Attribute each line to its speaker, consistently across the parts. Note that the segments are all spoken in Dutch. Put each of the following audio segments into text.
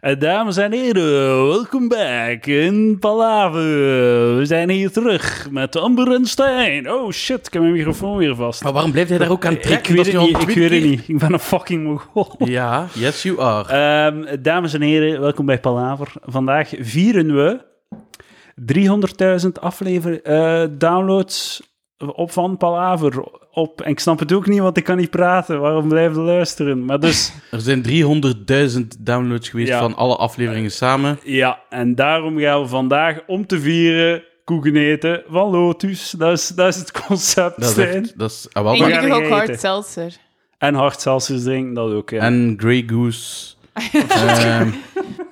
Speaker 1: Eh, Dames en heren, welkom back in Palaver. We zijn hier terug met Amber en Stijn. Oh shit, ik heb mijn microfoon weer vast.
Speaker 2: Maar waarom blijft hij daar ook aan
Speaker 1: ik
Speaker 2: Oh, trekken?
Speaker 1: weet
Speaker 2: Dat
Speaker 1: het
Speaker 2: hij al
Speaker 1: niet, ik
Speaker 2: twee
Speaker 1: weet het
Speaker 2: keer-
Speaker 1: niet. Ik ben een fucking mogol.
Speaker 2: Ja, yes you are.
Speaker 1: Ehm, dames en heren, welkom bij Palaver. Vandaag vieren we 300.000 aflever eh, downloads op van Palaver. Op. En ik snap het ook niet, want ik kan niet praten. Waarom blijven luisteren? Maar dus,
Speaker 2: Er zijn 300.000 downloads geweest
Speaker 1: Ja.
Speaker 2: van alle afleveringen samen.
Speaker 1: ja, en daarom gaan we vandaag om te vieren koeken eten van Lotus. Dat is, dat is het concept,
Speaker 2: Dat is
Speaker 1: Stijn.
Speaker 2: echt, dat is, ah, wel,
Speaker 1: Eén
Speaker 3: En
Speaker 2: maar-
Speaker 1: gaan
Speaker 3: jullie
Speaker 1: er
Speaker 3: ook
Speaker 1: eten.
Speaker 3: hard seltzer.
Speaker 1: En hartzelsters drinken, dat ook, ja.
Speaker 2: En Grey Goose. Ehm,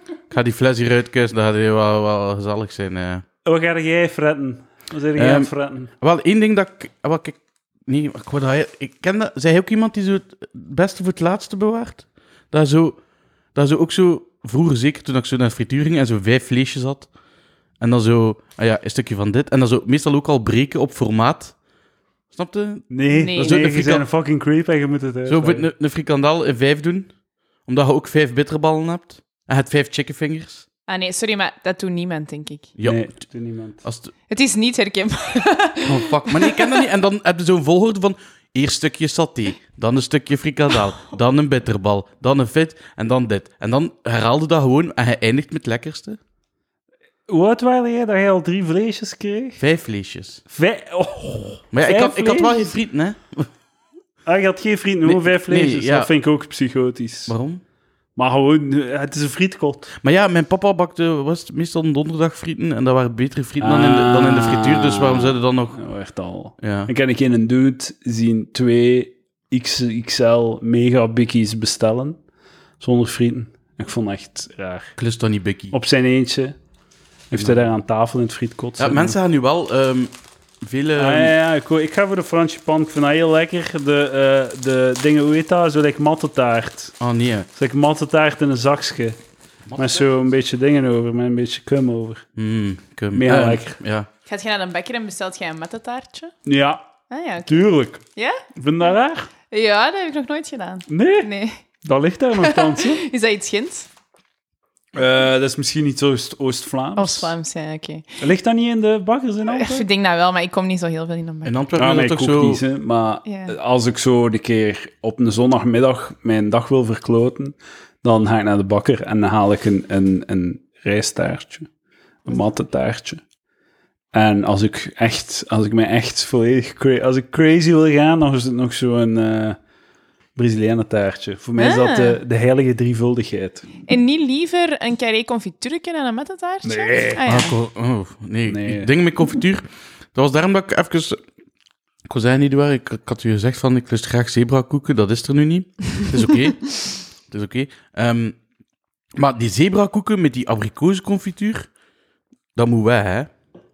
Speaker 2: ik ga die fles hier uitkussen, dat gaat heel wel, wel gezellig zijn. eh.
Speaker 1: Wat ga jij fretten? Wat zijn jij aan het
Speaker 2: Ehm,
Speaker 1: fretten?
Speaker 2: Wel, één ding dat ik... ah, Wel, kijk, nee, maar ik, word daar heel- ik ken dat... Zij ook iemand die zo het beste voor het laatste bewaart? Dat zo... Dat zo ook zo... Vroeger zeker, toen ik zo naar de frituur ging en zo vijf vleesjes had. En dan zo... Ah ja, een stukje van dit. En dan zo meestal ook al breken op formaat. Snapte?
Speaker 1: Nee,
Speaker 3: Nee.
Speaker 1: nee,
Speaker 3: Zo,
Speaker 2: de
Speaker 1: je bent
Speaker 2: frikan-
Speaker 1: een fucking creep en je moet het
Speaker 2: Zo
Speaker 1: uitleggen.
Speaker 2: een, een frikandel in vijf doen. Omdat je ook vijf bitterballen hebt. En je hebt vijf chickenfingers.
Speaker 3: Ah nee, sorry, maar dat doet niemand, denk ik.
Speaker 2: Ja.
Speaker 1: Nee, doet niemand.
Speaker 2: Als het-
Speaker 3: Het is niet herkenbaar.
Speaker 2: Oh, fuck. Maar nee, ik ken dat niet. En dan heb je zo'n volgorde van... Eerst stukje saté, dan een stukje frikandel, dan een bitterbal, dan een fit en dan dit. En dan herhaalde dat gewoon en hij eindigt met het lekkerste.
Speaker 1: Hoe oud waren jij dat jij al drie vleesjes kreeg?
Speaker 2: Vijf vleesjes.
Speaker 1: Vijf... Oh.
Speaker 2: Maar ja, ik,
Speaker 1: Vijf
Speaker 2: had, ik had wel geen
Speaker 1: vleesjes?
Speaker 2: frieten, hè.
Speaker 1: Ah, je had geen vrienden,
Speaker 2: Nee,
Speaker 1: gewoon vijf
Speaker 2: nee,
Speaker 1: vleesjes.
Speaker 2: ja.
Speaker 1: Dat vind ik ook psychotisch. Maar,
Speaker 2: Waarom?
Speaker 1: gewoon, eh, het is een frietkot.
Speaker 2: Maar ja, mijn papa bakte was het meestal een donderdag frieten en dat waren betere frieten dan, in de, dan in de frituur, dus waarom zouden dan nog...
Speaker 1: Nou, echt al.
Speaker 2: Ja.
Speaker 1: Dan kan ik in een dude zien twee XXL mega bikkies bestellen, zonder vrienden. Ik vond het echt raar.
Speaker 2: Ik lust dat niet, Bikkie.
Speaker 1: Op zijn eentje heeft hij daar aan tafel in het frietkot
Speaker 2: Ja,
Speaker 1: zitten.
Speaker 2: mensen gaan nu wel ehm vele...
Speaker 1: Ah, ja, ja, ik, hoor- ik ga voor de Fransje pan. Ik vind dat heel lekker. De, eh, de dingen, hoe heet dat? Zo like mattentaart.
Speaker 2: Oh nee, hè.
Speaker 1: Dus ik mattentaart in een zakje. Met zo een beetje dingen over, met een beetje cum over.
Speaker 2: Mm, kum.
Speaker 1: Meer
Speaker 2: Eh,
Speaker 1: lekker.
Speaker 2: Ja.
Speaker 3: Gaat je naar een bakker en bestelt jij een mattataartje?
Speaker 1: Ja,
Speaker 3: Ah ja, oké.
Speaker 1: tuurlijk.
Speaker 3: Ja?
Speaker 1: Vind je dat raar?
Speaker 3: Ja, dat heb ik nog nooit gedaan.
Speaker 1: Nee,
Speaker 3: Nee.
Speaker 1: dat ligt daar nogthans. hè.
Speaker 3: Is dat iets Gins?
Speaker 1: Eh, dat is misschien niet zo Oost- Oost-Vlaams.
Speaker 3: Of Vlaams, ja, oké.
Speaker 1: Ligt dat niet in de bakkers in
Speaker 3: Eh,
Speaker 1: Antwerpen?
Speaker 3: Ik denk dat wel, maar ik kom niet zo heel veel in een bakker.
Speaker 2: In Antwerpen
Speaker 1: Ja,
Speaker 2: is
Speaker 1: Ah, maar
Speaker 2: dat
Speaker 1: ik
Speaker 2: toch
Speaker 1: ook
Speaker 2: zo...
Speaker 1: niet, hè. maar
Speaker 3: Ja.
Speaker 1: als ik zo de keer op een zondagmiddag mijn dag wil verkloten, dan ga ik naar de bakker en dan haal ik een, een, een rijstaartje, een mattetaartje. En als ik echt, als ik me echt volledig, cra- als ik crazy wil gaan, dan is het nog zo'n eh Brazilianen taartje. Voor mij is dat
Speaker 3: Ah.
Speaker 1: de, de heilige drievuldigheid.
Speaker 3: En niet liever een carré confituurken en een mattataartje?
Speaker 1: Nee.
Speaker 3: Ah, ja.
Speaker 2: Ah, ko- oh, nee.
Speaker 1: Nee.
Speaker 2: Ik denk met confituur. Dat was daarom dat ik even... Ik kon zeggen niet waar. Ik, ik had u gezegd van, ik lust graag zebrakoeken. Dat is er nu niet. Het is oké. het is oké. Ehm, maar die zebrakoeken met die abrikozenconfituur, dat moet wij, hè.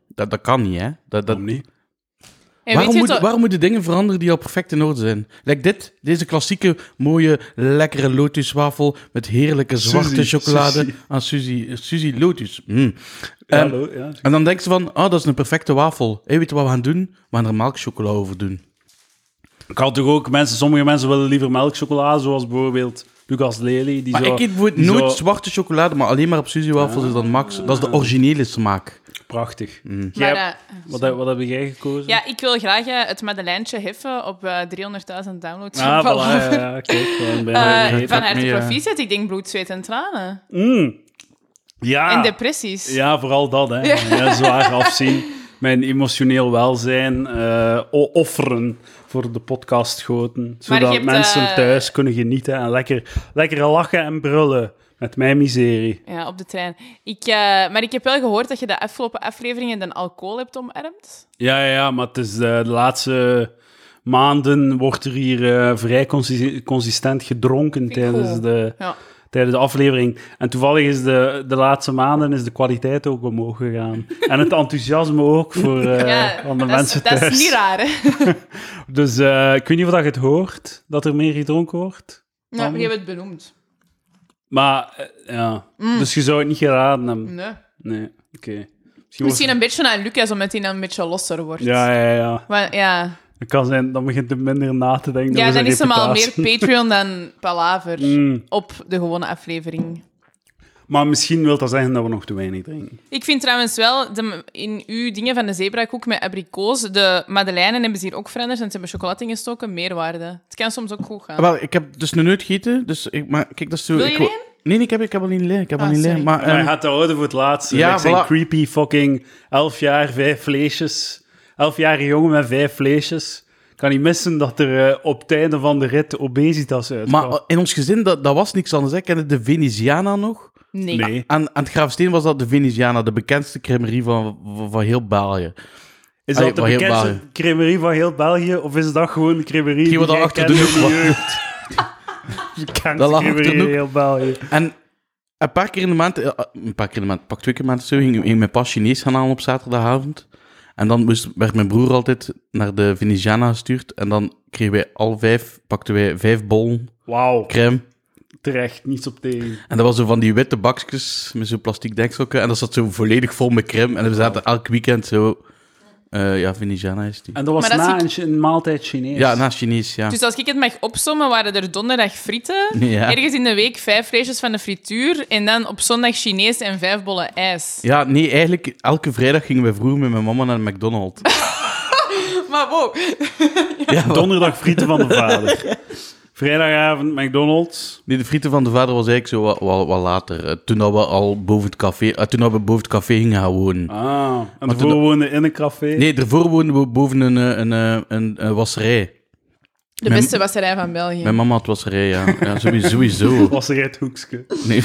Speaker 2: Dat, dat kan niet, hè. Dat, dat...
Speaker 1: Waarom niet?
Speaker 3: En weet
Speaker 2: Waarom,
Speaker 3: je
Speaker 2: moet,
Speaker 3: toch-
Speaker 2: waarom moeten dingen veranderen die al perfect in orde zijn? Like dit, deze klassieke, mooie, lekkere lotuswafel met heerlijke zwarte
Speaker 1: Suzy,
Speaker 2: chocolade
Speaker 1: Suzy.
Speaker 2: aan Suzy, Suzy Lotus. Mm. Ehm,
Speaker 1: Hallo, ja.
Speaker 2: en dan denken ze van, ah, dat is een perfecte wafel. Hé, weet je wat we gaan doen? We gaan er melkchocola over doen.
Speaker 1: Ik had toch ook mensen, sommige mensen willen liever melkchocola, zoals bijvoorbeeld Lucas Lely. Die
Speaker 2: Maar
Speaker 1: zo,
Speaker 2: ik eet bijvoorbeeld
Speaker 1: die
Speaker 2: nooit
Speaker 1: zo-
Speaker 2: zwarte chocolade, maar alleen maar op Suzy wafels is dat max.
Speaker 3: Ah.
Speaker 2: Dat is de originele smaak.
Speaker 1: Prachtig. Jij
Speaker 3: Maar,
Speaker 1: hebt-
Speaker 3: eh,
Speaker 1: Wat, heb- wat heb jij gekozen?
Speaker 3: ja, ik wil graag eh, het Madeleintje heffen op eh, 300.000 downloads.
Speaker 1: Ah,
Speaker 3: van
Speaker 1: voilà, ja, ja, kijk, dan ben
Speaker 3: Eh,
Speaker 1: je
Speaker 3: van
Speaker 2: gaat
Speaker 3: harte
Speaker 2: mee, eh.
Speaker 3: proficiat. Ik denk bloed, zweet en tranen.
Speaker 1: Mm. Ja.
Speaker 3: En depressies.
Speaker 1: ja, vooral dat, hè. Ja, zwaar afzien. Mijn emotioneel welzijn eh, o- offeren voor de podcast goten.
Speaker 3: Maar je
Speaker 1: Zodat
Speaker 3: hebt,
Speaker 1: mensen
Speaker 3: eh,
Speaker 1: thuis kunnen genieten en lekker, lekker lachen en brullen met mijn miserie.
Speaker 3: Ja, op de trein. Ik, eh, maar ik heb wel gehoord dat je de afgelopen afleveringen de alcohol hebt omarmd.
Speaker 1: Ja, ja, ja, maar het is eh, de laatste maanden wordt er hier eh, vrij consi- consistent gedronken
Speaker 3: ik
Speaker 1: tijdens
Speaker 3: cool.
Speaker 1: de,
Speaker 3: Ja.
Speaker 1: tijdens de aflevering. En toevallig is de, de laatste maanden is de kwaliteit ook omhoog gegaan. En het enthousiasme ook voor eh,
Speaker 3: ja,
Speaker 1: van de
Speaker 3: dat,
Speaker 1: mensen
Speaker 3: is, dat
Speaker 1: thuis.
Speaker 3: is niet raar, hè?
Speaker 1: Dus eh, ik weet niet of dat je het hoort, dat er meer gedronken wordt.
Speaker 3: Nou, je hebt het benoemd.
Speaker 1: Maar eh, ja,
Speaker 3: Mm.
Speaker 1: dus je zou het niet geraden hebben.
Speaker 3: Nee.
Speaker 1: Nee, oké. Misschien,
Speaker 3: Mm. Misschien
Speaker 1: wordt-
Speaker 3: een beetje aan Lucas, omdat hij dan een beetje losser wordt.
Speaker 1: Ja, ja, ja.
Speaker 3: Maar, ja.
Speaker 1: Het kan zijn, dan begint hij minder na te denken
Speaker 3: ja
Speaker 1: over
Speaker 3: dan
Speaker 1: zijn
Speaker 3: is hem al
Speaker 1: reputatie.
Speaker 3: meer Patreon dan Palaver
Speaker 1: Mm.
Speaker 3: op de gewone aflevering.
Speaker 1: Maar misschien wil dat zeggen dat we nog te weinig drinken.
Speaker 3: Ik vind trouwens wel, de, in uw dingen van de zebrakoek met abrikoos, de madeleinen hebben ze hier ook veranderd en ze hebben chocolade ingestoken, meerwaarde. Het kan soms ook goed gaan.
Speaker 2: Ah, wel, ik heb dus nog nooit gegeten, dus ik, maar kijk, dat is zo...
Speaker 3: Wil je
Speaker 2: ik,
Speaker 3: er
Speaker 2: wou-
Speaker 3: een?
Speaker 2: Nee, nee, ik heb, ik heb al niet leeg. Ik heb al
Speaker 3: Ah,
Speaker 2: niet leeg.
Speaker 3: sorry.
Speaker 2: Maar,
Speaker 1: Maar
Speaker 2: ehm,
Speaker 1: hij gaat dat houden voor het laatst.
Speaker 2: ja,
Speaker 1: Ja, zijn
Speaker 2: voilà.
Speaker 1: creepy fucking elf jaar, vijf vleesjes. Elfjarige jongen met vijf vleesjes. Kan niet missen dat er eh, op tijden van de rit obesitas uitkwam.
Speaker 2: maar in ons gezin, dat, dat was niks anders. hè. Ik kende de Veneziana nog.
Speaker 3: Nee.
Speaker 1: nee.
Speaker 2: Aan, aan het Graafsteen was dat de Veneziana, de bekendste crèmerie van, van, van heel België.
Speaker 1: Is
Speaker 2: Allee,
Speaker 1: dat de
Speaker 2: van heel
Speaker 1: bekendste
Speaker 2: België.
Speaker 1: cremerie van heel België? Of is dat gewoon de cremerie die
Speaker 2: Hetgeen wat
Speaker 1: jij
Speaker 2: daar achter de
Speaker 1: kent
Speaker 2: hoek
Speaker 1: in
Speaker 2: was.
Speaker 1: jeugd? De
Speaker 2: Dat
Speaker 1: bekendste
Speaker 2: lag achter de
Speaker 1: cremerie
Speaker 2: hoek.
Speaker 1: in heel België.
Speaker 2: En een paar keer in de maand, eh, een paar keer in de maand, pak twee keer in de maand of zo, ging, ging mijn pas Chinees gaan halen op zaterdagavond. En dan moest, werd mijn broer altijd naar de Veneziana gestuurd. En dan kregen wij al vijf, pakten wij vijf bollen
Speaker 1: Wauw,
Speaker 2: crème.
Speaker 1: terecht, niets op tegen.
Speaker 2: En dat was zo van die witte bakjes met zo'n plastic dekselken. En dat zat zo volledig vol met crème. En we zaten elk weekend zo... eh, ja, Veneziana is die.
Speaker 1: En dat was
Speaker 3: Maar dat
Speaker 1: na
Speaker 3: zie
Speaker 1: een, een maaltijd Chinees.
Speaker 2: Ja, na Chinees, ja.
Speaker 3: Dus als ik het mag opsommen, waren er donderdag frieten,
Speaker 2: Ja.
Speaker 3: ergens in de week vijf vleesjes van de frituur en dan op zondag Chinees en vijf bollen ijs.
Speaker 2: Ja, nee, eigenlijk elke vrijdag gingen we vroeger met mijn mama naar de McDonald's.
Speaker 3: Maar wow,
Speaker 2: ja, want-
Speaker 1: Donderdag frieten van de vader. Vrijdagavond McDonald's.
Speaker 2: nee, de frieten van de vader was eigenlijk zo wat, wat, wat later. Eh, toen dat we al boven het café, eh, toen dat we boven het café gingen gaan wonen.
Speaker 1: Ah, en
Speaker 2: toen-
Speaker 1: daarvoor woonde in een café.
Speaker 2: Nee, daarvoor woonden we boven een, eh, een, eh, een, een wasserij.
Speaker 3: de
Speaker 2: Mijn-
Speaker 3: beste wasserij van België.
Speaker 2: Mijn mama had wasserij, ja. ja sowieso. sowieso.
Speaker 1: Was er het hoekske.
Speaker 2: Nee.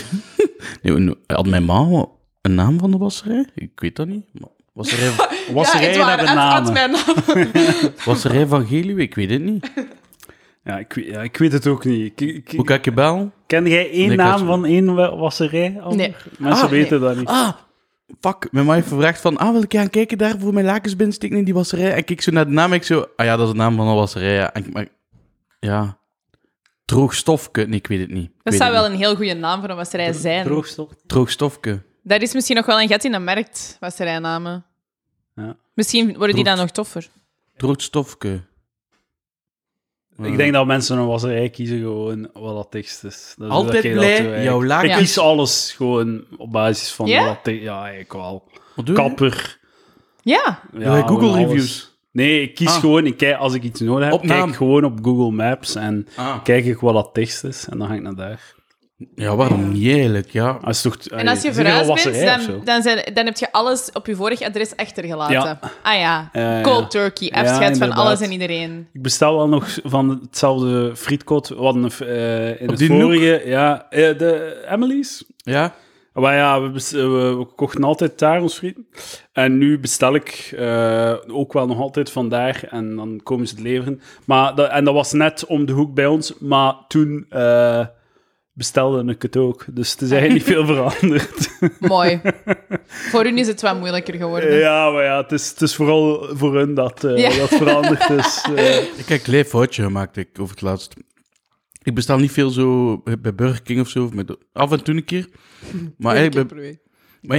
Speaker 2: nee, en eh, had mijn ma een naam van de wasserij? Ik weet dat niet. maar Wasserij,
Speaker 1: Was er een
Speaker 3: Edouard,
Speaker 1: hebben
Speaker 3: het- het-
Speaker 1: namen?
Speaker 3: het mijn naam.
Speaker 2: wasserij van Geluwe? Ik weet het niet.
Speaker 1: Ja ik, weet- ja, ik weet het ook niet. Ik, ik-
Speaker 2: Hoe kan ik je bel?
Speaker 1: ken jij één
Speaker 2: Nee, ik
Speaker 1: naam
Speaker 2: had-
Speaker 1: van één wa- wasserij? Ander?
Speaker 3: Nee.
Speaker 1: Mensen
Speaker 3: Ah,
Speaker 1: weten dat niet.
Speaker 2: Ah, fuck. Mijn ma heeft gevraagd van, ah, wil ik gaan kijken daar voor mijn lakens binnensteken in die wasserij? En ik kijk zo naar de naam en ik zo, ah ja, dat is de naam van de wasserij. Ja. En ik, maar, ja. Droogstofke? Nee, ik weet het niet. Ik
Speaker 3: Dat
Speaker 2: weet
Speaker 3: zou
Speaker 2: het
Speaker 3: wel
Speaker 2: niet.
Speaker 3: een heel goede naam voor een wasserij zijn.
Speaker 1: Droogstof.
Speaker 2: Droogstofke.
Speaker 3: Daar is misschien nog wel een gat in de markt, wasserijnamen.
Speaker 1: Ja.
Speaker 3: Misschien worden die dan nog toffer.
Speaker 2: Droogstofke.
Speaker 1: Ik denk dat mensen een wasserij kiezen gewoon wat dat tekst is. Dat is
Speaker 2: Altijd
Speaker 1: dat jij dat
Speaker 2: blij,
Speaker 1: doet, eigenlijk.
Speaker 2: jouw lakens-
Speaker 1: Ik kies alles gewoon op basis van
Speaker 3: Ja?
Speaker 1: wat dat tekst... Ja, ik wel.
Speaker 2: Wat doe je?
Speaker 1: Kapper.
Speaker 3: Ja,
Speaker 1: Ja,
Speaker 2: Eh, Google
Speaker 1: gewoon alles.
Speaker 2: reviews?
Speaker 1: Nee, ik kies
Speaker 2: Ah.
Speaker 1: gewoon... Ik kijk, als ik iets nodig heb,
Speaker 2: Op
Speaker 1: kijk
Speaker 2: naam.
Speaker 1: ik gewoon op Google Maps en
Speaker 2: Ah.
Speaker 1: kijk ik wat dat tekst is. En dan ga ik naar daar.
Speaker 2: Ja, waarom niet eigenlijk, ja.
Speaker 1: Als toch, ah,
Speaker 3: en als je
Speaker 1: is er een
Speaker 3: verhuisd
Speaker 1: wasserij
Speaker 3: bent,
Speaker 1: of zo?
Speaker 3: dan, dan, zijn, dan heb je alles op je vorig adres achtergelaten.
Speaker 1: Ja.
Speaker 3: Ah ja,
Speaker 1: Ja, ja.
Speaker 3: cold turkey,
Speaker 1: Ja,
Speaker 3: afscheid van
Speaker 1: inderdaad.
Speaker 3: alles en iedereen.
Speaker 1: Ik bestel wel nog van hetzelfde frietkot. We hadden een, eh, in het
Speaker 2: die
Speaker 1: vorige... Ja, eh, de Emily's.
Speaker 2: Ja?
Speaker 1: Maar ja, we, bes- eh, we- we kochten altijd daar ons frieten. En nu bestel ik eh, ook wel nog altijd vandaar. En dan komen ze het leveren. Maar dat, en dat was net om de hoek bij ons. Maar toen eh, bestelde ik het ook. Dus het is eigenlijk niet veel veranderd.
Speaker 3: Mooi. voor hun is het wat moeilijker geworden.
Speaker 1: ja, maar ja, het is, het is vooral voor hun dat, eh,
Speaker 3: Ja.
Speaker 1: dat veranderd is. eh.
Speaker 2: Ik heb een klein foutje gemaakt ik, over het laatst. Ik bestel niet veel zo eh, bij Burger King of zo. of Met, af en toe een keer. Maar eigenlijk bij... Maar,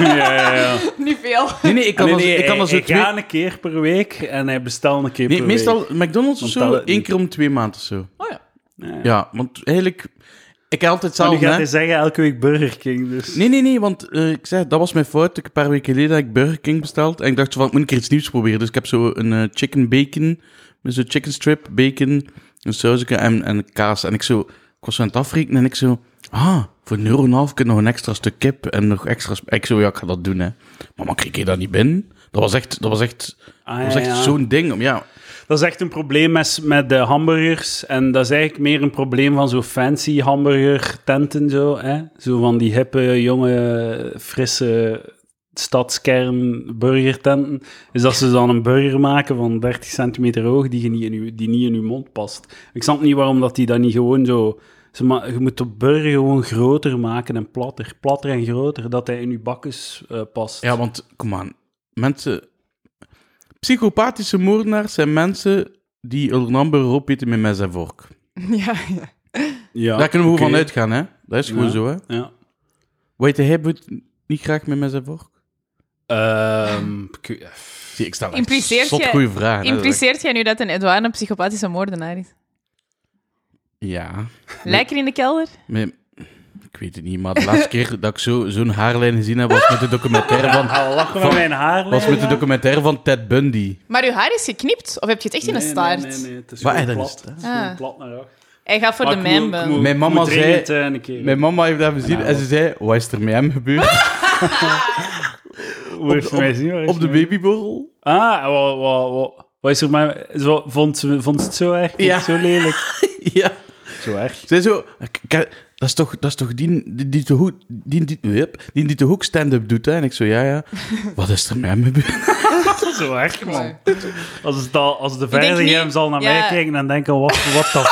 Speaker 2: ja.
Speaker 1: ja, ja, ja.
Speaker 3: Niet veel.
Speaker 2: nee, nee, ik kan
Speaker 1: Ah, Nee,
Speaker 2: als-
Speaker 1: nee, eh,
Speaker 2: ik kan
Speaker 1: hij-
Speaker 2: als zo
Speaker 1: hij
Speaker 2: twee...
Speaker 1: gaat een keer per week en hij bestelt een keer
Speaker 2: Nee,
Speaker 1: per
Speaker 2: meestal McDonald's of
Speaker 1: Dan telt
Speaker 2: zo,
Speaker 1: het
Speaker 2: één
Speaker 1: niet.
Speaker 2: keer om twee maanden of zo.
Speaker 3: Oh ja.
Speaker 1: week. Ja.
Speaker 2: Ja, want eigenlijk... Ik heb altijd
Speaker 1: Maar nu
Speaker 2: zelf...
Speaker 1: gaat hij
Speaker 2: hè.
Speaker 1: zeggen elke week Burger King. Dus.
Speaker 2: Nee, nee, nee, want eh, ik zei, dat was mijn fout. Ik een paar weken geleden had ik Burger King besteld. En ik dacht van, ik moet een keer iets nieuws proberen. Dus ik heb zo een eh, chicken bacon, met zo'n chicken strip, bacon, een sausje en, en kaas. En ik zo, ik was zo aan het afrekenen en ik zo, ah, voor een euro en een half kun je nog een extra stuk kip en nog extra... sp- Ik zo, ja, ik ga dat doen, hè. Maar man, kreeg je dat niet binnen? Dat was echt, dat was echt,
Speaker 1: Ah,
Speaker 2: dat was
Speaker 1: ja,
Speaker 2: echt
Speaker 1: ja.
Speaker 2: zo'n ding. om- Ja,
Speaker 1: Dat is echt een probleem met, met de hamburgers. En dat is eigenlijk meer een probleem van zo'n fancy hamburger-tenten. Zo, hè? zo van die hippe, jonge, frisse stadskern-burgertenten. Is dat ze dan een burger maken van 30 centimeter hoog die, je niet in je, die niet in je mond past. Ik snap niet waarom dat die dat niet gewoon zo... Ze ma- je moet de burger gewoon groter maken en platter. Platter en groter, dat hij in je bakjes eh, past.
Speaker 2: ja want, kom aan, mensen... Psychopathische moordenaars zijn mensen die een hamburger opeten met mes en vork.
Speaker 3: Ja, ja.
Speaker 1: Ja,
Speaker 2: Daar kunnen we
Speaker 1: oké.
Speaker 2: gewoon van uitgaan, hè? Dat is gewoon
Speaker 1: Ja.
Speaker 2: zo, hè?
Speaker 1: Ja.
Speaker 2: Weet je, hij doet niet graag meer met zijn vork?
Speaker 1: Ehm, ik- eh,
Speaker 2: Zie, ik stel
Speaker 3: Impliceert
Speaker 2: zot
Speaker 3: jij-
Speaker 2: goede vraag.
Speaker 3: Impliceert jij nu dat een Edouard een psychopathische moordenaar is?
Speaker 2: Ja.
Speaker 3: Lijker in de kelder?
Speaker 2: Maar, ik weet het niet, maar de laatste keer dat ik zo- zo'n haarlijn gezien heb, was met de documentaire van,
Speaker 1: Al lachen van mijn haar.
Speaker 2: was met de documentaire van Ted Bundy.
Speaker 3: Maar uw haar is geknipt? Of heb je het echt in een staart?
Speaker 1: Nee, nee, het is
Speaker 2: Wat,
Speaker 1: gewoon
Speaker 2: dat is
Speaker 1: plat.
Speaker 2: het, hè?
Speaker 1: Het is gewoon
Speaker 3: Ah.
Speaker 1: plat naar achter.
Speaker 3: Hij gaat voor
Speaker 1: Maar
Speaker 3: de
Speaker 1: ik moet-
Speaker 3: mijn
Speaker 1: ik moet-
Speaker 2: Mijn
Speaker 1: ik
Speaker 2: mama
Speaker 1: moet
Speaker 2: zei-
Speaker 1: dringend, eh, een keer.
Speaker 2: Mijn mama heeft dat gezien en ze zei, wat is er met hem gebeurd
Speaker 1: Hoe heeft ze mij gezien? Waar heeft
Speaker 2: op
Speaker 1: ze
Speaker 2: de
Speaker 1: mij-
Speaker 2: babyborrel?
Speaker 1: Ah, wat, wat, wat, wat is er maar... Zo, vond, ze- vond ze het zo erg?
Speaker 2: Ja.
Speaker 1: Zo lelijk?
Speaker 2: Ja.
Speaker 1: Zo erg?
Speaker 2: Zij zo, k- k- dat is toch, dat is toch die, die, die, te hoek, die, die, hup, die die te hoek stand-up doet, hè? En ik zo, ja, ja. Wat is er met hem gebeurd?
Speaker 1: Zo erg, man.
Speaker 3: Nee.
Speaker 1: Als, het al, als de
Speaker 3: denk
Speaker 1: veiligheid hem
Speaker 3: niet-
Speaker 1: zal naar
Speaker 3: ja.
Speaker 1: mij kijken en denken, wat what the,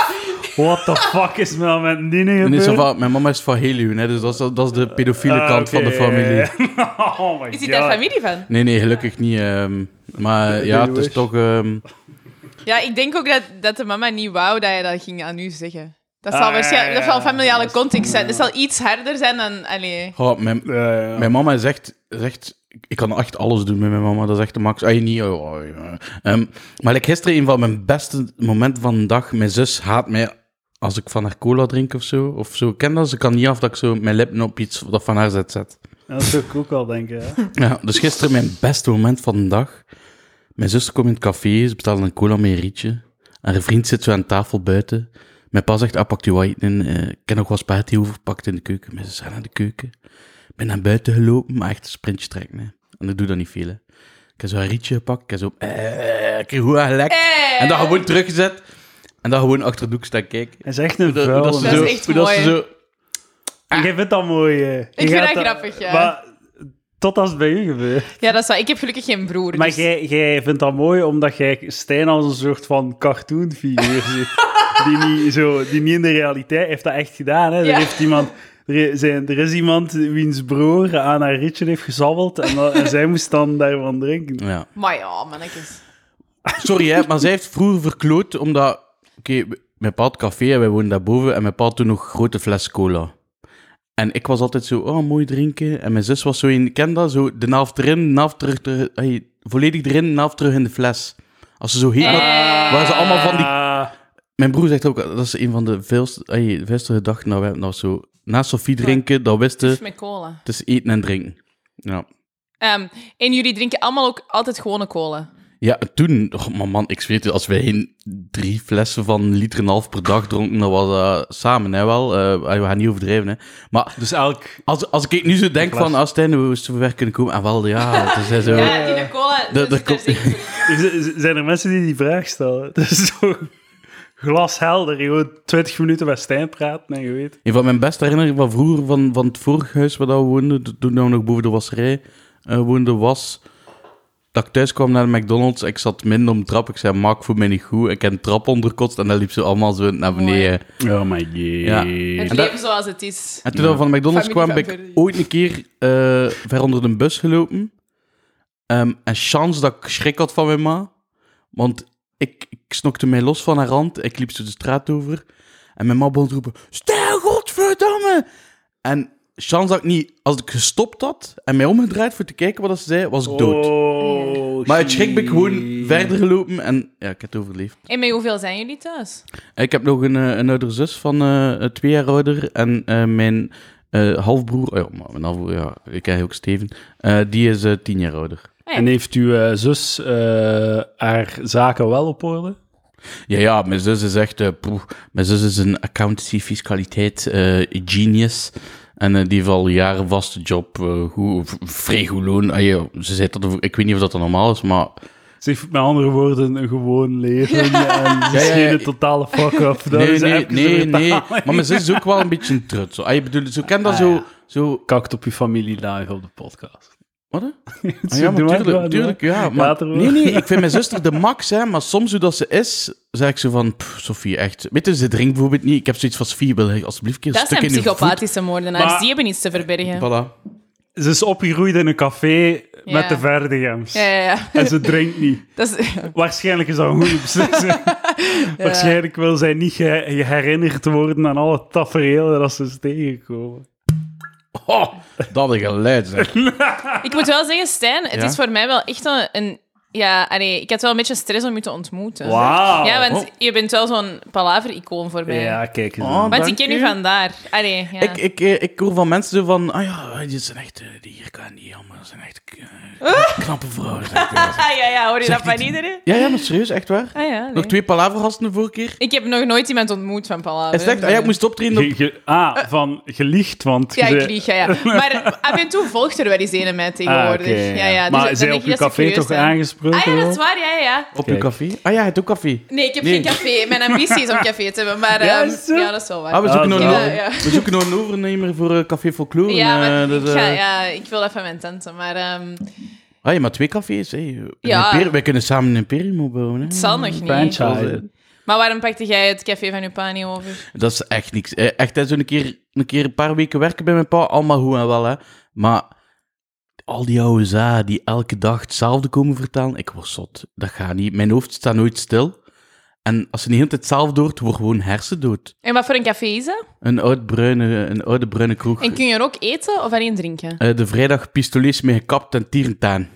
Speaker 1: what the fuck is me dan met die nu
Speaker 2: En
Speaker 1: gebeurd?
Speaker 2: is zo van, mijn mama is van Helium, hè? Dus dat is, dat is de pedofiele
Speaker 1: Ah,
Speaker 2: kant van
Speaker 1: oké,
Speaker 2: de familie.
Speaker 1: ja, ja. oh my
Speaker 3: Is hij
Speaker 1: god.
Speaker 3: daar familie van?
Speaker 2: Nee, nee, gelukkig niet. ehm, maar
Speaker 1: Doe
Speaker 2: ja,
Speaker 1: je
Speaker 2: het is
Speaker 1: wish.
Speaker 2: toch... ehm,
Speaker 3: Ja, ik denk ook dat, dat de mama niet wou dat je dat ging aan u zeggen. Dat
Speaker 1: Ah,
Speaker 3: zal
Speaker 1: ja,
Speaker 3: waarschijnlijk
Speaker 1: ja,
Speaker 3: dat zal
Speaker 1: ja.
Speaker 3: een familiale
Speaker 1: Dat is-
Speaker 3: context zijn.
Speaker 1: ja.
Speaker 3: Dat zal iets harder zijn dan... Allee.
Speaker 2: oh, mijn,
Speaker 1: Ja, ja.
Speaker 2: mijn mama is echt, is echt- Ik kan echt alles doen met mijn mama. Dat is echt de max. Ah, niet... oh, oh, ja. Ehm, maar like, gisteren, een van mijn beste momenten van de dag... Mijn zus haat mij als ik van haar cola drink of zo. Of zo. Ik Ken dat? Ze kan niet af dat ik zo mijn lippen op iets dat van haar zet zet.
Speaker 1: Ja, Dat zou ik ook wel denken, hè.
Speaker 2: Ja, dus gisteren mijn beste moment van de dag. Mijn zuster komt in het café, ze bestelde een cola met een rietje. Haar vriend zit zo aan tafel buiten. Mijn pa zegt, ah, pak die white in. eh, ik ken nog wat spaghetti overpakt in de keuken. Mijn zus gaat naar de keuken. Ik ben naar buiten gelopen, maar echt een sprintje trekken. Hè. En ik doe dat niet veel, hè. Ik heb zo een rietje gepakt, ik heb zo... eh, ik heb goed aangelekt.
Speaker 3: Eh.
Speaker 2: En dat gewoon teruggezet. En dan gewoon achter de doek staan kijken.
Speaker 1: Hij is echt een
Speaker 2: Hoe dat- hoe
Speaker 1: vuil.
Speaker 2: dat ze
Speaker 3: Dat is
Speaker 2: zo-
Speaker 3: echt
Speaker 2: hoe dat ze
Speaker 3: mooi.
Speaker 2: zo...
Speaker 1: En jij vindt dat mooi, eh. hè. Ik
Speaker 3: Ah. vind dat grappig, ja.
Speaker 1: Maar tot als het bij u gebeurt.
Speaker 3: Ja, dat is wel- Ik heb gelukkig geen broer.
Speaker 1: Maar
Speaker 3: dus-
Speaker 1: jij, jij vindt dat mooi omdat jij Stijn als een soort van cartoonfiguur ziet. die, niet zo, die niet in de realiteit heeft dat echt gedaan. Hè.
Speaker 3: Ja.
Speaker 1: Er, heeft iemand, er, i- zijn, er is iemand wiens broer aan haar ritje heeft gezabbeld en, dat- en zij moest dan daarvan drinken.
Speaker 2: Ja.
Speaker 3: Maar ja, mannetjes.
Speaker 2: Sorry, hè, maar zij heeft vroeger verkloot omdat... Oké, we- mijn pa had café en wij woonden daarboven. En mijn pa had toen nog grote fles cola. En ik was altijd zo, oh, mooi drinken. En mijn zus was zo in, ken dat? Zo de naaf erin, naaf terug, terug hey, volledig erin, naaf terug in de fles. Als ze zo heet... had-
Speaker 3: Eh.
Speaker 2: Waar ze allemaal van die...
Speaker 1: Ah,
Speaker 2: Mijn broer zegt ook, dat is een van de veelste, hey, veelste gedachten dat we hebben. Nou, zo, na Sophie drinken, dat wisten,
Speaker 3: Dus
Speaker 2: het
Speaker 3: met cola.
Speaker 2: is eten en drinken. Ja.
Speaker 3: Ehm, en jullie drinken allemaal ook altijd gewone cola.
Speaker 2: Ja, en toen, oh, maar man, ik weet het, als wij geen drie flessen van een liter en een half per dag dronken, dan was dat samen, hè, wel. Eh, we gaan niet overdrijven, hè. Maar
Speaker 1: dus elk...
Speaker 2: als, als ik nu zo denk
Speaker 1: fles.
Speaker 2: van, als Stijn, we zo ver kunnen komen, en wel, ja, het is hè, zo...
Speaker 3: Ja, die cola...
Speaker 2: dat
Speaker 3: dat-
Speaker 2: komt-
Speaker 3: dat is echt-
Speaker 1: Er z- z- zijn er mensen die die vraag stellen. Dat is zo glashelder. Gewoon 20 minuten met Stijn praten en je weet...
Speaker 2: Een van mijn beste herinneringen van vroeger, van, van het vorige huis waar dat we woonden, t- toen we nog boven de wasserij eh, woonden, was dat ik thuis kwam naar de McDonald's. Ik zat minder om de trap. Ik zei, maak voor mij niet goed. Ik heb een trap onderkotst en dat liep ze allemaal zo naar beneden.
Speaker 1: Oh my god.
Speaker 2: Ja.
Speaker 3: Het
Speaker 2: En dat-
Speaker 3: leven zoals het is.
Speaker 2: En toen we van de McDonald's
Speaker 3: Familie
Speaker 2: kwamen, ben
Speaker 3: van
Speaker 2: ik
Speaker 3: Verdi.
Speaker 2: ooit een keer eh, ver onder de bus gelopen. Ehm, en chance dat ik schrik had van mijn ma. Want ik, ik snokte mij los van haar hand. Ik liep ze de straat over. En mijn ma begon te roepen, Stijl, godverdamme! En chance dat ik niet... Als ik gestopt had en mij omgedraaid voor te kijken wat ze zei, was ik dood.
Speaker 1: Oh,
Speaker 2: Maar het schrik ben ik gewoon
Speaker 1: shit.
Speaker 2: verder gelopen en ja, ik heb het overleefd.
Speaker 3: En met hoeveel zijn jullie thuis?
Speaker 2: Ik heb nog een, eh, een oudere zus van eh, eh, twee jaar ouder. En eh, mijn eh, halfbroer, oh ja, maar mijn halfbroer, ja, ik ken ook Steven. eh, die is eh, tien jaar ouder.
Speaker 3: Ah, ja.
Speaker 1: En heeft uw eh, zus eh, haar zaken wel op orde?
Speaker 2: Ja, ja, mijn zus is echt, eh, poeh, mijn zus is een accountancy, fiscaliteit, eh, genius. En eh, die heeft al jaren vaste job, eh goed, v- vrij goed loon. Ah, ja, ze zei dat, over- ik weet niet of dat dan normaal is, maar
Speaker 1: Ze heeft met andere woorden een gewoon leven en ze
Speaker 2: Ja,
Speaker 1: is
Speaker 2: ja,
Speaker 1: geen
Speaker 2: ja.
Speaker 1: totale fuck-up. Dat
Speaker 2: nee,
Speaker 1: is
Speaker 2: nee,
Speaker 1: even
Speaker 2: nee,
Speaker 1: zo
Speaker 2: nee.
Speaker 1: vertaling.
Speaker 2: Maar mijn zus is ook wel een beetje een trut. Zo. Ah, je bedoelt, zo ken dat
Speaker 1: Ah,
Speaker 2: zo,
Speaker 1: ja.
Speaker 2: zo...
Speaker 1: Kakt op je familie live op de podcast.
Speaker 2: Wat? hè? Ah,
Speaker 1: Zo,
Speaker 2: ja, maar
Speaker 1: doe maar, doe
Speaker 2: tuurlijk,
Speaker 1: maar,
Speaker 2: tuurlijk,
Speaker 1: doe maar.
Speaker 2: ja. Maar,
Speaker 1: Later, hoor.
Speaker 2: nee, nee, ik vind mijn zuster de max, hè. Maar soms, hoe dat ze is, zeg ik zo van... "Pff, Sophie, echt... Weet je, ze drinkt bijvoorbeeld niet. Ik heb zoiets van... Sophie, wil je alsjeblieft een keer een
Speaker 3: Dat
Speaker 2: stuk
Speaker 3: zijn
Speaker 2: in je
Speaker 3: psychopathische moordenaars.
Speaker 1: Maar-
Speaker 3: Die hebben iets te verbergen.
Speaker 2: voet?" Voilà.
Speaker 1: Ze is opgegroeid in een café met de Verdigems.
Speaker 3: Ja, ja, ja.
Speaker 1: En ze drinkt niet.
Speaker 3: Dat is...
Speaker 1: Waarschijnlijk is dat een goede beslissing. Waarschijnlijk wil zij niet ge- herinnerd worden aan alle tafereelen dat ze is tegengekomen.
Speaker 2: Oh, dat een geluid, zeg.
Speaker 3: Ik moet wel zeggen, Stijn, het
Speaker 2: Ja?
Speaker 3: is voor mij wel echt een, een Ja, allee, ik had wel een beetje stress om je te ontmoeten.
Speaker 4: Wauw.
Speaker 3: Ja, want
Speaker 2: Oh.
Speaker 3: je bent wel zo'n palaver-icoon voor mij.
Speaker 4: Ja, kijk eens.
Speaker 2: Oh,
Speaker 4: aan.
Speaker 2: maar-
Speaker 3: want ik
Speaker 2: dank
Speaker 3: ken je
Speaker 2: u.
Speaker 3: vandaar. Allee, ja.
Speaker 2: Ik, ik, eh, ik hoor van mensen zo van, ah ja, dit zijn echt, eh, die hier kan niet jammer, dat zijn echt eh, knappe vrouwen. zeg ik.
Speaker 3: Ah, ja, ja, hoor je
Speaker 2: Zeg
Speaker 3: dat van
Speaker 2: niet-
Speaker 3: iedereen?
Speaker 2: Ja, ja, maar serieus, echt waar.
Speaker 3: Ah, ja, nee. Oh,
Speaker 2: Nog twee palavergasten de vorige keer.
Speaker 3: Ik heb nog nooit iemand ontmoet van palaver.
Speaker 2: Hij zegt, ah ja, ik moest optreden op...
Speaker 4: Ge- ge- ah, van gelicht, want...
Speaker 3: Eh. Ja,
Speaker 4: je
Speaker 3: ik
Speaker 4: zei-
Speaker 3: lieg, ja, ja. Maar af en toe volgt er wel eens een mij tegenwoordig.
Speaker 4: Ah, oké,
Speaker 3: ja, ja. Dus
Speaker 4: maar
Speaker 3: dan
Speaker 4: zij op
Speaker 3: denk ik
Speaker 4: je
Speaker 3: dat ze
Speaker 4: café
Speaker 3: curieus
Speaker 4: toch
Speaker 3: zijn.
Speaker 4: aangesproken?
Speaker 3: Ah ja, dat
Speaker 4: wel?
Speaker 3: is waar, ja, ja, ja.
Speaker 2: Op uw
Speaker 4: Kijk.
Speaker 2: café? Ah ja, hij heeft ook café.
Speaker 3: Nee, ik heb
Speaker 2: Nee.
Speaker 3: geen café. Mijn ambitie is om café te hebben, maar...
Speaker 2: Ja,
Speaker 3: ehm,
Speaker 2: is het zo?
Speaker 3: ja, dat is wel waar.
Speaker 2: Ah, we zoeken,
Speaker 4: Ah,
Speaker 2: nog,
Speaker 4: ja,
Speaker 2: een,
Speaker 3: ja.
Speaker 2: we zoeken nog een overnemer voor eh, Café Folklore.
Speaker 3: Ja,
Speaker 2: eh,
Speaker 3: maar
Speaker 2: dat,
Speaker 3: ik,
Speaker 2: eh,
Speaker 3: ga, ja, ik wil even mijn tenten, maar ehm,
Speaker 2: Ah ja, maar twee cafés, hé. Een
Speaker 3: Ja.
Speaker 2: imperium- Wij kunnen samen een imperium opbouwen, hè. eh,
Speaker 3: het zal nog niet.
Speaker 4: Franchise.
Speaker 3: Maar waarom pakte jij het café van uw pa niet over?
Speaker 2: Dat is echt niks. Eh, Echt, hè, zo'n keer, een keer een paar weken werken bij mijn pa, allemaal hoe en wel, hè. Maar al die oude za die elke dag hetzelfde komen vertellen, ik word zot. Dat gaat niet. Mijn hoofd staat nooit stil. En als je de hele tijd hetzelfde hoort, word je gewoon hersendood.
Speaker 3: En wat voor een café is dat?
Speaker 2: Een, oud bruine, een oude bruine kroeg.
Speaker 3: En kun je er ook eten of alleen drinken?
Speaker 2: Eh, de vrijdag pistolets mee gekapt en tierentaan.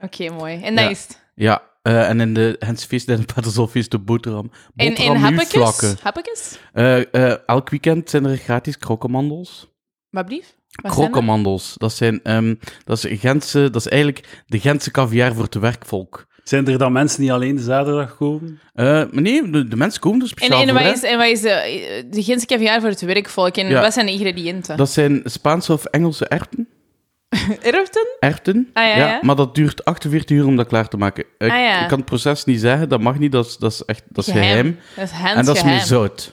Speaker 3: Oké, mooi. En dat
Speaker 2: Ja.
Speaker 3: is het.
Speaker 2: Ja, eh, en in de Hensfeest en het Patersolfeest de boterham.
Speaker 3: En, en
Speaker 2: Boterham nu vlakken.
Speaker 3: happetjes? Happetjes?
Speaker 2: Eh, eh, elk weekend zijn er gratis krokkenmandels.
Speaker 3: Wat blief? Wat zijn dat?
Speaker 2: Krokkenmandels, dat zijn ehm, dat is Gentse, dat is eigenlijk de Gentse caviar voor het werkvolk.
Speaker 4: Zijn er dan mensen die alleen de zaterdag komen?
Speaker 2: Eh, maar nee, de, de mensen komen er
Speaker 3: En,
Speaker 2: speciaal
Speaker 3: en
Speaker 2: voor.
Speaker 3: wat
Speaker 2: hè.
Speaker 3: is, en wat is de, de Gentse caviar voor het werkvolk? En
Speaker 2: Ja.
Speaker 3: wat zijn de ingrediënten?
Speaker 2: Dat zijn Spaanse of Engelse erten.
Speaker 3: Erften?
Speaker 2: erten
Speaker 3: Ah, ja, ja.
Speaker 2: Maar dat duurt 48 uur om dat klaar te maken. Ik,
Speaker 3: Ah, ja.
Speaker 2: ik kan het proces niet zeggen, dat mag niet, dat is, dat is echt dat is geheim.
Speaker 3: Dat is
Speaker 2: En dat is
Speaker 3: handsgeheim.
Speaker 2: met zout.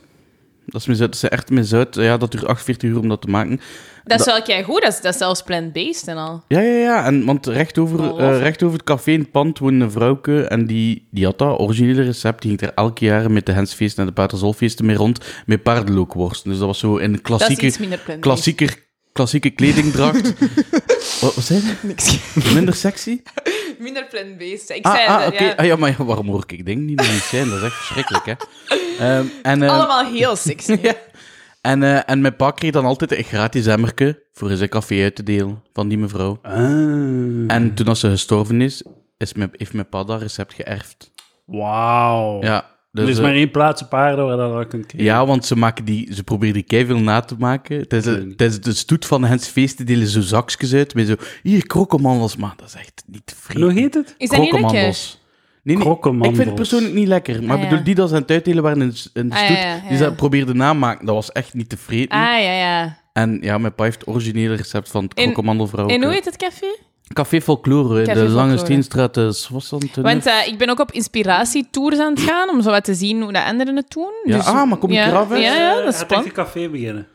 Speaker 2: Dat is met zout. Dat zijn echt met zout. Ja, dat duurt 48 uur om dat te maken.
Speaker 3: Dat is wel kei goed. Dat is, dat is zelfs plant-based en al.
Speaker 2: Ja, ja, ja. En, want recht over,
Speaker 3: Oh.
Speaker 2: eh, recht over het café in het pand woonde een vrouwke. En die, die had dat originele recept. Die ging er elk jaar met de Hensfeesten en de Paterzolfeesten mee rond. Met paardenlookworsten. Dus dat was zo in een
Speaker 3: Dat is iets
Speaker 2: klassieke,
Speaker 3: minder plant-based.
Speaker 2: klassieker, klassieke kledingdracht. wat, wat zei je?
Speaker 3: Niks.
Speaker 2: Minder sexy?
Speaker 3: minder plant-based. Ik
Speaker 2: Ah,
Speaker 3: zei
Speaker 2: ah
Speaker 3: dat,
Speaker 2: oké.
Speaker 3: ja.
Speaker 2: Ah, ja, maar ja, waarom hoor ik ik denk niet dat niet zijn? Dat is echt verschrikkelijk, hè? Ehm, en, ehm,
Speaker 3: Allemaal heel sexy.
Speaker 2: Ja. En, eh, en mijn pa kreeg dan altijd een gratis emmerke voor zijn café uit te delen van die mevrouw.
Speaker 4: Ah,
Speaker 2: En toen als ze gestorven is, is mijn, heeft mijn pa dat recept geërfd.
Speaker 4: wauw.
Speaker 2: Ja, dus,
Speaker 4: er is
Speaker 2: eh,
Speaker 4: maar één plaats op aarde waar dat wel kunt krijgen.
Speaker 2: ja want ze, maken die, ze proberen die keiveel na te maken.
Speaker 4: weet het niet.
Speaker 2: Tijdens de stoet van Hens Feesten delen ze zo zakjes uit. Met zo, hier, krokkenmandels. Maar dat is echt niet
Speaker 4: Hoe
Speaker 2: vriendelijk.
Speaker 4: heet het?
Speaker 3: Is dat niet lekker?
Speaker 2: Nee, nee,
Speaker 4: Krokkenmandels.
Speaker 2: ik vind het persoonlijk niet lekker. Maar
Speaker 3: Ah, ja.
Speaker 2: ik bedoel, die dat ze aan het uitdelen waren in, in de
Speaker 3: Ah, ja,
Speaker 2: stoet,
Speaker 3: ja, ja.
Speaker 2: die ze dat probeerden namaken, dat was echt niet tevreden.
Speaker 3: Ah, ja, ja.
Speaker 2: En ja, mijn pa heeft het originele recept van het
Speaker 3: En-
Speaker 2: krokkenmandelvrouw.
Speaker 3: En hoe heet het café?
Speaker 2: Café Folklore, de
Speaker 3: Café
Speaker 2: Lange
Speaker 3: Folklore.
Speaker 2: Steenstraat, eh, de Swassan.
Speaker 3: Want eh, ik ben ook op inspiratietours aan het gaan, om zo wat te zien hoe de anderen het doen.
Speaker 2: Ja,
Speaker 3: Dus-
Speaker 2: ah, maar kom ik
Speaker 3: ja,
Speaker 2: eraf, hè?
Speaker 3: Ja, ja, dat
Speaker 4: Hij
Speaker 3: is
Speaker 4: gaat
Speaker 3: spannend.
Speaker 4: een café beginnen.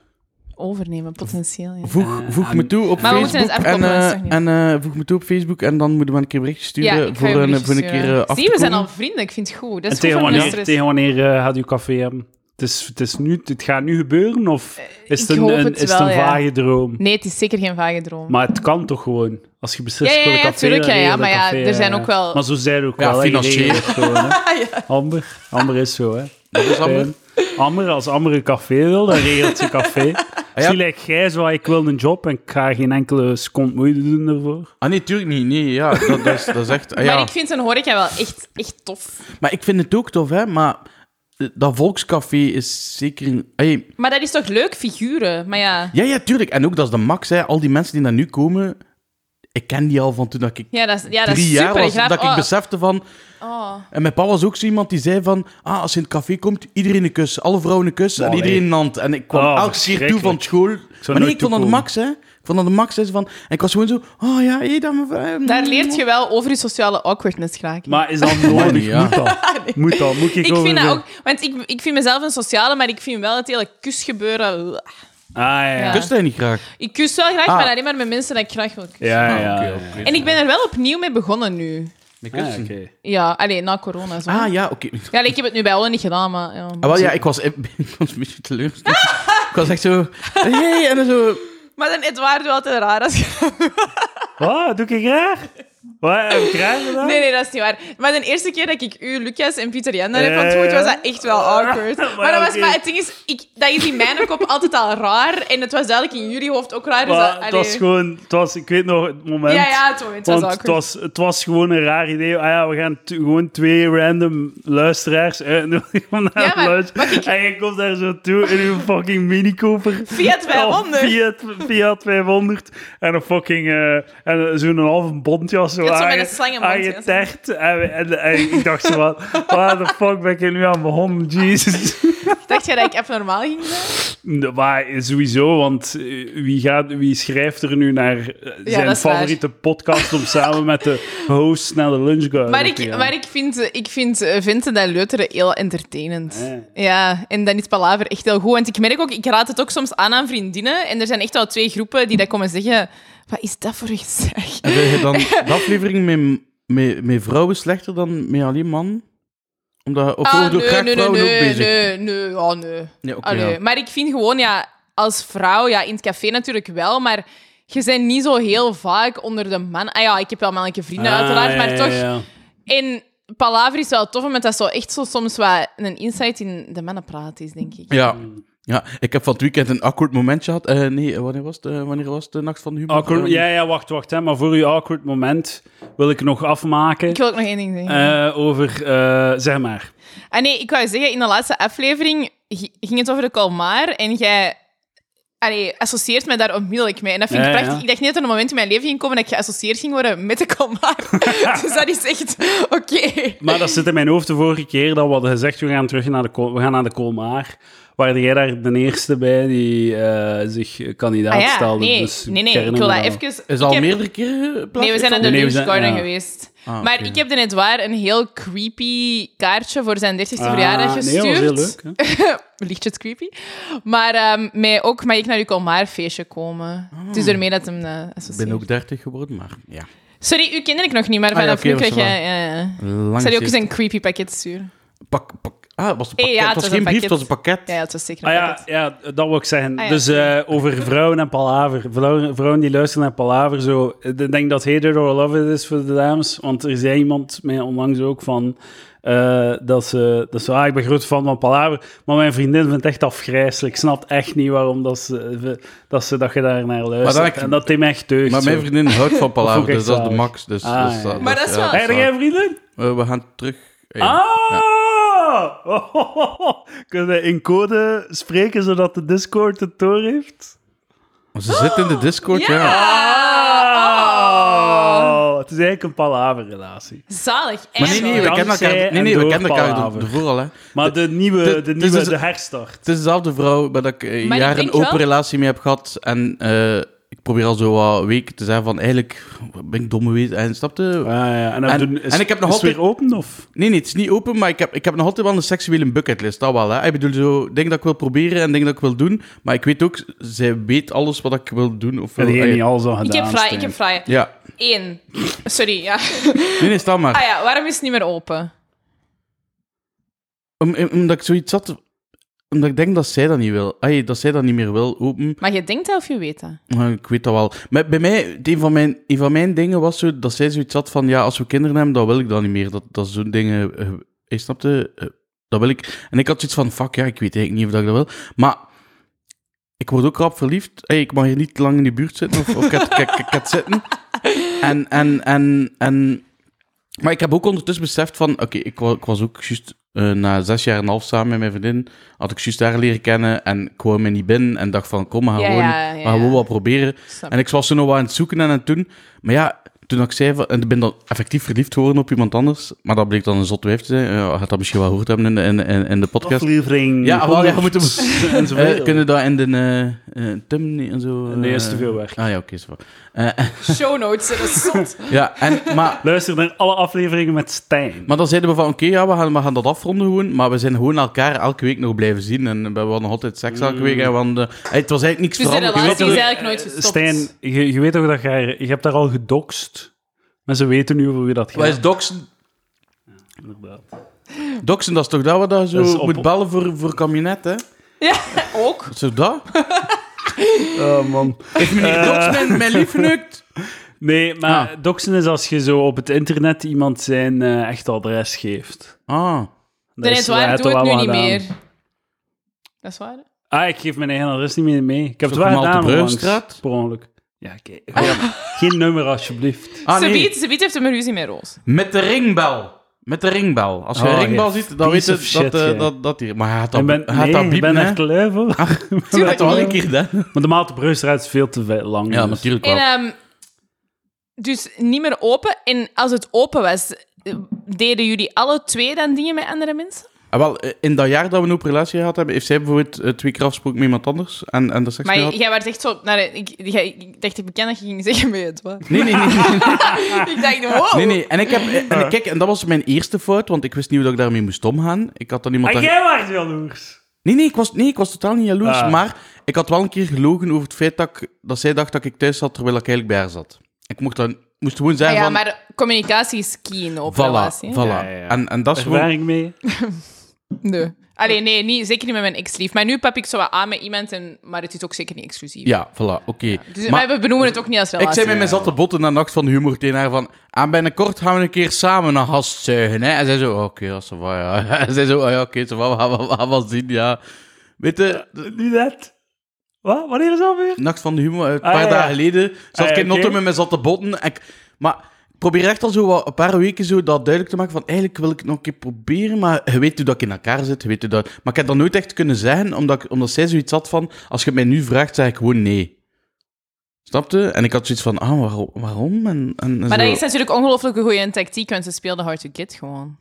Speaker 3: Overnemen, potentieel, ja.
Speaker 2: Voeg, voeg me toe op
Speaker 3: Eh, Maar we moeten
Speaker 2: Facebook.
Speaker 3: eens
Speaker 2: en
Speaker 3: afkoppelen,
Speaker 2: eh,
Speaker 3: dat is toch
Speaker 2: en eh, voeg me toe op Facebook en dan moeten we een keer een berichtje
Speaker 3: Ja,
Speaker 2: sturen
Speaker 3: ik ga
Speaker 2: voor,
Speaker 3: je
Speaker 2: een,
Speaker 3: berichtjes
Speaker 2: voor een keer
Speaker 3: sturen.
Speaker 2: eh, af
Speaker 3: Zie, we
Speaker 2: te
Speaker 3: zijn al
Speaker 2: komen.
Speaker 3: vrienden. Ik vind het goed. Dat
Speaker 4: En
Speaker 3: is goed
Speaker 4: tegen
Speaker 3: voor mijn
Speaker 4: wanneer,
Speaker 3: stress.
Speaker 4: tegen wanneer eh, gaat uw café hebben? Het, is, het, is nu, het gaat nu gebeuren of is het
Speaker 3: Eh, ik
Speaker 4: een,
Speaker 3: hoop
Speaker 4: een-
Speaker 3: het
Speaker 4: is het
Speaker 3: wel,
Speaker 4: een
Speaker 3: ja.
Speaker 4: vage droom?
Speaker 3: Nee, het is zeker geen vage droom.
Speaker 4: Maar het kan toch gewoon? Als je beslist
Speaker 3: Ja, ja,
Speaker 4: voor een
Speaker 3: ja,
Speaker 4: café...
Speaker 3: tuurlijk,
Speaker 4: dan
Speaker 3: ja, ja,
Speaker 4: regel je
Speaker 3: maar
Speaker 4: een
Speaker 3: ja,
Speaker 4: café,
Speaker 3: er zijn ook wel-
Speaker 4: Maar zo zijn er ook
Speaker 2: Ja,
Speaker 4: wel... hè,
Speaker 2: financieel.
Speaker 4: geregeld gewoon, hè. Amber. Amber is zo, hè.
Speaker 2: Dat is allemaal-
Speaker 4: Fijn. Amber, als Amber een café wil, dan regelt ze café. Zie lijkt jij zo, "Ah, ik wil een job en ik ga geen enkele seconde moeite doen ervoor.
Speaker 2: Ah nee, tuurlijk niet. Nee, ja, dat, dat is, dat is echt... ah, ja.
Speaker 3: Maar ik vind een horeca wel echt, echt tof.
Speaker 2: Maar ik vind het ook tof, hè. Maar eh, dat Volkscafé is zeker... Een, hey,
Speaker 3: Maar dat is toch leuk, figuren? Maar ja,
Speaker 2: ja, ja, tuurlijk. En ook, dat is de max, hè. Al die mensen die daar nu komen... Ik ken die al van toen dat ik
Speaker 3: ja dat is, ja, dat is
Speaker 2: drie
Speaker 3: super
Speaker 2: jaar was. Dat ik
Speaker 3: oh,
Speaker 2: besefte van...
Speaker 3: oh.
Speaker 2: En mijn pa was ook zo iemand die zei van... Ah, als je in het café komt, iedereen een kus. Alle vrouwen een kus en
Speaker 4: Allee.
Speaker 2: iedereen een hand. En ik kwam
Speaker 4: Oh,
Speaker 2: elke keer toe van school. Maar nee,
Speaker 4: nooit
Speaker 2: ik vond dat de
Speaker 4: toekomen.
Speaker 2: max, hè. Ik vond dat de max is van... En ik was gewoon zo... Oh ja, hé, dat mevrouw.
Speaker 3: Daar leert je wel over je sociale awkwardness graag.
Speaker 4: Maar is dat nodig?
Speaker 2: ja.
Speaker 4: Moet dat? Moet dat? Moet ik,
Speaker 3: Ah, ik
Speaker 4: over
Speaker 3: vind
Speaker 4: de-
Speaker 3: dat ook... Want ik, ik vind mezelf een sociale, maar ik vind wel het hele kusgebeuren...
Speaker 4: Ah, ja.
Speaker 3: Ja.
Speaker 4: Dus-
Speaker 2: Kust hij niet graag?
Speaker 3: Ik kus wel graag,
Speaker 2: Ah.
Speaker 3: maar alleen maar met mensen dat ik graag wil kussen.
Speaker 4: Ja,
Speaker 2: Ah,
Speaker 4: ja.
Speaker 2: oké,
Speaker 4: ja.
Speaker 2: oké.
Speaker 3: En ik ben er wel opnieuw mee begonnen nu.
Speaker 2: Met
Speaker 4: Ah,
Speaker 2: kussen.
Speaker 4: oké.
Speaker 3: Ja, alleen na corona. Zo.
Speaker 2: Ah, ja, oké.
Speaker 3: Ja, allee, ik heb het nu bij allen niet gedaan, maar... Ja.
Speaker 2: Ah, wel, ja, ik was, ik was een beetje teleurgesteld. ik was echt zo... hey, en dan zo...
Speaker 3: Maar dan, het waren altijd raar als je...
Speaker 4: Ah, doe ik graag?
Speaker 1: Wat, we krijgen dat?
Speaker 3: Nee, nee, dat is niet waar. Maar de eerste keer dat ik u, Lucas en Pieter Jan daar
Speaker 1: Ja,
Speaker 3: heb
Speaker 1: ja,
Speaker 3: ontmoet,
Speaker 1: ja.
Speaker 3: was dat echt wel awkward. Maar,
Speaker 1: Eh. Maar
Speaker 3: dat was,
Speaker 1: oké.
Speaker 3: maar het ding is, ik, dat is in mijn kop altijd al raar. En het was duidelijk in jullie hoofd ook raar. Dus
Speaker 1: Maar
Speaker 3: dat,
Speaker 1: het
Speaker 3: allee.
Speaker 1: was gewoon... Het was, ik weet nog het moment.
Speaker 3: Ja, ja, het, moment was
Speaker 1: want het
Speaker 3: awkward.
Speaker 1: was, het was gewoon een raar idee. Ah ja, we gaan t- gewoon twee random luisteraars uitnodigen om naar
Speaker 3: Ja, maar-
Speaker 1: lunch.
Speaker 3: maar ik-
Speaker 1: En je komt daar zo toe in uw fucking mini-cooper.
Speaker 3: Fiat 500.
Speaker 1: Fiat, Fiat 500. En een fucking... eh, en zo'n halve bondjas. Zo
Speaker 3: Ja, zo
Speaker 1: aan
Speaker 3: met
Speaker 1: je-
Speaker 3: een slangenmond,
Speaker 1: aan
Speaker 3: ja,
Speaker 1: je
Speaker 3: zo.
Speaker 1: tert. En, en- en ik dacht zo wat... Waar de fuck ben ik hier nu aan begonnen? Jesus.
Speaker 3: Dacht jij dat ik abnormaal ging zijn?
Speaker 1: Nee, Maar sowieso, want eh, wie, gaat, wie schrijft er nu naar eh,
Speaker 3: dat
Speaker 1: zijn
Speaker 3: is waar.
Speaker 1: favoriete podcast om samen met de host naar de lunch garden
Speaker 3: Maar
Speaker 1: te
Speaker 3: ik,
Speaker 1: gaan?
Speaker 3: maar ik vind, eh, ik vind eh, Vincent en Leuteren heel entertainend.
Speaker 1: Eh.
Speaker 3: Ja, en dan is Palaver echt heel goed. Want ik merk ook, ik raad het ook soms aan aan vriendinnen. En er zijn echt wel twee groepen die dat komen zeggen... Wat is dat voor een gezag?
Speaker 2: En zeg je dan de aflevering met, met, met vrouwen slechter dan met alleen man? Omdat, of worden ook graag vrouwen ook
Speaker 3: Ah, nee,
Speaker 2: bezig?
Speaker 3: nee, nee, oh, nee.
Speaker 2: Nee, oké,
Speaker 3: Allee,
Speaker 2: ja.
Speaker 3: Maar ik vind gewoon, ja, als vrouw, ja, in het café natuurlijk wel, maar je bent niet zo heel vaak onder de man. Ah ja, ik heb wel mannelijke
Speaker 1: Ah,
Speaker 3: vrienden, uiteraard, maar toch. En Palaver is wel tof, omdat dat zo echt zo soms wat een insight in de mannenpraat is, denk ik.
Speaker 2: Ja. ja, ik heb van het weekend een awkward momentje gehad. Eh, nee, eh, wanneer was, het, Eh, wanneer was het de Nacht van de Humor?
Speaker 1: Awkward,
Speaker 2: Eh,
Speaker 1: ja, ja, wacht, wacht. Hè, maar voor uw awkward moment wil ik nog afmaken
Speaker 3: Ik wil ook nog één ding zeggen.
Speaker 1: eh, over, eh, zeg maar.
Speaker 3: Ah nee, ik wou zeggen, in de laatste aflevering gi- ging het over de Kalmaar en jij allee, associeert mij daar onmiddellijk mee. En dat vind ik
Speaker 1: Ja, ja.
Speaker 3: prachtig. Ik dacht niet dat er een moment in mijn leven ging komen dat ik geassocieerd ging worden met de Kalmaar. dus dat is echt oké.
Speaker 1: Maar dat zit in mijn hoofd de vorige keer dat we hadden gezegd, we gaan terug naar de, Ko- we gaan naar de Colmar. Waar jij daar de eerste bij die eh, zich kandidaat
Speaker 3: Ah ja,
Speaker 1: stelde.
Speaker 3: nee,
Speaker 1: dus
Speaker 3: nee, nee, ik
Speaker 1: kern
Speaker 3: wil dat
Speaker 1: hem
Speaker 3: even...
Speaker 2: Is
Speaker 3: ik
Speaker 2: al
Speaker 3: heb-
Speaker 2: meerdere keren eh,
Speaker 3: Nee, we zijn aan
Speaker 1: Nee, nee,
Speaker 3: de
Speaker 1: we
Speaker 3: Lunch
Speaker 1: zijn-
Speaker 3: Garden
Speaker 1: ja.
Speaker 3: geweest.
Speaker 2: Ah,
Speaker 3: Maar
Speaker 2: oké.
Speaker 3: ik heb er net waar een heel creepy kaartje voor zijn 30ste
Speaker 1: Ah,
Speaker 3: verjaardag gestuurd.
Speaker 1: Nee, dat was heel leuk. Hè?
Speaker 3: Lichtjes creepy. Maar ehm, mij ook, mag ik naar uw Kalmaar-feestje komen? Dus
Speaker 1: Ah.
Speaker 3: daarmee dat hem eh
Speaker 2: Ik
Speaker 3: associeert.
Speaker 2: ben ook 30 geworden, maar ja.
Speaker 3: Sorry, u kende ik nog niet, maar
Speaker 2: Ah, ja,
Speaker 3: vanaf
Speaker 2: oké,
Speaker 3: nu
Speaker 2: dat is Ah,
Speaker 3: krijg jij... ja, ja.
Speaker 2: Lang
Speaker 3: Zou je ook eens een creepy pakket sturen?
Speaker 2: Pak, pak. Ah, het was een pakket.
Speaker 3: Eh, ja,
Speaker 2: het was geen brief, het was een pakket.
Speaker 3: Ja, ja, het was zeker
Speaker 1: Ah
Speaker 3: een
Speaker 1: ja,
Speaker 3: pakket.
Speaker 1: ja, dat wil ik zeggen.
Speaker 3: Ah ja.
Speaker 1: Dus eh, over vrouwen en palaver. Vrouwen, vrouwen die luisteren naar palaver. Zo, ik denk dat Hater or Love It is voor de dames. Want er zei iemand mij onlangs ook van... eh, dat ze, dat ze ah, ik ben groot fan van palaver. Maar mijn vriendin vindt het echt afgrijselijk. Ik snap echt niet waarom dat ze dat, ze, dat je daar naar luistert.
Speaker 2: dan heb ik-
Speaker 1: en dat hij mij echt deugt.
Speaker 2: Maar mijn
Speaker 1: zo.
Speaker 2: vriendin houdt van
Speaker 1: Dat vond
Speaker 2: palaver,
Speaker 1: ik
Speaker 2: dus dat is de
Speaker 1: echt
Speaker 2: max. Dus,
Speaker 1: Ah,
Speaker 2: dus,
Speaker 1: ja.
Speaker 2: dat-
Speaker 3: Maar dat is wel-
Speaker 1: Hey, heb
Speaker 2: waar.
Speaker 1: jij een vriendin?
Speaker 2: Eh, we gaan terug. eh,
Speaker 1: Ah! Kunnen we in code spreken zodat de Discord het door heeft? Ah!
Speaker 2: Ze zit in de Discord, ja.
Speaker 1: Oh, het is eigenlijk een palaverrelatie.
Speaker 3: Zalig.
Speaker 2: Maar nee, nee, we
Speaker 1: Dankzij
Speaker 2: kennen elkaar, nee,
Speaker 1: en
Speaker 2: nee, we
Speaker 1: door
Speaker 2: kennen elkaar
Speaker 1: palaver.
Speaker 2: de- ervoor al. Hè.
Speaker 1: Maar de nieuwe,
Speaker 2: de-
Speaker 1: de,
Speaker 2: dus
Speaker 1: nieuwe,
Speaker 2: is-
Speaker 1: de herstart.
Speaker 2: Het is dezelfde vrouw waar dat ik eh,
Speaker 3: Maar ik
Speaker 2: jaren een
Speaker 3: denk wel-
Speaker 2: open relatie mee heb gehad. En eh, ik probeer al zo wat weken te zeggen van eigenlijk ben ik dom geweest. En snapte?
Speaker 1: Ah, en,
Speaker 2: En- en ik heb nog
Speaker 1: is
Speaker 2: altijd-
Speaker 1: weer open, of?
Speaker 2: Nee, nee, het is niet open, maar ik heb, ik heb nog altijd wel een seksuele bucketlist. Dat wel, hè. Ik bedoel, zo dingen dat ik wil proberen en dingen dat ik wil doen. Maar ik weet ook, zij weet alles wat ik wil doen. Of wil,
Speaker 1: Heb jij niet
Speaker 2: eh,
Speaker 1: alles al gedaan,
Speaker 3: Ik heb vragen, ik
Speaker 1: Stijn?
Speaker 3: heb vragen.
Speaker 2: Ja.
Speaker 3: Eén. Sorry, ja.
Speaker 2: Nee, nee, sta maar.
Speaker 3: Ah ja, waarom is het niet meer open?
Speaker 2: Om- om- omdat ik zoiets had... Omdat ik denk dat zij dat niet wil. Ay, dat zij dat niet meer wil, open.
Speaker 3: Maar je denkt dat of je weet dat?
Speaker 2: Maar Ik weet dat wel. Maar bij mij, een van mijn, een van mijn dingen was zo, dat zij zoiets had van, ja, als we kinderen hebben, dan wil ik dat niet meer. Dat, dat zo'n dingen... eh, je snapte? Eh, dat wil ik. En ik had zoiets van, fuck, ja, ik weet eigenlijk niet of dat ik dat wil. Maar ik word ook rap verliefd. Hey, ik mag hier niet lang in de buurt zitten. Of, of ik, had- ik, ik- ik had zitten. En, en, en, en... Maar ik heb ook ondertussen beseft van... Oké, ik, wa- ik was ook juist... eh, na zes jaar en een half samen met mijn vriendin had ik juist haar leren kennen en ik kwam me niet binnen en dacht van kom, we gaan,
Speaker 3: Ja,
Speaker 2: gewoon,
Speaker 3: ja, ja,
Speaker 2: we gaan gewoon
Speaker 3: ja.
Speaker 2: wat proberen.
Speaker 3: Snap.
Speaker 2: En ik was zo nog wat aan het zoeken en aan het doen. Maar ja, toen ik zei van... En ik ben dan effectief verliefd geworden op iemand anders. Maar dat bleek dan een zot wijf te zijn. Ja, je gaat dat misschien wel gehoord hebben in de, in, in, in de podcast.
Speaker 1: Aflevering.
Speaker 2: Ja, wel, ja, we moeten...
Speaker 1: En zo
Speaker 2: Eh, kunnen dat in de eh, eh, thumbnail en zo...
Speaker 1: Nee, is
Speaker 2: eh,
Speaker 1: te veel werk.
Speaker 2: Ah ja, oké, is waar. Eh, eh,
Speaker 3: Show notes, dat is zot.
Speaker 2: ja, en, maar,
Speaker 1: Luister naar alle afleveringen met Stijn.
Speaker 2: maar dan zeiden we van, oké, ja, we gaan, we gaan dat afronden gewoon, maar we zijn gewoon elkaar elke week nog blijven zien en we hebben nog altijd seks elke week.
Speaker 1: Mm.
Speaker 2: En want, eh, het was eigenlijk niks
Speaker 3: Dus de
Speaker 2: veranderd.
Speaker 3: relatie is
Speaker 1: er-
Speaker 3: eigenlijk nooit
Speaker 1: Eh,
Speaker 3: gestopt.
Speaker 1: Stijn, je, je weet toch dat jij... Je hebt daar al gedokst. Mensen weten nu over wie dat
Speaker 2: Wat
Speaker 1: gaat.
Speaker 2: is doxen?
Speaker 1: Inderdaad.
Speaker 2: Doxen, dat is toch dat we daar zo
Speaker 1: Dat is op-
Speaker 2: moet bellen voor, voor kabinet, hè?
Speaker 3: Ja, ook.
Speaker 2: Zo dat?
Speaker 1: Oh, man. Eh.
Speaker 2: Heeft meneer Dox mijn, mijn lief geneukt?
Speaker 1: Nee, maar doxen is als je zo op het internet iemand zijn eh, echt adres geeft.
Speaker 2: Ah,
Speaker 1: Dat
Speaker 3: Dan is waar,
Speaker 1: dat
Speaker 3: doe het
Speaker 1: hebben
Speaker 3: nu
Speaker 1: we
Speaker 3: niet
Speaker 1: gedaan.
Speaker 3: meer. Dat is waar. hè?
Speaker 1: Ah, ik geef mijn eigen adres niet meer mee. Ik heb het
Speaker 2: Zo
Speaker 1: wel
Speaker 2: kom al
Speaker 1: gedaan
Speaker 2: te
Speaker 1: onlangs,
Speaker 2: Brugstraat?
Speaker 1: per ongeluk. Ja, oké. Gewoon, Geen nummer, alsjeblieft.
Speaker 2: ah
Speaker 3: Ze
Speaker 2: nee.
Speaker 3: biedt- Ze biedt heeft hem een ruzie met Roos.
Speaker 2: Met de ringbel. Met de ringbel. Als je
Speaker 1: Oh,
Speaker 2: een ringbel
Speaker 1: je
Speaker 2: ziet, dan weet
Speaker 1: piece
Speaker 2: je
Speaker 1: of
Speaker 2: dat,
Speaker 1: shit,
Speaker 2: eh,
Speaker 1: jij.
Speaker 2: dat, dat hier... Maar hij had dat,
Speaker 1: Ik ben,
Speaker 2: hij had
Speaker 1: nee,
Speaker 2: dat
Speaker 1: ik
Speaker 2: biepen,
Speaker 1: ben
Speaker 2: hè.
Speaker 1: echt lui voor.
Speaker 2: Hij had
Speaker 3: Tuurlijk
Speaker 2: dat al
Speaker 3: niet.
Speaker 2: een keer gedaan.
Speaker 1: Maar de maal te Brugstraat is veel te ve- lang.
Speaker 2: Ja,
Speaker 1: dus.
Speaker 2: natuurlijk
Speaker 3: En,
Speaker 2: wel.
Speaker 3: ehm, dus niet meer open. En als het open was, eh, deden jullie alle twee dan dingen met andere mensen?
Speaker 2: Ah, wel, eh, in dat jaar dat we een open relatie gehad hebben, heeft zij bijvoorbeeld eh, twee keer afgesproken met iemand anders en, en de seks
Speaker 3: Maar
Speaker 2: mee gehad.
Speaker 3: jij werd echt zo... Naar, ik, jij- ik dacht, ik beken dat je ging zeggen met het. Wat?
Speaker 2: Nee, nee, nee. nee.
Speaker 3: ik dacht, wow.
Speaker 2: Ah. Nee, nee. En ik heb... eh, En, kijk, en dat was mijn eerste fout, want ik wist niet hoe dat ik daarmee moest omgaan. Ik had dan iemand...
Speaker 1: Ah,
Speaker 2: daar-
Speaker 1: jij waart jaloers.
Speaker 2: Nee, nee, ik was, nee, ik was totaal niet jaloers.
Speaker 1: Ah.
Speaker 2: Maar ik had wel een keer gelogen over het feit dat, ik- dat zij dacht dat ik thuis zat, terwijl ik eigenlijk bij haar zat. Ik mocht dan, moest gewoon
Speaker 3: Ah
Speaker 2: zeggen
Speaker 3: ja,
Speaker 2: van...
Speaker 3: maar communicatie is key in op
Speaker 2: voilà,
Speaker 3: relatie.
Speaker 2: voilà.
Speaker 3: hè?
Speaker 1: Ja, ja, ja.
Speaker 2: En, en dat is gewoon...
Speaker 1: Ervaring mee.
Speaker 3: Nee. Allee, nee, niet, zeker niet met mijn ex-lief. Maar nu pap ik zo wat aan met iemand, en, maar het is ook zeker niet exclusief.
Speaker 2: Ja, voilà, oké.
Speaker 3: Dus
Speaker 2: Maar-
Speaker 3: wij benoemen het ook niet als
Speaker 2: Ik
Speaker 3: relatie.
Speaker 2: zei met mijn zatte botten naar Nacht van de Humor tegen haar van... Aan binnenkort gaan we een keer samen een gast zuigen, hè. En zij zo, oh, oké, dat is wel, ja. En zij zo, oh, ja, oké, ça va, we gaan- we gaan wel zien, ja. Weet je, de
Speaker 1: Nu net. Wat? Wanneer is dat weer?
Speaker 2: Nacht van de Humor, een
Speaker 1: Ah,
Speaker 2: paar
Speaker 1: ja, ja.
Speaker 2: dagen geleden, zat
Speaker 1: Ah,
Speaker 2: ik
Speaker 1: ja,
Speaker 2: in een auto
Speaker 1: oké.
Speaker 2: met mijn zatte botten. En ik- maar ik probeer echt al zo wat, een paar weken zo dat duidelijk te maken van... Eigenlijk wil ik het nog een keer proberen, maar je weet hoe dat ik in elkaar zit, je weet hoe dat... Maar ik heb dat nooit echt kunnen zeggen, omdat, ik- omdat zij zoiets had van... Als je het mij nu vraagt, zeg ik gewoon nee. Snapte? En ik had zoiets van, ah, waarom? waarom? En, en, en
Speaker 3: Maar
Speaker 2: zo.
Speaker 3: dat is natuurlijk ongelooflijk een goede tactiek, want ze speelden hard to get gewoon.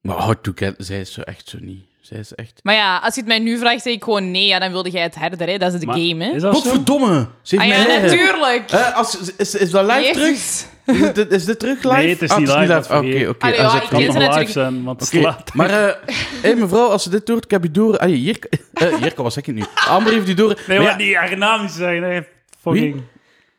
Speaker 2: Maar hard to get, zij is zo echt zo niet. Zij is echt...
Speaker 3: Maar ja, als je het mij nu vraagt, zeg ik gewoon nee. Ja, dan wilde jij het herder, hè. Dat is de
Speaker 1: Maar
Speaker 3: game, hè.
Speaker 1: Is dat zo?
Speaker 2: Godverdomme! Ze
Speaker 3: Ah
Speaker 2: heeft
Speaker 3: ja,
Speaker 2: mij liggen.
Speaker 3: natuurlijk.
Speaker 2: Eh, als, is, is dat live terug?
Speaker 3: Jezus.
Speaker 2: Is dit, is dit terug live?
Speaker 1: Nee, het is
Speaker 2: Ah,
Speaker 1: niet live, dat
Speaker 2: Oké, oké.
Speaker 1: vergeet ik.
Speaker 3: Allee,
Speaker 2: dan
Speaker 3: ja,
Speaker 2: zet
Speaker 3: ik
Speaker 1: kan
Speaker 3: weet
Speaker 1: nog
Speaker 3: het
Speaker 1: live
Speaker 3: natuurlijk-
Speaker 1: zijn, want het
Speaker 2: Oké,
Speaker 1: slaat.
Speaker 2: maar eh, hé, mevrouw, als ze dit hoort, ik heb je door... Ah, Jirka, eh, Jirka was ik het nu. Amber heeft die door.
Speaker 1: Nee,
Speaker 2: Maar
Speaker 1: maar
Speaker 2: ja,
Speaker 1: die haar naam niet zeggen. hè. Fucking.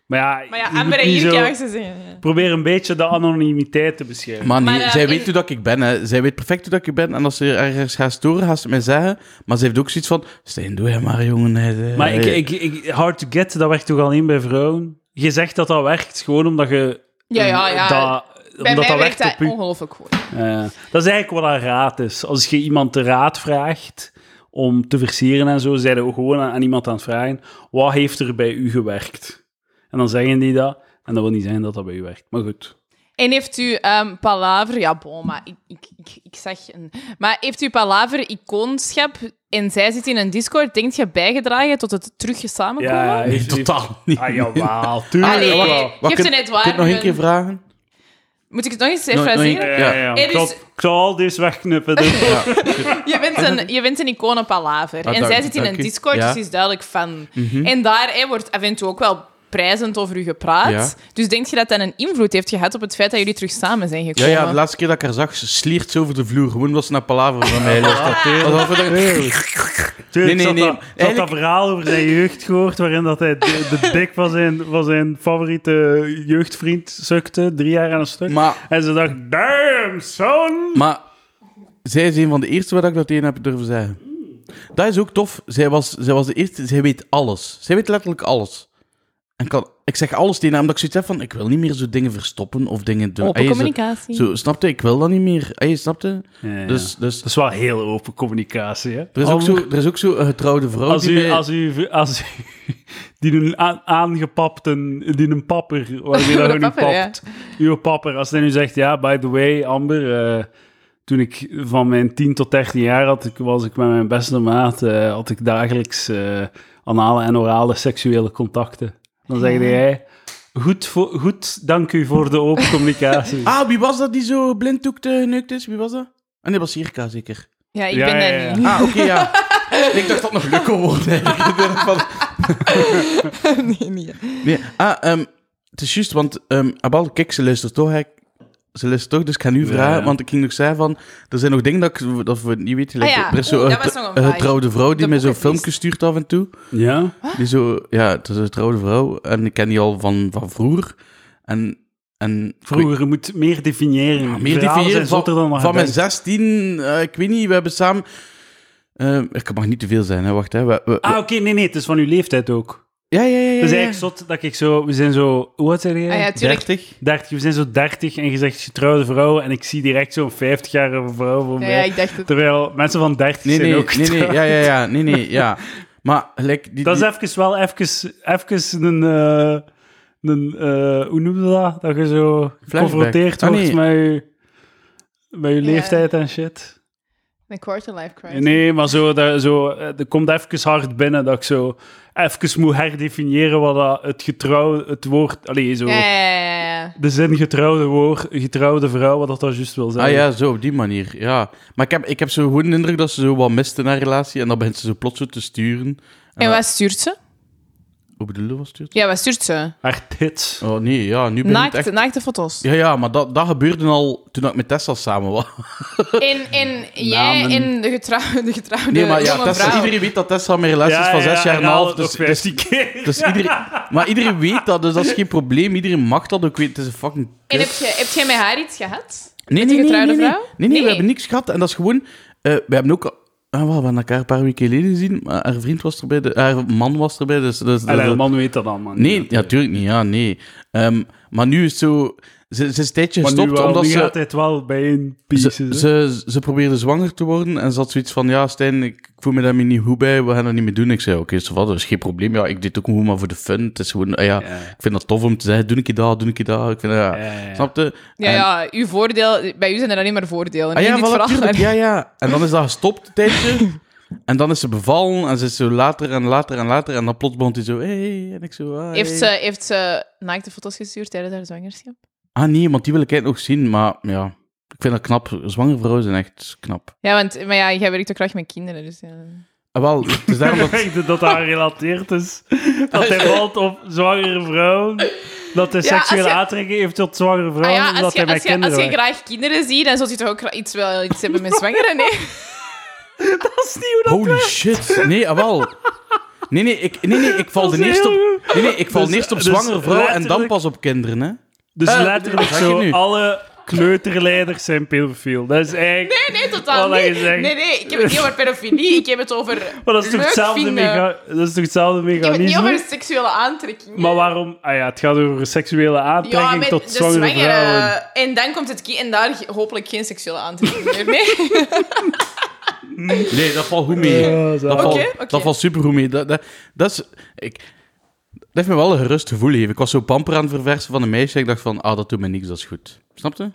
Speaker 1: Maar ja,
Speaker 3: Maar
Speaker 1: je
Speaker 3: ja,
Speaker 1: moet
Speaker 3: Amber en
Speaker 1: niet
Speaker 3: Jirka,
Speaker 1: zo-
Speaker 3: mag ik ze zeggen. ja.
Speaker 1: Probeer een beetje de anonimiteit te beschermen.
Speaker 2: Maar,
Speaker 3: Maar,
Speaker 2: nee,
Speaker 3: eh,
Speaker 2: zij
Speaker 3: in-
Speaker 2: weet hoe dat ik ben. Hè. Zij weet perfect hoe dat ik ben. En als ze ergens gaat storen, gaat ze het mij zeggen. Maar ze heeft ook zoiets van... Steen, doe hem maar, jongen. hè.
Speaker 1: Maar ik, ik, ik, hard to get, dat werkt toch alleen bij vrouwen? Je zegt dat dat werkt gewoon omdat je...
Speaker 3: Ja, ja, ja.
Speaker 1: Dat,
Speaker 3: Bij
Speaker 1: omdat
Speaker 3: mij
Speaker 1: dat
Speaker 3: werkt
Speaker 1: werkt
Speaker 3: dat
Speaker 1: op u.
Speaker 3: ongelooflijk goed.
Speaker 1: Eh, dat is eigenlijk wat een raad is. Als je iemand de raad vraagt om te versieren en zo, zeiden we gewoon aan, aan iemand aan het vragen, wat heeft er bij u gewerkt? En dan zeggen die dat, en dat wil niet zeggen dat dat bij u werkt. Maar goed.
Speaker 3: En heeft u ehm Palaver... Ja, bon, maar ik, ik, ik, ik zag een... Maar heeft u Palaver icoonschap en zij zit in een Discord, denkt je, bijgedragen tot het terug samenkomen?
Speaker 1: Ja,
Speaker 2: Nee, totaal niet.
Speaker 1: Ah, jawel, tuurlijk
Speaker 3: Allee,
Speaker 1: wel.
Speaker 3: je hebt ze net waar.
Speaker 2: Kun je het nog één keer vragen?
Speaker 3: Moet ik het nog eens even
Speaker 2: Nog- nog één
Speaker 3: zeggen?
Speaker 2: keer.
Speaker 1: Ja, ja, ja.
Speaker 3: Er
Speaker 1: Ik, zal,
Speaker 3: is-
Speaker 1: ik zal al deze wegknippen.
Speaker 3: Je bent een, je bent een icoon op Palaver.
Speaker 2: Ah,
Speaker 3: en
Speaker 2: dank-
Speaker 3: zij zit in
Speaker 2: dank
Speaker 3: een
Speaker 2: u.
Speaker 3: Discord,
Speaker 2: Ja. Mhm.
Speaker 3: dus ze is duidelijk fan. En daar hè, wordt af en toe ook wel prijzend over u gepraat. Dus denk je dat dat een invloed heeft gehad op het feit dat jullie terug samen zijn
Speaker 2: Ja,
Speaker 3: gekomen?
Speaker 2: ja, de laatste keer dat ik haar zag, ze sliert ze over de vloer. Gewoon omdat ze naar palaver van mij
Speaker 3: Ah.
Speaker 2: luistert. Alsof het een-
Speaker 1: Tuurlijk,
Speaker 2: Nee, nee, nee.
Speaker 1: Ik had, dat, ik had
Speaker 2: Eigenlijk-
Speaker 1: dat verhaal over zijn jeugd gehoord, waarin dat hij de, de dik van zijn, van zijn favoriete jeugdvriend sukte, drie jaar aan een stuk.
Speaker 2: Maar,
Speaker 1: En ze dacht, damn, son!
Speaker 2: maar zij is een van de eerste waar ik dat tegen heb durven zeggen. Dat is ook tof. Zij was, zij was de eerste. Zij weet alles. Zij weet letterlijk alles. En kan, ik zeg alles tegen haar, omdat ik zoiets heb van... Ik wil niet meer zo dingen verstoppen of dingen doen.
Speaker 3: Open
Speaker 2: Ey, zo-
Speaker 3: communicatie.
Speaker 2: Zo, snapte? Ik wil dat niet meer. Ey, snapte?
Speaker 1: Ja, ja.
Speaker 2: Dus, dus
Speaker 1: dat is wel heel open communicatie, hè?
Speaker 2: er, is ook zo, er is ook zo een getrouwde vrouw
Speaker 1: Als
Speaker 2: die
Speaker 1: u,
Speaker 2: mij-
Speaker 1: als u, als u, die een a- aangepapte, die een papper, waarmee dat u nu
Speaker 3: Papper, ja.
Speaker 1: papt, uw papper, als hij nu zegt, ja, by the way, Amber, eh, toen ik van mijn 10 tot 13 jaar had, ik, was ik met mijn beste maat, eh, had ik dagelijks eh, anale en orale seksuele contacten. Dan zegt hij, goed, voor, goed, dank u voor de open communicatie.
Speaker 2: Ah, wie was dat die zo blinddoekt eh, geneukt is? Wie was dat? Ah, nee, dat was Jirka, zeker.
Speaker 3: Ja, ik
Speaker 1: Ja,
Speaker 3: ben
Speaker 1: ja,
Speaker 3: dat
Speaker 1: ja.
Speaker 3: niet.
Speaker 2: Ah, oké, ja. ik dacht dat nog leuk kon worden. eigenlijk. Ik dacht van-
Speaker 3: nee, nee.
Speaker 2: nee, ah, ehm, het is juist, want ehm, Abal, kijk, ze luistert toch, hè. Ze luistert toch, dus ik ga nu vragen,
Speaker 1: ja.
Speaker 2: want ik ging nog zeggen van... Er zijn nog dingen dat, ik, dat we niet weten.
Speaker 3: Ah, ja.
Speaker 2: Er is zo
Speaker 3: Oeh,
Speaker 2: een
Speaker 3: dat was nog een
Speaker 2: getr- een
Speaker 3: vraag.
Speaker 2: getrouwde vrouw die
Speaker 3: De
Speaker 2: mij zo'n
Speaker 3: bucketlist.
Speaker 2: filmpje stuurt af en toe.
Speaker 1: ja?
Speaker 2: Die zo... Ja, het is een getrouwde vrouw en ik ken die al van, van vroeger. En... en
Speaker 1: Vroeger, je moet meer definiëren.
Speaker 2: Ja, meer
Speaker 1: Verhalen
Speaker 2: die
Speaker 1: zijn
Speaker 2: vier van,
Speaker 1: zotter dan je
Speaker 2: van mijn
Speaker 1: denkt.
Speaker 2: 16, eh, ik weet niet, we hebben samen... eh, ik mag niet te veel zijn, hè, wacht. Hè, we, we-
Speaker 3: Ah.
Speaker 1: Ah, oké, nee, nee, het is van uw leeftijd ook.
Speaker 2: Ja, ja, ja. ja,
Speaker 1: Het is
Speaker 2: ja.
Speaker 1: eigenlijk zot dat ik zo... We zijn zo... Hoe oud zijn jij?
Speaker 3: Ah ja, tuurlijk.
Speaker 2: 30.
Speaker 1: 30. We zijn zo 30 en je zegt getrouwde vrouw en ik zie direct zo'n 50-jarige vrouw voor
Speaker 3: Ja,
Speaker 1: mij.
Speaker 2: eh,
Speaker 3: ja, ik dacht het.
Speaker 1: Terwijl mensen van 30
Speaker 2: Nee,
Speaker 1: zijn
Speaker 2: nee,
Speaker 1: ook
Speaker 2: nee, nee.
Speaker 1: getrouwd.
Speaker 2: Ja, ja, ja. Nee, nee, ja. Maar gelijk... Die,
Speaker 1: Dat is
Speaker 2: die-
Speaker 1: even wel even, even een... eh, een eh, hoe noem je dat? Dat je zo geconfronteerd
Speaker 2: Ah,
Speaker 1: wordt
Speaker 2: nee.
Speaker 1: met, je, met je
Speaker 3: Ja.
Speaker 1: leeftijd en shit.
Speaker 3: Een quarterlife crisis.
Speaker 1: Nee, maar zo, dat, zo, eh, dat komt even hard binnen dat ik zo even moet herdefiniëren wat dat het getrouw, het woord, allee, zo,
Speaker 3: Ja, ja, ja, ja, ja.
Speaker 1: de zin getrouwde woord, getrouwde vrouw, wat dat dan juist wil
Speaker 2: Ah
Speaker 1: zeggen.
Speaker 2: ja, zo, op die manier, ja. Maar ik heb, ik heb zo gewoon de indruk dat ze zo wat mist in haar relatie en dan begint ze zo plots zo te sturen.
Speaker 3: En
Speaker 2: dan-
Speaker 3: wat stuurt ze?
Speaker 2: Hoe bedoel je wat stuurt?
Speaker 3: Ja, wat stuurt ze?
Speaker 1: Haar tits.
Speaker 2: Oh nee, ja, nu ben ik
Speaker 3: Naakte,
Speaker 2: echt...
Speaker 3: naakte foto's.
Speaker 2: Ja, ja, maar dat, dat gebeurde al toen ik met Tessa samen was.
Speaker 3: En, en jij
Speaker 2: Namen.
Speaker 3: en de getrouwde, de getrouwde
Speaker 2: Nee, maar ja,
Speaker 3: jonge
Speaker 2: Tessa,
Speaker 3: vrouw.
Speaker 2: iedereen weet dat Tessa mijn relatie Ah, is van zes jaar en een half. Dus, dus,
Speaker 1: 15 keer.
Speaker 2: dus iedereen, maar iedereen weet dat, dus dat is geen probleem. Iedereen mag dat ook weten. Het is een fucking
Speaker 3: En heb,
Speaker 2: kut.
Speaker 3: je, heb jij met haar iets gehad?
Speaker 2: Nee,
Speaker 3: Met
Speaker 2: nee,
Speaker 3: die
Speaker 2: nee,
Speaker 3: getrouwde
Speaker 2: nee, nee.
Speaker 3: vrouw?
Speaker 2: Nee, nee,
Speaker 3: Nee.
Speaker 2: we hebben niks gehad. En dat is gewoon... eh, we hebben ook... al- Ah, wel, we hebben elkaar een paar weken geleden gezien. Maar haar vriend was erbij, de, haar man was erbij. Dus, dus, dus-
Speaker 1: Allee, de Ah, man weet dat allemaal niet.
Speaker 2: Nee, natuurlijk niet. Ja, nee. Ehm, maar nu is het zo... Ze, ze is een tijdje
Speaker 1: Maar
Speaker 2: gestopt
Speaker 1: nu wel,
Speaker 2: omdat
Speaker 1: nu
Speaker 2: ze...
Speaker 1: gaat het wel bij een
Speaker 2: Ze,
Speaker 1: pieces. hè.
Speaker 2: ze, ze probeerde zwanger te worden en ze had zoiets van: Ja, Stijn, ik, ik voel me daar niet goed bij, we gaan dat niet meer doen. Ik zei: Oké, zo wat, dat is geen probleem. Ja, ik deed ook gewoon maar voor de fun. Het is gewoon, ah ja,
Speaker 1: Ja.
Speaker 2: ik vind dat tof om te zeggen: Doe ik je dat, doe ik je dat. Ik vind,
Speaker 1: Ja,
Speaker 2: ja,
Speaker 1: ja.
Speaker 2: Snap je?
Speaker 3: Ja,
Speaker 2: En-
Speaker 3: ja, uw voordeel, bij u zijn er alleen maar voordelen.
Speaker 2: Ah,
Speaker 3: In
Speaker 2: ja,
Speaker 3: dit
Speaker 2: voilà,
Speaker 3: verhaal.
Speaker 2: tuurlijk, ja, ja. En dan is dat gestopt, een tijdje. en dan is ze bevallen en ze is zo later en later en later. En dan plots begon hij zo: Hey, en ik zo: ah,
Speaker 3: Heeft ze,
Speaker 2: hey.
Speaker 3: heeft ze naakte foto's gestuurd tijdens haar zwangerschap?
Speaker 2: Ah, nee, want die wil ik eigenlijk nog zien, maar ja, ik vind dat knap. Zwangere vrouwen zijn echt knap.
Speaker 3: Ja, want maar ja, jij werkt ook graag met kinderen. Dus, ja.
Speaker 2: Ah, wel, het is daarom dat.
Speaker 1: Ik denk dat dat gerelateerd is. Dat hij valt op zwangere vrouwen. Dat hij
Speaker 3: Ja, als
Speaker 1: seksuele
Speaker 3: je-
Speaker 1: aantrekking heeft tot zwangere
Speaker 3: Ah
Speaker 1: vrouwen.
Speaker 3: ja,
Speaker 1: omdat
Speaker 3: als je,
Speaker 1: hij met
Speaker 3: als, je,
Speaker 1: kinderen
Speaker 3: als je
Speaker 1: werkt.
Speaker 3: graag kinderen ziet, dan zult je toch ook gra- iets, wel, iets hebben met zwangeren? Nee?
Speaker 1: Dat is niet hoe dat
Speaker 2: Holy shit. Nee, ah, wel. Nee, nee, ik, nee, nee, ik val
Speaker 1: Dat is
Speaker 2: de eerst
Speaker 1: heel
Speaker 2: op, nee, nee, ik val
Speaker 1: Dus-
Speaker 2: eerst op
Speaker 1: dus
Speaker 2: zwangere vrouwen en dan
Speaker 1: letterlijk-
Speaker 2: pas op kinderen, hè.
Speaker 1: Dus
Speaker 2: Eh,
Speaker 1: letterlijk
Speaker 2: wat zeg je
Speaker 1: zo,
Speaker 2: nu?
Speaker 1: alle kleuterleiders zijn pedofiel. Dat is eigenlijk...
Speaker 3: Nee, nee, totaal
Speaker 1: Wat had je
Speaker 3: niet.
Speaker 1: gezegd?
Speaker 3: Nee, nee, ik heb het niet over pedofilie. Ik heb het over
Speaker 1: Maar dat is toch
Speaker 3: leuk
Speaker 1: hetzelfde,
Speaker 3: vinden.
Speaker 1: mega, dat is toch hetzelfde
Speaker 3: Ik heb het niet
Speaker 1: mechanisme?
Speaker 3: over seksuele aantrekking.
Speaker 1: Maar waarom... Ah ja, het gaat over seksuele aantrekking
Speaker 3: ja, met
Speaker 1: tot
Speaker 3: de
Speaker 1: zwangere
Speaker 3: zwangere.
Speaker 1: vrouwen.
Speaker 3: En dan komt het kind en daar ge- hopelijk geen seksuele aantrekking meer. Nee?
Speaker 2: Nee, dat valt goed mee.
Speaker 1: Ja, zo.
Speaker 2: dat, valt,
Speaker 3: Oké, oké.
Speaker 2: dat valt super goed mee. Dat, dat, dat is... Ik, dat heeft me wel een gerust gevoel gegeven. Ik was zo pamper aan het verversen van een meisje. Ik dacht van, ah, dat doet me niks, dat is goed. Snap je?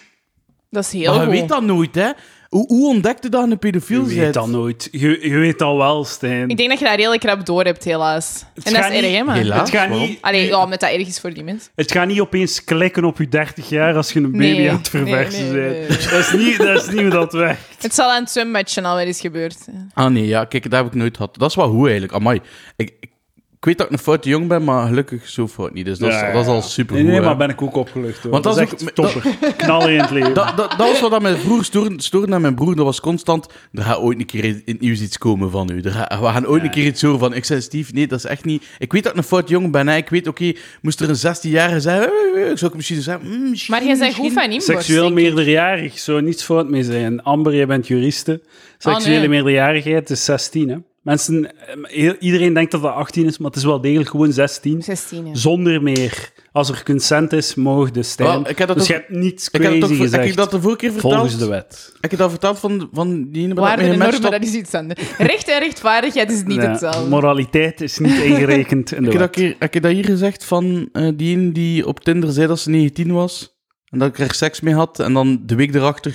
Speaker 3: Dat is heel
Speaker 2: Maar je
Speaker 3: goed.
Speaker 2: weet dat nooit, hè. Hoe, hoe ontdekte dat je een pedofiel
Speaker 1: Je weet
Speaker 2: bent?
Speaker 1: dat nooit. Je, je weet al wel, Stijn.
Speaker 3: Ik denk dat je daar redelijk krap door hebt, helaas. en dat
Speaker 1: gaat
Speaker 3: is erg,
Speaker 1: niet-
Speaker 3: hè, maar...
Speaker 2: Helaas.
Speaker 1: het, gaat
Speaker 2: waarom?
Speaker 1: niet,
Speaker 3: Allee, ja, omdat dat erg is voor die mensen.
Speaker 1: het gaat niet opeens klikken op je 30 jaar als je een baby
Speaker 3: Nee,
Speaker 1: aan het verversen
Speaker 3: nee, nee,
Speaker 1: bent.
Speaker 3: nee, nee.
Speaker 1: Dat, is niet, dat is niet hoe dat werkt.
Speaker 3: Het zal aan het zwemmatchen alweer eens gebeurd.
Speaker 2: Ah nee, ja, kijk, dat heb ik nooit gehad. Dat is wel hoe eigenlijk. Amai. Ik, ik, ik weet dat ik een foute jong ben, maar gelukkig zo fout niet. Dus dat,
Speaker 1: Ja,
Speaker 2: is,
Speaker 1: ja,
Speaker 2: dat is
Speaker 1: ja.
Speaker 2: al super
Speaker 1: Nee, nee, maar ben ik ook opgelucht hoor.
Speaker 2: Want
Speaker 1: Want dat,
Speaker 2: dat
Speaker 1: is
Speaker 2: is
Speaker 1: echt
Speaker 2: ook-
Speaker 1: topper. Knallen in het leven.
Speaker 2: Dat, dat, dat was wat aan mijn broer stoorde, stoorde aan mijn broer. Dat was constant. Er gaat ooit een keer in het nieuws iets komen van u. Er ga- we gaan ooit een keer iets horen van. Ik zei, Steve, nee, dat is echt niet. Ik weet dat ik een fout jong ben. Hè. Ik weet, oké, moest er een 16-jarige zijn. eh, eh, eh, Zou ik misschien zeggen. mm, misschien,
Speaker 3: Maar jij bent goed
Speaker 2: misschien.
Speaker 3: van inborst.
Speaker 1: Seksueel
Speaker 3: denk ik.
Speaker 1: meerderjarig zou niets fout mee zijn. Amber, jij bent juriste. Seksuele
Speaker 3: Ah, nee.
Speaker 1: meerderjarigheid is 16. Hè? Mensen, eh, heel- iedereen denkt dat dat 18 is, maar het is wel degelijk gewoon 16.
Speaker 3: 16, ja.
Speaker 1: Zonder meer. Als er consent is, mogen de stemmen.
Speaker 2: Wel, ik heb dat
Speaker 1: dus
Speaker 2: ook-
Speaker 1: je hebt niets
Speaker 2: Ik heb,
Speaker 1: crazy
Speaker 2: het ook,
Speaker 1: gezegd.
Speaker 2: heb ik dat de vorige keer verteld?
Speaker 1: volgens de wet.
Speaker 2: Heb ik dat verteld van, van die ene
Speaker 3: Waarden en
Speaker 2: met
Speaker 3: normen, dat is iets anders. Recht en rechtvaardigheid is niet
Speaker 1: Ja,
Speaker 3: hetzelfde.
Speaker 1: Moraliteit is niet ingerekend in de
Speaker 2: Ik heb,
Speaker 1: wet.
Speaker 2: dat keer, heb ik dat hier gezegd van eh, die een die op Tinder zei dat ze 19 was. En dat ik er seks mee had. En dan de week erachter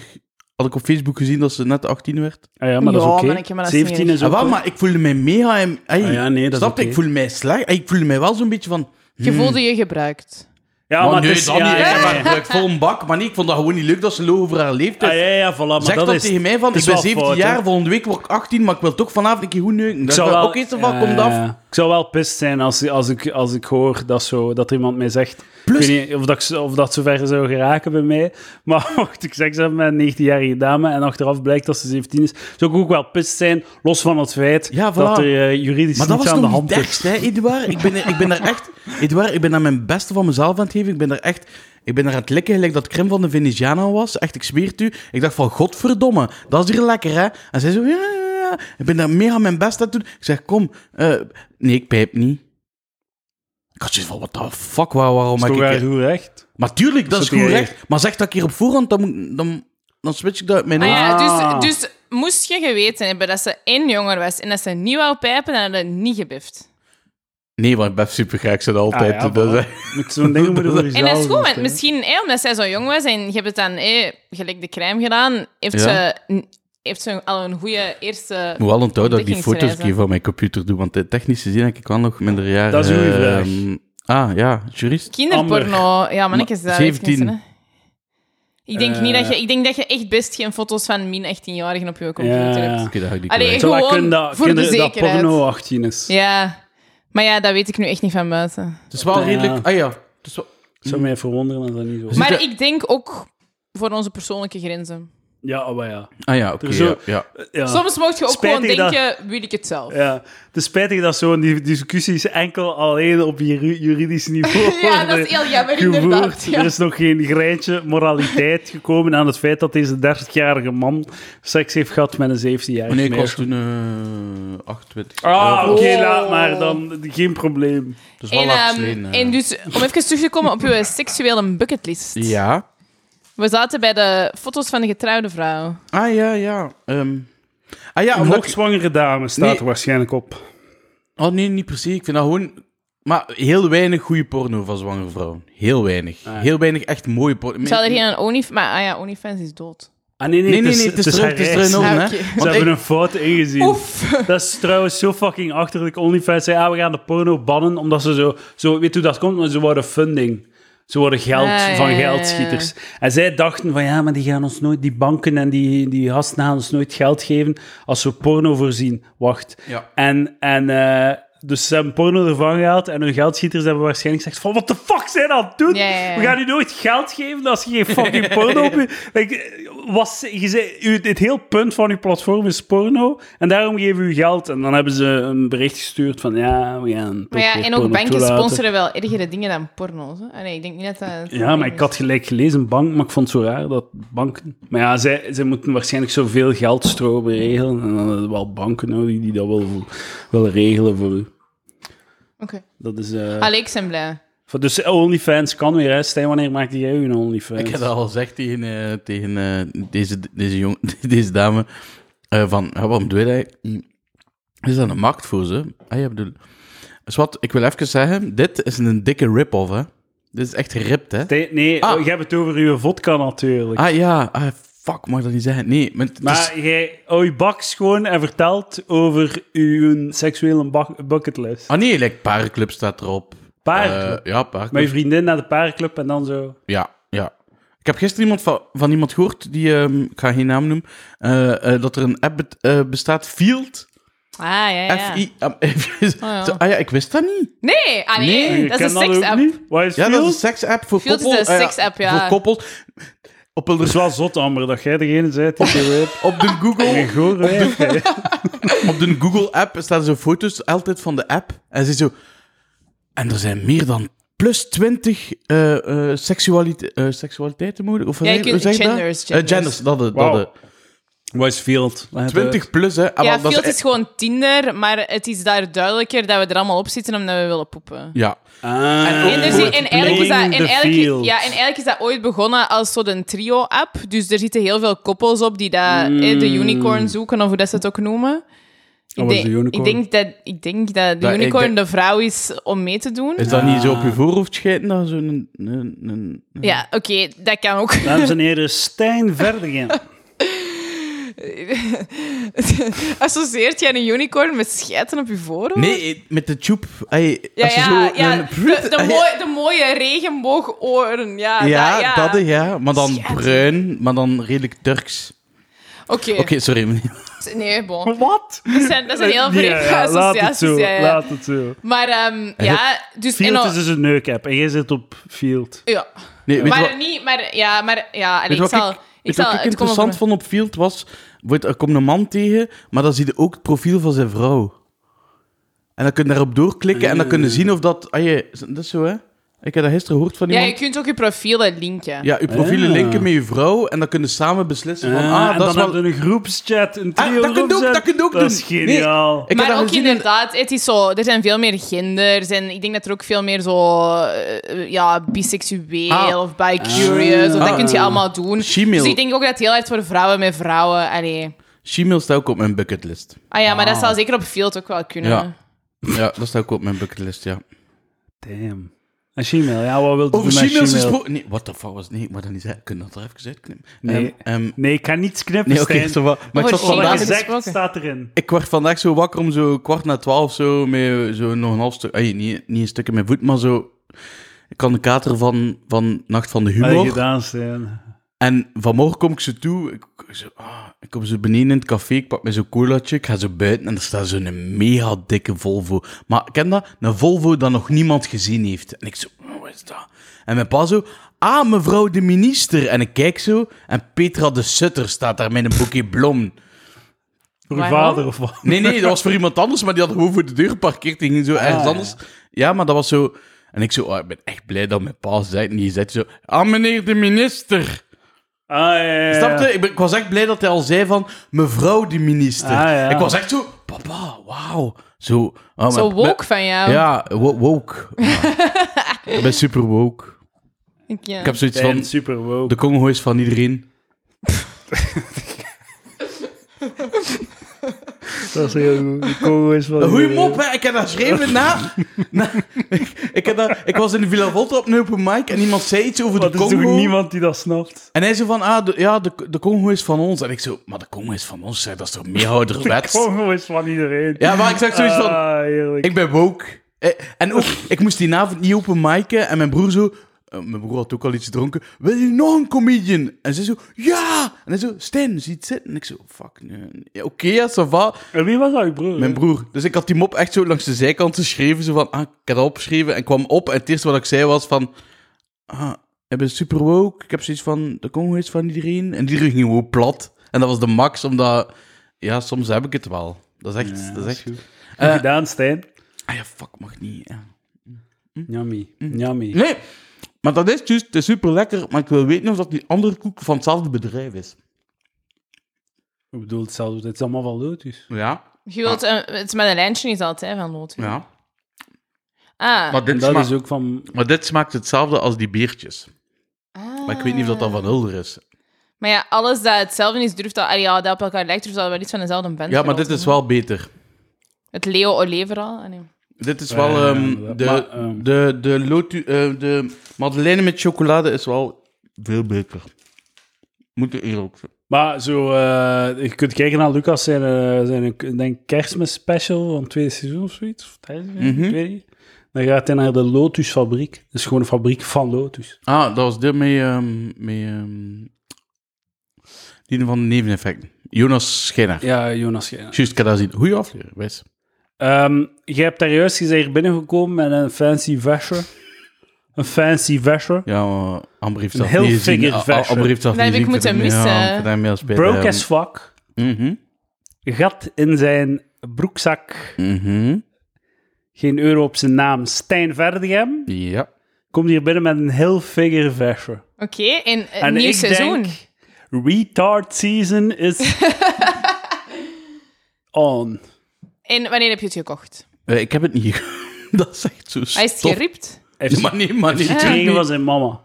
Speaker 2: had ik op Facebook gezien dat ze net 18 werd.
Speaker 1: Ah ja, maar dat is
Speaker 3: Ja,
Speaker 1: oké.
Speaker 3: manneke, maar dat is
Speaker 1: 17
Speaker 3: niet
Speaker 1: is
Speaker 2: Ah,
Speaker 1: ook...
Speaker 2: wel, maar ik voelde mij mega... en- Hey,
Speaker 1: Ah ja, nee, dat is
Speaker 2: snap je?
Speaker 1: oké.
Speaker 2: Ik voelde mij slecht. Hey, ik voelde mij wel zo'n beetje van...
Speaker 3: Je voelde je gebruikt.
Speaker 1: ja,
Speaker 2: maar nee,
Speaker 1: Ah, het is-
Speaker 2: dat
Speaker 1: ja,
Speaker 2: niet. Ik
Speaker 1: ja,
Speaker 2: heb haar
Speaker 1: ja.
Speaker 2: gebruikt vol een bak. Maar nee, ik vond dat gewoon niet leuk dat ze loog over haar leeftijd.
Speaker 1: Ah, ja, ja, voilà, maar
Speaker 2: Zeg
Speaker 1: dat,
Speaker 2: dat,
Speaker 1: is,
Speaker 2: tegen mij van,
Speaker 1: het is
Speaker 2: ik ben
Speaker 1: wel
Speaker 2: 17
Speaker 1: fout, hè.
Speaker 2: jaar, volgende week word ik 18, maar ik wil toch vanavond een keer goed neuken.
Speaker 1: Ik
Speaker 2: Dat
Speaker 1: zou wel,
Speaker 2: Oké, zo van,
Speaker 1: ja,
Speaker 2: komt
Speaker 1: ja,
Speaker 2: af.
Speaker 1: ja. Ik zou wel pist zijn als, als, ik, als ik hoor dat, zo, dat er iemand mij zegt...
Speaker 2: Plus-
Speaker 1: Ik weet niet of dat, ik- of dat zover zou geraken bij mij. Maar mocht ik seks hebben met een 19-jarige dame en achteraf blijkt dat ze 17 is, zou ik ook wel pist zijn, los van het feit
Speaker 2: Ja, voilà.
Speaker 1: dat er eh, juridisch
Speaker 2: Maar dat
Speaker 1: niets
Speaker 2: was
Speaker 1: aan de
Speaker 2: nog niet
Speaker 1: hand dus. is.
Speaker 2: dergst, hè, Eduard? Ik ben, ik ben daar echt... Eduard, ik ben daar mijn beste van mezelf aan het geven. Ik ben daar echt... Ik ben daar aan het likken, gelijk dat crème van de Veneziana was. Echt, ik zweer het u. Ik dacht van, godverdomme, dat is hier lekker, hè? En zij zo, ja, ja, ja. Ik ben daar meer aan mijn best aan het doen. Ik zeg, kom. eh, nee, ik pijp niet. Ik had zoiets van, what the fuck, waar, waarom
Speaker 1: Toch
Speaker 2: heb
Speaker 1: wel
Speaker 3: eh,
Speaker 2: ik...
Speaker 1: goed recht.
Speaker 2: Maar tuurlijk, dat
Speaker 1: Is
Speaker 2: is
Speaker 1: dat
Speaker 2: goed
Speaker 1: die-
Speaker 2: recht. Maar zeg dat ik hier op voorhand, dan, moet- dan, dan switch ik dat uit mijn
Speaker 3: Ah,
Speaker 2: hoofd.
Speaker 3: ja,
Speaker 1: Ah.
Speaker 3: dus, dus moest je geweten hebben dat ze één jonger was en dat ze niet wou pijpen, dan hadden ze niet gebift.
Speaker 2: Nee, want ik ben supergek, ze altijd.
Speaker 1: Ah, ja,
Speaker 2: dat is-
Speaker 1: Met zo'n ding moet je voor
Speaker 3: En
Speaker 1: jezelf
Speaker 3: dat is goed, want
Speaker 1: doen, hè.
Speaker 3: misschien eh, omdat zij zo jong was en je hebt het dan eh, gelijk de crème gedaan, heeft,
Speaker 2: Ja.
Speaker 3: ze, n- heeft ze al een goede eerste...
Speaker 2: Ik moet wel onthouden dat ik die foto's een
Speaker 3: Ontdekkingsreizen.
Speaker 2: keer van mijn computer doe, want de technische zin heb ik wel nog minder jaren...
Speaker 1: Dat is een goeie vraag.
Speaker 2: ehm, ah, ja, jurist.
Speaker 3: Kinderporno. Ja, maar ik is dat.
Speaker 2: 17.
Speaker 3: even, hè. Ik denk, niet
Speaker 1: Eh.
Speaker 3: dat je, ik denk dat je echt best geen foto's van min 18-jarigen op je
Speaker 1: Ja,
Speaker 3: computer
Speaker 1: ja.
Speaker 3: hebt.
Speaker 2: Oké, dat ga ik niet
Speaker 3: Allee,
Speaker 2: kwijt.
Speaker 3: ik-
Speaker 1: Zodat
Speaker 3: Gewoon
Speaker 1: kinderen-
Speaker 3: voor de
Speaker 1: kinderen dat
Speaker 3: zekerheid.
Speaker 1: porno 18 is.
Speaker 3: Ja. Maar ja, dat weet ik nu echt niet van buiten.
Speaker 2: Het is wel
Speaker 1: Ja.
Speaker 2: redelijk... Ah ja, het is wel...
Speaker 1: Het zou mij verwonderen als dat niet zo is.
Speaker 3: Maar
Speaker 2: er-
Speaker 3: ik denk ook voor onze persoonlijke grenzen.
Speaker 1: Ja, oh, maar ja.
Speaker 2: Ah ja, oké,
Speaker 1: Er is zo-
Speaker 2: ja, ja.
Speaker 1: ja.
Speaker 3: Soms mocht je ook
Speaker 1: Spijtig
Speaker 3: gewoon
Speaker 1: dat-
Speaker 3: denken, wil ik het zelf?
Speaker 1: Ja, het is spijtig dat zo'n die- discussies enkel alleen op juri- juridisch niveau
Speaker 3: Ja, dat is
Speaker 1: worden
Speaker 3: heel jammer,
Speaker 1: gevoerd.
Speaker 3: inderdaad. Ja.
Speaker 1: Er is nog geen greintje moraliteit gekomen aan het feit dat deze 30-jarige man seks heeft gehad met een 17-jarige
Speaker 2: Nee, ik
Speaker 1: meisje.
Speaker 2: was toen eh 28.
Speaker 1: Ah, oké,
Speaker 3: Oh.
Speaker 1: laat maar dan. Geen probleem.
Speaker 2: Het is wel
Speaker 3: En,
Speaker 2: lang
Speaker 3: ehm,
Speaker 2: geleden, eh.
Speaker 3: en dus, om even terug te komen op je seksuele bucketlist.
Speaker 2: Ja.
Speaker 3: We zaten bij de foto's van de getrouwde vrouw.
Speaker 2: Ah ja, ja. Ehm, ah ja,
Speaker 1: Een
Speaker 2: omdat ik-
Speaker 1: hoogzwangere dame staat
Speaker 2: Nee.
Speaker 1: er waarschijnlijk op.
Speaker 2: Oh nee, niet per se. Ik vind dat gewoon... Maar heel weinig goede porno van zwangere vrouwen. Heel weinig. Heel weinig echt mooie porno.
Speaker 3: Terwijl er geen OnlyFans... Maar ah ja, OnlyFans is dood.
Speaker 1: Ah, nee, nee,
Speaker 2: Nee, nee, nee, het is terug, het is
Speaker 1: herrijst.
Speaker 2: terug in orde,
Speaker 3: Ah,
Speaker 2: hè.
Speaker 3: oké. Ze
Speaker 2: Want
Speaker 1: Ze
Speaker 2: ik-
Speaker 1: hebben een fout ingezien. Dat is trouwens zo fucking achterlijk. OnlyFans zei, ah, we gaan de porno bannen, omdat ze zo... zo weet hoe dat komt? Maar ze worden funding. Ze worden geld
Speaker 3: Ah, ja,
Speaker 1: van
Speaker 3: ja, ja.
Speaker 1: geldschieters. En zij dachten van, ja, maar die gaan ons nooit... Die banken en die, die gasten gaan ons nooit geld geven als we porno voorzien. Wacht.
Speaker 2: Ja.
Speaker 1: En... en eh, dus ze hebben porno ervan gehaald en hun geldschieters hebben waarschijnlijk gezegd van wat de fuck zijn dat aan het doen?
Speaker 3: Ja, ja, ja.
Speaker 1: We gaan u nooit geld geven als je geen fucking porno op je... Like, was, je zei, u- het heel punt van uw platform is porno en daarom geven we u geld. En dan hebben ze een bericht gestuurd van ja, we gaan toch
Speaker 3: Maar ja,
Speaker 1: weer
Speaker 3: en
Speaker 1: porno
Speaker 3: ook banken
Speaker 1: toelaten.
Speaker 3: sponsoren wel ergere dingen dan porno's. Hè? Allee, ik denk niet dat dat...
Speaker 1: Ja, maar ik had gelijk gelezen bank, maar ik vond het zo raar dat banken... Maar ja, zij, zij moeten waarschijnlijk zoveel geldstromen regelen en dan is het wel banken nodig die dat wel, voor- wel regelen voor u.
Speaker 3: Oké.
Speaker 1: Dat is... eh,
Speaker 3: Allee, ik ben blij.
Speaker 1: Voor- Dus OnlyFans kan weer, hè? Stijn, wanneer maakte jij een OnlyFans?
Speaker 2: Ik heb dat al gezegd tegen, eh, tegen eh, deze, deze, jong, deze dame. eh, van, ja, waarom doe je
Speaker 1: Mm.
Speaker 2: dat? eigenlijk? Er is daar een markt voor, ze? Ah, ja, bedoel... Dus wat, ik wil even zeggen, dit is een dikke rip-off, hè. Dit is echt geript, hè.
Speaker 1: Nee, nee
Speaker 2: Ah.
Speaker 1: oh, je hebt het over uw vodka natuurlijk.
Speaker 2: Ah dus- ja, ah, fuck, mag ik dat niet zeggen? Nee, maar... het is-
Speaker 1: maar jij hou je bak schoon en vertelt over uw seksuele bak- bucketlist.
Speaker 2: Ah nee, like, paardenclub staat erop.
Speaker 1: Paardenclub?
Speaker 2: Eh, ja, paardenclub.
Speaker 1: Met je vriendin naar de paarclub en dan zo.
Speaker 2: Ja, ja. Ik heb gisteren iemand van, van iemand gehoord, die, ehm, ik ga geen naam noemen, eh, eh, dat er een app bet- eh, bestaat, Field.
Speaker 3: Ah, ja, ja. Oh,
Speaker 2: F-I. ah, even-
Speaker 3: ja.
Speaker 2: Zo, ah ja, ik wist dat niet.
Speaker 3: Nee, ah, nee,
Speaker 2: Nee,
Speaker 3: dat
Speaker 1: Ken
Speaker 3: is een seksapp.
Speaker 2: Ah,
Speaker 1: niet? Wat is
Speaker 2: Ja,
Speaker 1: ja,
Speaker 2: dat is een seksapp voor
Speaker 3: Field is
Speaker 2: koppels.
Speaker 3: een
Speaker 2: Ah
Speaker 3: seksapp, ja.
Speaker 2: Voor koppels. Op
Speaker 1: Dat is
Speaker 2: de,
Speaker 1: wel zot, Amber, dat jij degene bent die je weet.
Speaker 2: op de Google...
Speaker 1: Een goor wijf, hè.
Speaker 2: op de Google-app staan zo foto's altijd van de app. En ze zo... En er zijn meer dan plus 20 eh, eh, seksualite- eh, seksualiteiten mogelijk. Of hoe
Speaker 3: Ja,
Speaker 2: zeg-
Speaker 3: je
Speaker 2: hoe
Speaker 3: kunt-
Speaker 2: zeg je
Speaker 3: genders,
Speaker 2: dat? Eh,
Speaker 3: genders.
Speaker 2: genders, dat, dat,
Speaker 1: Wauw.
Speaker 2: dat.
Speaker 1: Wat is Field? Laat het
Speaker 2: 20 plus, hè. Ah,
Speaker 3: Ja,
Speaker 2: wel, dat
Speaker 3: Field
Speaker 2: is-
Speaker 3: is gewoon Tinder, maar het is daar duidelijker dat we er allemaal op zitten omdat we willen poepen.
Speaker 2: Ja.
Speaker 1: uit. Ah.
Speaker 2: En
Speaker 3: En, dus er zie- en eigenlijk is dat, en
Speaker 1: Playing the
Speaker 3: eigenlijk,
Speaker 1: field.
Speaker 3: ja, en eigenlijk is dat ooit begonnen als zo'n trio-app. Dus er zitten heel veel koppels op die dat, eh,
Speaker 2: Hmm.
Speaker 3: de unicorn zoeken, of hoe dat ze het ook noemen. Ik
Speaker 2: Oh,
Speaker 1: wat is
Speaker 3: denk,
Speaker 1: de unicorn?
Speaker 3: ik denk dat, ik denk dat de
Speaker 2: Dat- ik
Speaker 3: unicorn
Speaker 2: denk-
Speaker 3: de vrouw is om mee te doen.
Speaker 2: Is dat niet zo op je voorhoofd schijten? Dan zo'n... Een, een, een-
Speaker 3: Ja, oké, dat kan ook.
Speaker 1: Dames en heren, Stijn Verdingen.
Speaker 3: Associeert jij een unicorn met schijten op je voorhoofd?
Speaker 2: Nee, met de tube. Ey,
Speaker 3: Ja,
Speaker 2: als je
Speaker 3: ja,
Speaker 2: zo
Speaker 3: ja
Speaker 2: een-
Speaker 3: de, de,
Speaker 2: Ey,
Speaker 3: mooie, de mooie regenboogoren. Ja,
Speaker 2: ja,
Speaker 3: dat, Ah, ja.
Speaker 2: dat ja. Maar dan
Speaker 3: Schijten.
Speaker 2: bruin, maar dan redelijk Turks.
Speaker 3: Oké,
Speaker 2: Oké, sorry. meneer.
Speaker 3: nee, bon.
Speaker 1: Wat?
Speaker 3: Dat zijn, dat zijn heel
Speaker 1: Ja,
Speaker 3: vreemde
Speaker 1: ja, laat
Speaker 3: associaties.
Speaker 1: het zo,
Speaker 3: ja, ja.
Speaker 1: laat het zo.
Speaker 3: Maar ehm, ja, dus... en
Speaker 1: Field
Speaker 3: al-
Speaker 1: is dus een neukapp en jij zit op Field.
Speaker 3: ja.
Speaker 2: Nee, weet je
Speaker 3: Maar
Speaker 2: wat-
Speaker 3: niet... Maar ja, maar, ja allee,
Speaker 2: Weet je
Speaker 3: ik
Speaker 2: wat
Speaker 3: zal...
Speaker 2: ik-
Speaker 3: Ik,
Speaker 2: weet je
Speaker 3: zal
Speaker 2: wat ik
Speaker 3: het komen
Speaker 2: interessant
Speaker 3: voor-
Speaker 2: vond op Field was... Wordt, er komt een man tegen, maar dan zie je ook het profiel van zijn vrouw. En dan kun je daarop doorklikken en dan kun je zien of ah, dat... ah, je, dat is zo, hè? Ik heb dat gisteren gehoord van
Speaker 3: Ja,
Speaker 2: iemand.
Speaker 3: je kunt ook je profielen linken.
Speaker 2: Ja, je profielen
Speaker 1: Ah.
Speaker 2: linken met je vrouw en dan kunnen ze samen beslissen van,
Speaker 1: Ah,
Speaker 2: ah,
Speaker 1: en
Speaker 2: dat
Speaker 1: dan
Speaker 2: is wel...
Speaker 1: hebben we een groepschat, een trio
Speaker 2: Ah, dat kun je ook-
Speaker 1: groepschat.
Speaker 2: dat kun je ook
Speaker 1: Dat is
Speaker 2: doen. Nee.
Speaker 1: geniaal.
Speaker 2: Ik heb
Speaker 3: maar
Speaker 2: dat
Speaker 3: ook
Speaker 2: gezien in-
Speaker 3: inderdaad, het is zo, er zijn veel meer genders en ik denk dat er ook veel meer zo, eh, ja, biseksueel
Speaker 2: Ah.
Speaker 3: of bi-curious, of
Speaker 2: Ah.
Speaker 3: dat kun je allemaal doen.
Speaker 2: She-mail.
Speaker 3: Dus ik denk ook dat het heel hard voor vrouwen met vrouwen, allee.
Speaker 2: Gmail staat ook op mijn bucketlist.
Speaker 3: Ah ja, maar dat zou zeker op Field ook wel kunnen.
Speaker 2: Ja. Ja, dat staat ook op mijn bucketlist, ja.
Speaker 1: Damn. En Gmail, ja, wat wil je
Speaker 2: Over
Speaker 1: doen met
Speaker 2: Gmail's
Speaker 1: Gmail?
Speaker 2: gesproken... Nee, what the fuck was... Nee, ik moet dat niet zeggen. Kunnen dat er even uitknippen?
Speaker 1: Nee.
Speaker 2: Ehm, ehm,
Speaker 1: Nee, ik kan niets knippen,
Speaker 2: nee, oké,
Speaker 1: Stijn.
Speaker 2: zo wat. Maar ik
Speaker 3: Over
Speaker 2: zat
Speaker 3: Gmail
Speaker 2: vandaag...
Speaker 3: is-
Speaker 1: Gezegd
Speaker 3: gesproken.
Speaker 1: staat erin.
Speaker 2: Ik word vandaag zo wakker om zo kwart na twaalf, zo, met zo nog een half stuk... Ay, niet, niet een stuk in mijn voet, maar zo... Ik had een kater van, van Nacht van de
Speaker 1: Wat heb je
Speaker 2: Humor.
Speaker 1: gedaan, Stijn?
Speaker 2: En vanmorgen kom ik ze toe. Ik, ik zo, ah, ik kom ze beneden in het café. Ik pak me zo'n colaatje. Ik ga zo buiten. En er staat zo'n mega dikke Volvo. Maar ken dat? Een Volvo dat nog niemand gezien heeft. En ik zo, oh, wat is dat? En mijn pa zo, ah, mevrouw de minister. En ik kijk zo. En Petra de Sutter staat daar met een boekje bloemen.
Speaker 1: Voor je
Speaker 3: Waarom?
Speaker 1: vader of wat? Ah,
Speaker 2: Nee, nee, dat was voor iemand anders. Maar die had gewoon voor de deur geparkeerd. Die ging zo ergens
Speaker 1: ja.
Speaker 2: anders. Ja. maar dat was zo... En ik zo, oh, ik ben echt blij dat mijn pa zei. En die zei zo, ah, meneer de minister.
Speaker 1: Ah, ja, ja, ja.
Speaker 2: Snap je? Ik, ben- ik was echt blij dat hij al zei van mevrouw de minister.
Speaker 1: Ah, ja.
Speaker 2: Ik was echt zo, papa, wauw. Zo, ah,
Speaker 3: Zo
Speaker 2: maar-
Speaker 3: woke van jou.
Speaker 2: maar- Ja, wo- woke. Ja. ik ben super woke.
Speaker 3: Ik, ja.
Speaker 2: Ik heb zoiets
Speaker 1: Stijn,
Speaker 2: van,
Speaker 1: super
Speaker 2: de
Speaker 1: woke.
Speaker 2: Congo is van iedereen.
Speaker 1: Dat is heel goed. De Congo is wel...
Speaker 2: Een goeie mop, hè? Ik heb dat geschreven na... na ik, ik, heb dat, ik was in de Villa Volta op een open mic en iemand zei iets over
Speaker 1: Wat
Speaker 2: de
Speaker 1: is
Speaker 2: Congo.
Speaker 1: toch niemand die dat snapt?
Speaker 2: En hij zei van, ah, de, ja, de, de Congo is van ons. En ik zo, maar de Congo is van ons? Ik Zeg, dat is toch meer ouderwets?
Speaker 1: Congo is van iedereen.
Speaker 2: Ja, maar ik zeg zoiets van...
Speaker 1: Ah, heerlijk.
Speaker 2: Ik ben woke. Eh, En ook, ik moest die avond niet open micen en mijn broer zo... eh, Mijn broer had ook al iets gedronken. Wil je nog een comedian? En ze zo, ja! En hij zo, Stijn, ziet zitten. En ik zo, fuck, nee. Ja, Oké, ja, ça va.
Speaker 1: En wie was dat, je broer?
Speaker 2: Mijn broer. Dus ik had die mop echt zo langs de zijkant geschreven. Zo van, ah, ik had dat opgeschreven. En kwam op en het eerste wat ik zei was van... Ah, ik ben super woke. Ik heb zoiets van, de Congo is van iedereen. En iedereen ging gewoon plat. En dat was de max, omdat... Ja, soms heb ik het wel. Dat is echt... dat is echt...
Speaker 1: Ah, goed.
Speaker 2: Eh,
Speaker 1: gedaan, Stijn.
Speaker 2: ah ja, fuck, mag niet. Ja.
Speaker 1: Yummy. Yummy.
Speaker 2: Nee, maar dat is juist, het is super lekker, maar ik wil weten of dat die andere koek van hetzelfde bedrijf is.
Speaker 1: Ik bedoel, hetzelfde. Het is allemaal wel dus. lotus.
Speaker 2: Ja,
Speaker 3: Je wilt, een- het is met een lijntje is altijd van nood.
Speaker 2: ja.
Speaker 3: Ah.
Speaker 2: Maar
Speaker 1: En
Speaker 2: dit,
Speaker 1: dat
Speaker 2: sma-
Speaker 1: is ook van...
Speaker 2: maar dit smaakt hetzelfde als die biertjes.
Speaker 3: Ah.
Speaker 2: Maar ik weet niet of dat dan van Hulder is.
Speaker 3: Maar ja, alles dat hetzelfde is, durft dat, ah ja, dat op elkaar lijkt, durft dat wel iets van dezelfde band.
Speaker 2: Ja, maar dit
Speaker 3: genoten.
Speaker 2: is wel beter.
Speaker 3: Het Leo Oliveral. Ah, nee.
Speaker 2: Dit is
Speaker 1: Ja,
Speaker 2: wel...
Speaker 1: ja,
Speaker 2: ehm,
Speaker 1: ja,
Speaker 2: de,
Speaker 1: Eh, maar, ehm.
Speaker 2: de, de, lotu, eh, de madeleine met chocolade is wel veel beter. Moet ik eerlijk zijn.
Speaker 1: Maar zo, eh, je kunt kijken naar Lucas zijn, eh, zijn ik denk kerstmis special van het tweede seizoen of zoiets. Of tijdens, ik weet niet. Dan gaat hij naar de Lotus fabriek. Dat is gewoon een fabriek van Lotus.
Speaker 2: Ah, dat was dit mee... ehm, mee ehm, die van de neveneffecten. Jonas Schijnaar.
Speaker 1: Ja, Jonas. Ja.
Speaker 2: Juist, ik heb dat zien. Goeie aflevering, wijs.
Speaker 1: Ehm, je hebt daar juist gezegd binnengekomen met een fancy vesje. Een fancy vesje.
Speaker 2: Ja, maar Amber heeft
Speaker 1: Een
Speaker 2: dat
Speaker 1: heel
Speaker 2: niet gezien.
Speaker 1: figure
Speaker 2: A- A-
Speaker 1: version.
Speaker 2: Amber heeft dat
Speaker 3: Dat
Speaker 2: niet
Speaker 3: heb ik
Speaker 2: gezien.
Speaker 3: moeten
Speaker 2: vind hem- Ja,
Speaker 3: missen.
Speaker 2: ik vind hem heel spijtig.
Speaker 1: Broke as fuck.
Speaker 2: Mhm,
Speaker 1: Gat in zijn broekzak.
Speaker 2: mhm.
Speaker 1: Geen euro op zijn naam. Stijn Verdegem
Speaker 2: Ja.
Speaker 1: komt hier binnen met een heel figure vesje.
Speaker 3: Oké, en een
Speaker 1: En
Speaker 3: nieuw
Speaker 1: ik
Speaker 3: seizoen.
Speaker 1: denk- Retard season is on.
Speaker 3: En wanneer heb je het gekocht?
Speaker 2: Eh, ik heb het niet. dat is echt zo
Speaker 3: Hij is het
Speaker 2: stom.
Speaker 3: geript.
Speaker 1: Hij heeft
Speaker 2: Maar nee, maar nee.
Speaker 1: het gekregen van zijn mama.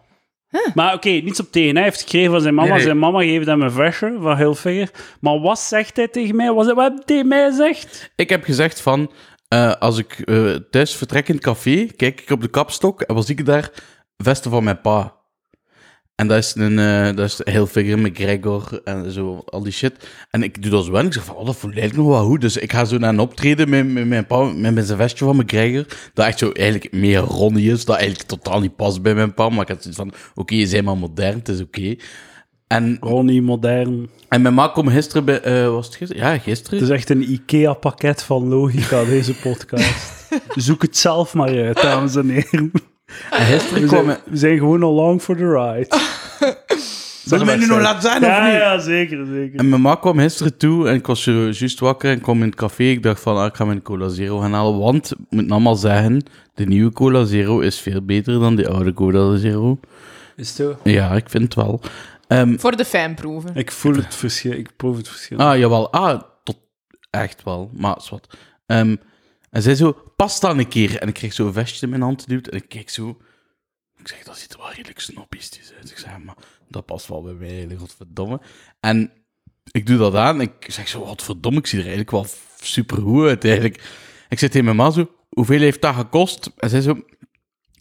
Speaker 1: Maar oké, niets op tegen. Hij heeft het gekregen van zijn mama.
Speaker 2: Nee, nee.
Speaker 1: Zijn mama geeft hem een versje van Hilfiger. Maar wat zegt hij tegen mij? Wat, wat hij tegen mij zegt?
Speaker 2: Ik heb gezegd van... eh, als ik eh, thuis vertrek in het café, kijk ik op de kapstok en was ik daar vesten van mijn pa. En dat is een eh, dat is heel figure met Gregor en zo, al die shit. En ik doe dat zo en ik zeg van, oh, dat voelt eigenlijk nog wel goed. Dus ik ga zo naar een optreden met, met mijn pa, met, met zijn vestje van McGregor. Dat echt zo eigenlijk meer ronnie is, dat eigenlijk totaal niet past bij mijn pa. Maar ik had zoiets van, oké, je bent maar modern, het is oké. En,
Speaker 1: Ronnie, modern.
Speaker 2: en mijn ma kwam gisteren bij, eh, was het gisteren? Ja, gisteren.
Speaker 1: Het is echt een IKEA-pakket van logica, deze podcast. Zoek het zelf maar uit, dames en heren.
Speaker 2: En gisteren
Speaker 1: We
Speaker 2: kwam
Speaker 1: zijn, we zijn gewoon along for the ride.
Speaker 2: Zullen we nu nog laten zijn of
Speaker 1: Ja,
Speaker 2: niet?
Speaker 1: ja, zeker, zeker.
Speaker 2: En mijn ma kwam gisteren toe en ik was zo juist wakker en kwam in het café. Ik dacht van, ah, ik ga mijn Cola Zero gaan halen. Want, ik moet nou maar zeggen, de nieuwe Cola Zero is veel beter dan de oude Cola Zero.
Speaker 4: Is het zo?
Speaker 2: Ja, ik vind het wel. Ehm,
Speaker 3: Voor de fijnproeven.
Speaker 1: Ik voel het verschil, ik proef het verschil.
Speaker 2: ah, jawel. Ah, tot, echt wel. Maar, is wat. Ehm, en zij zo, pas dan een keer. En ik kreeg zo'n vestje in mijn hand duwt en ik keek zo... Ik zeg, dat ziet er wel redelijk snobistisch uit. Ik zeg, maar dat past wel bij mij, godverdomme. En ik doe dat aan. Ik zeg zo, wat verdomme, ik zie er eigenlijk wel super goed uit eigenlijk. Ik zit tegen mijn ma zo, hoeveel heeft dat gekost? En zij zo,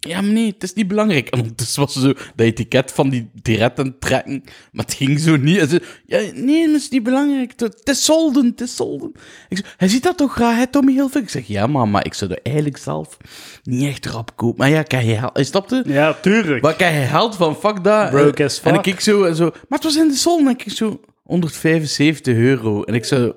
Speaker 2: ja maar nee, het is niet belangrijk. En ondertussen was ze zo, dat etiket van die diretten trekken, maar het ging zo niet. En ze, ja nee, maar het is niet belangrijk. Het het is solden, het is solden. Ik zeg, hij ziet dat toch graag, hè Tommy Hilfiger? Ik zeg, ja mama, maar ik zou dat eigenlijk zelf niet echt rap kopen. Maar ja, kijk, hij stapte...
Speaker 1: Ja, tuurlijk.
Speaker 2: Wat krijg je geld van? Fuck dat.
Speaker 1: Broke as fuck.
Speaker 2: En ik kijk zo en zo. Maar het was in de zon. En ik kijk zo. 175 euro. En ik zo.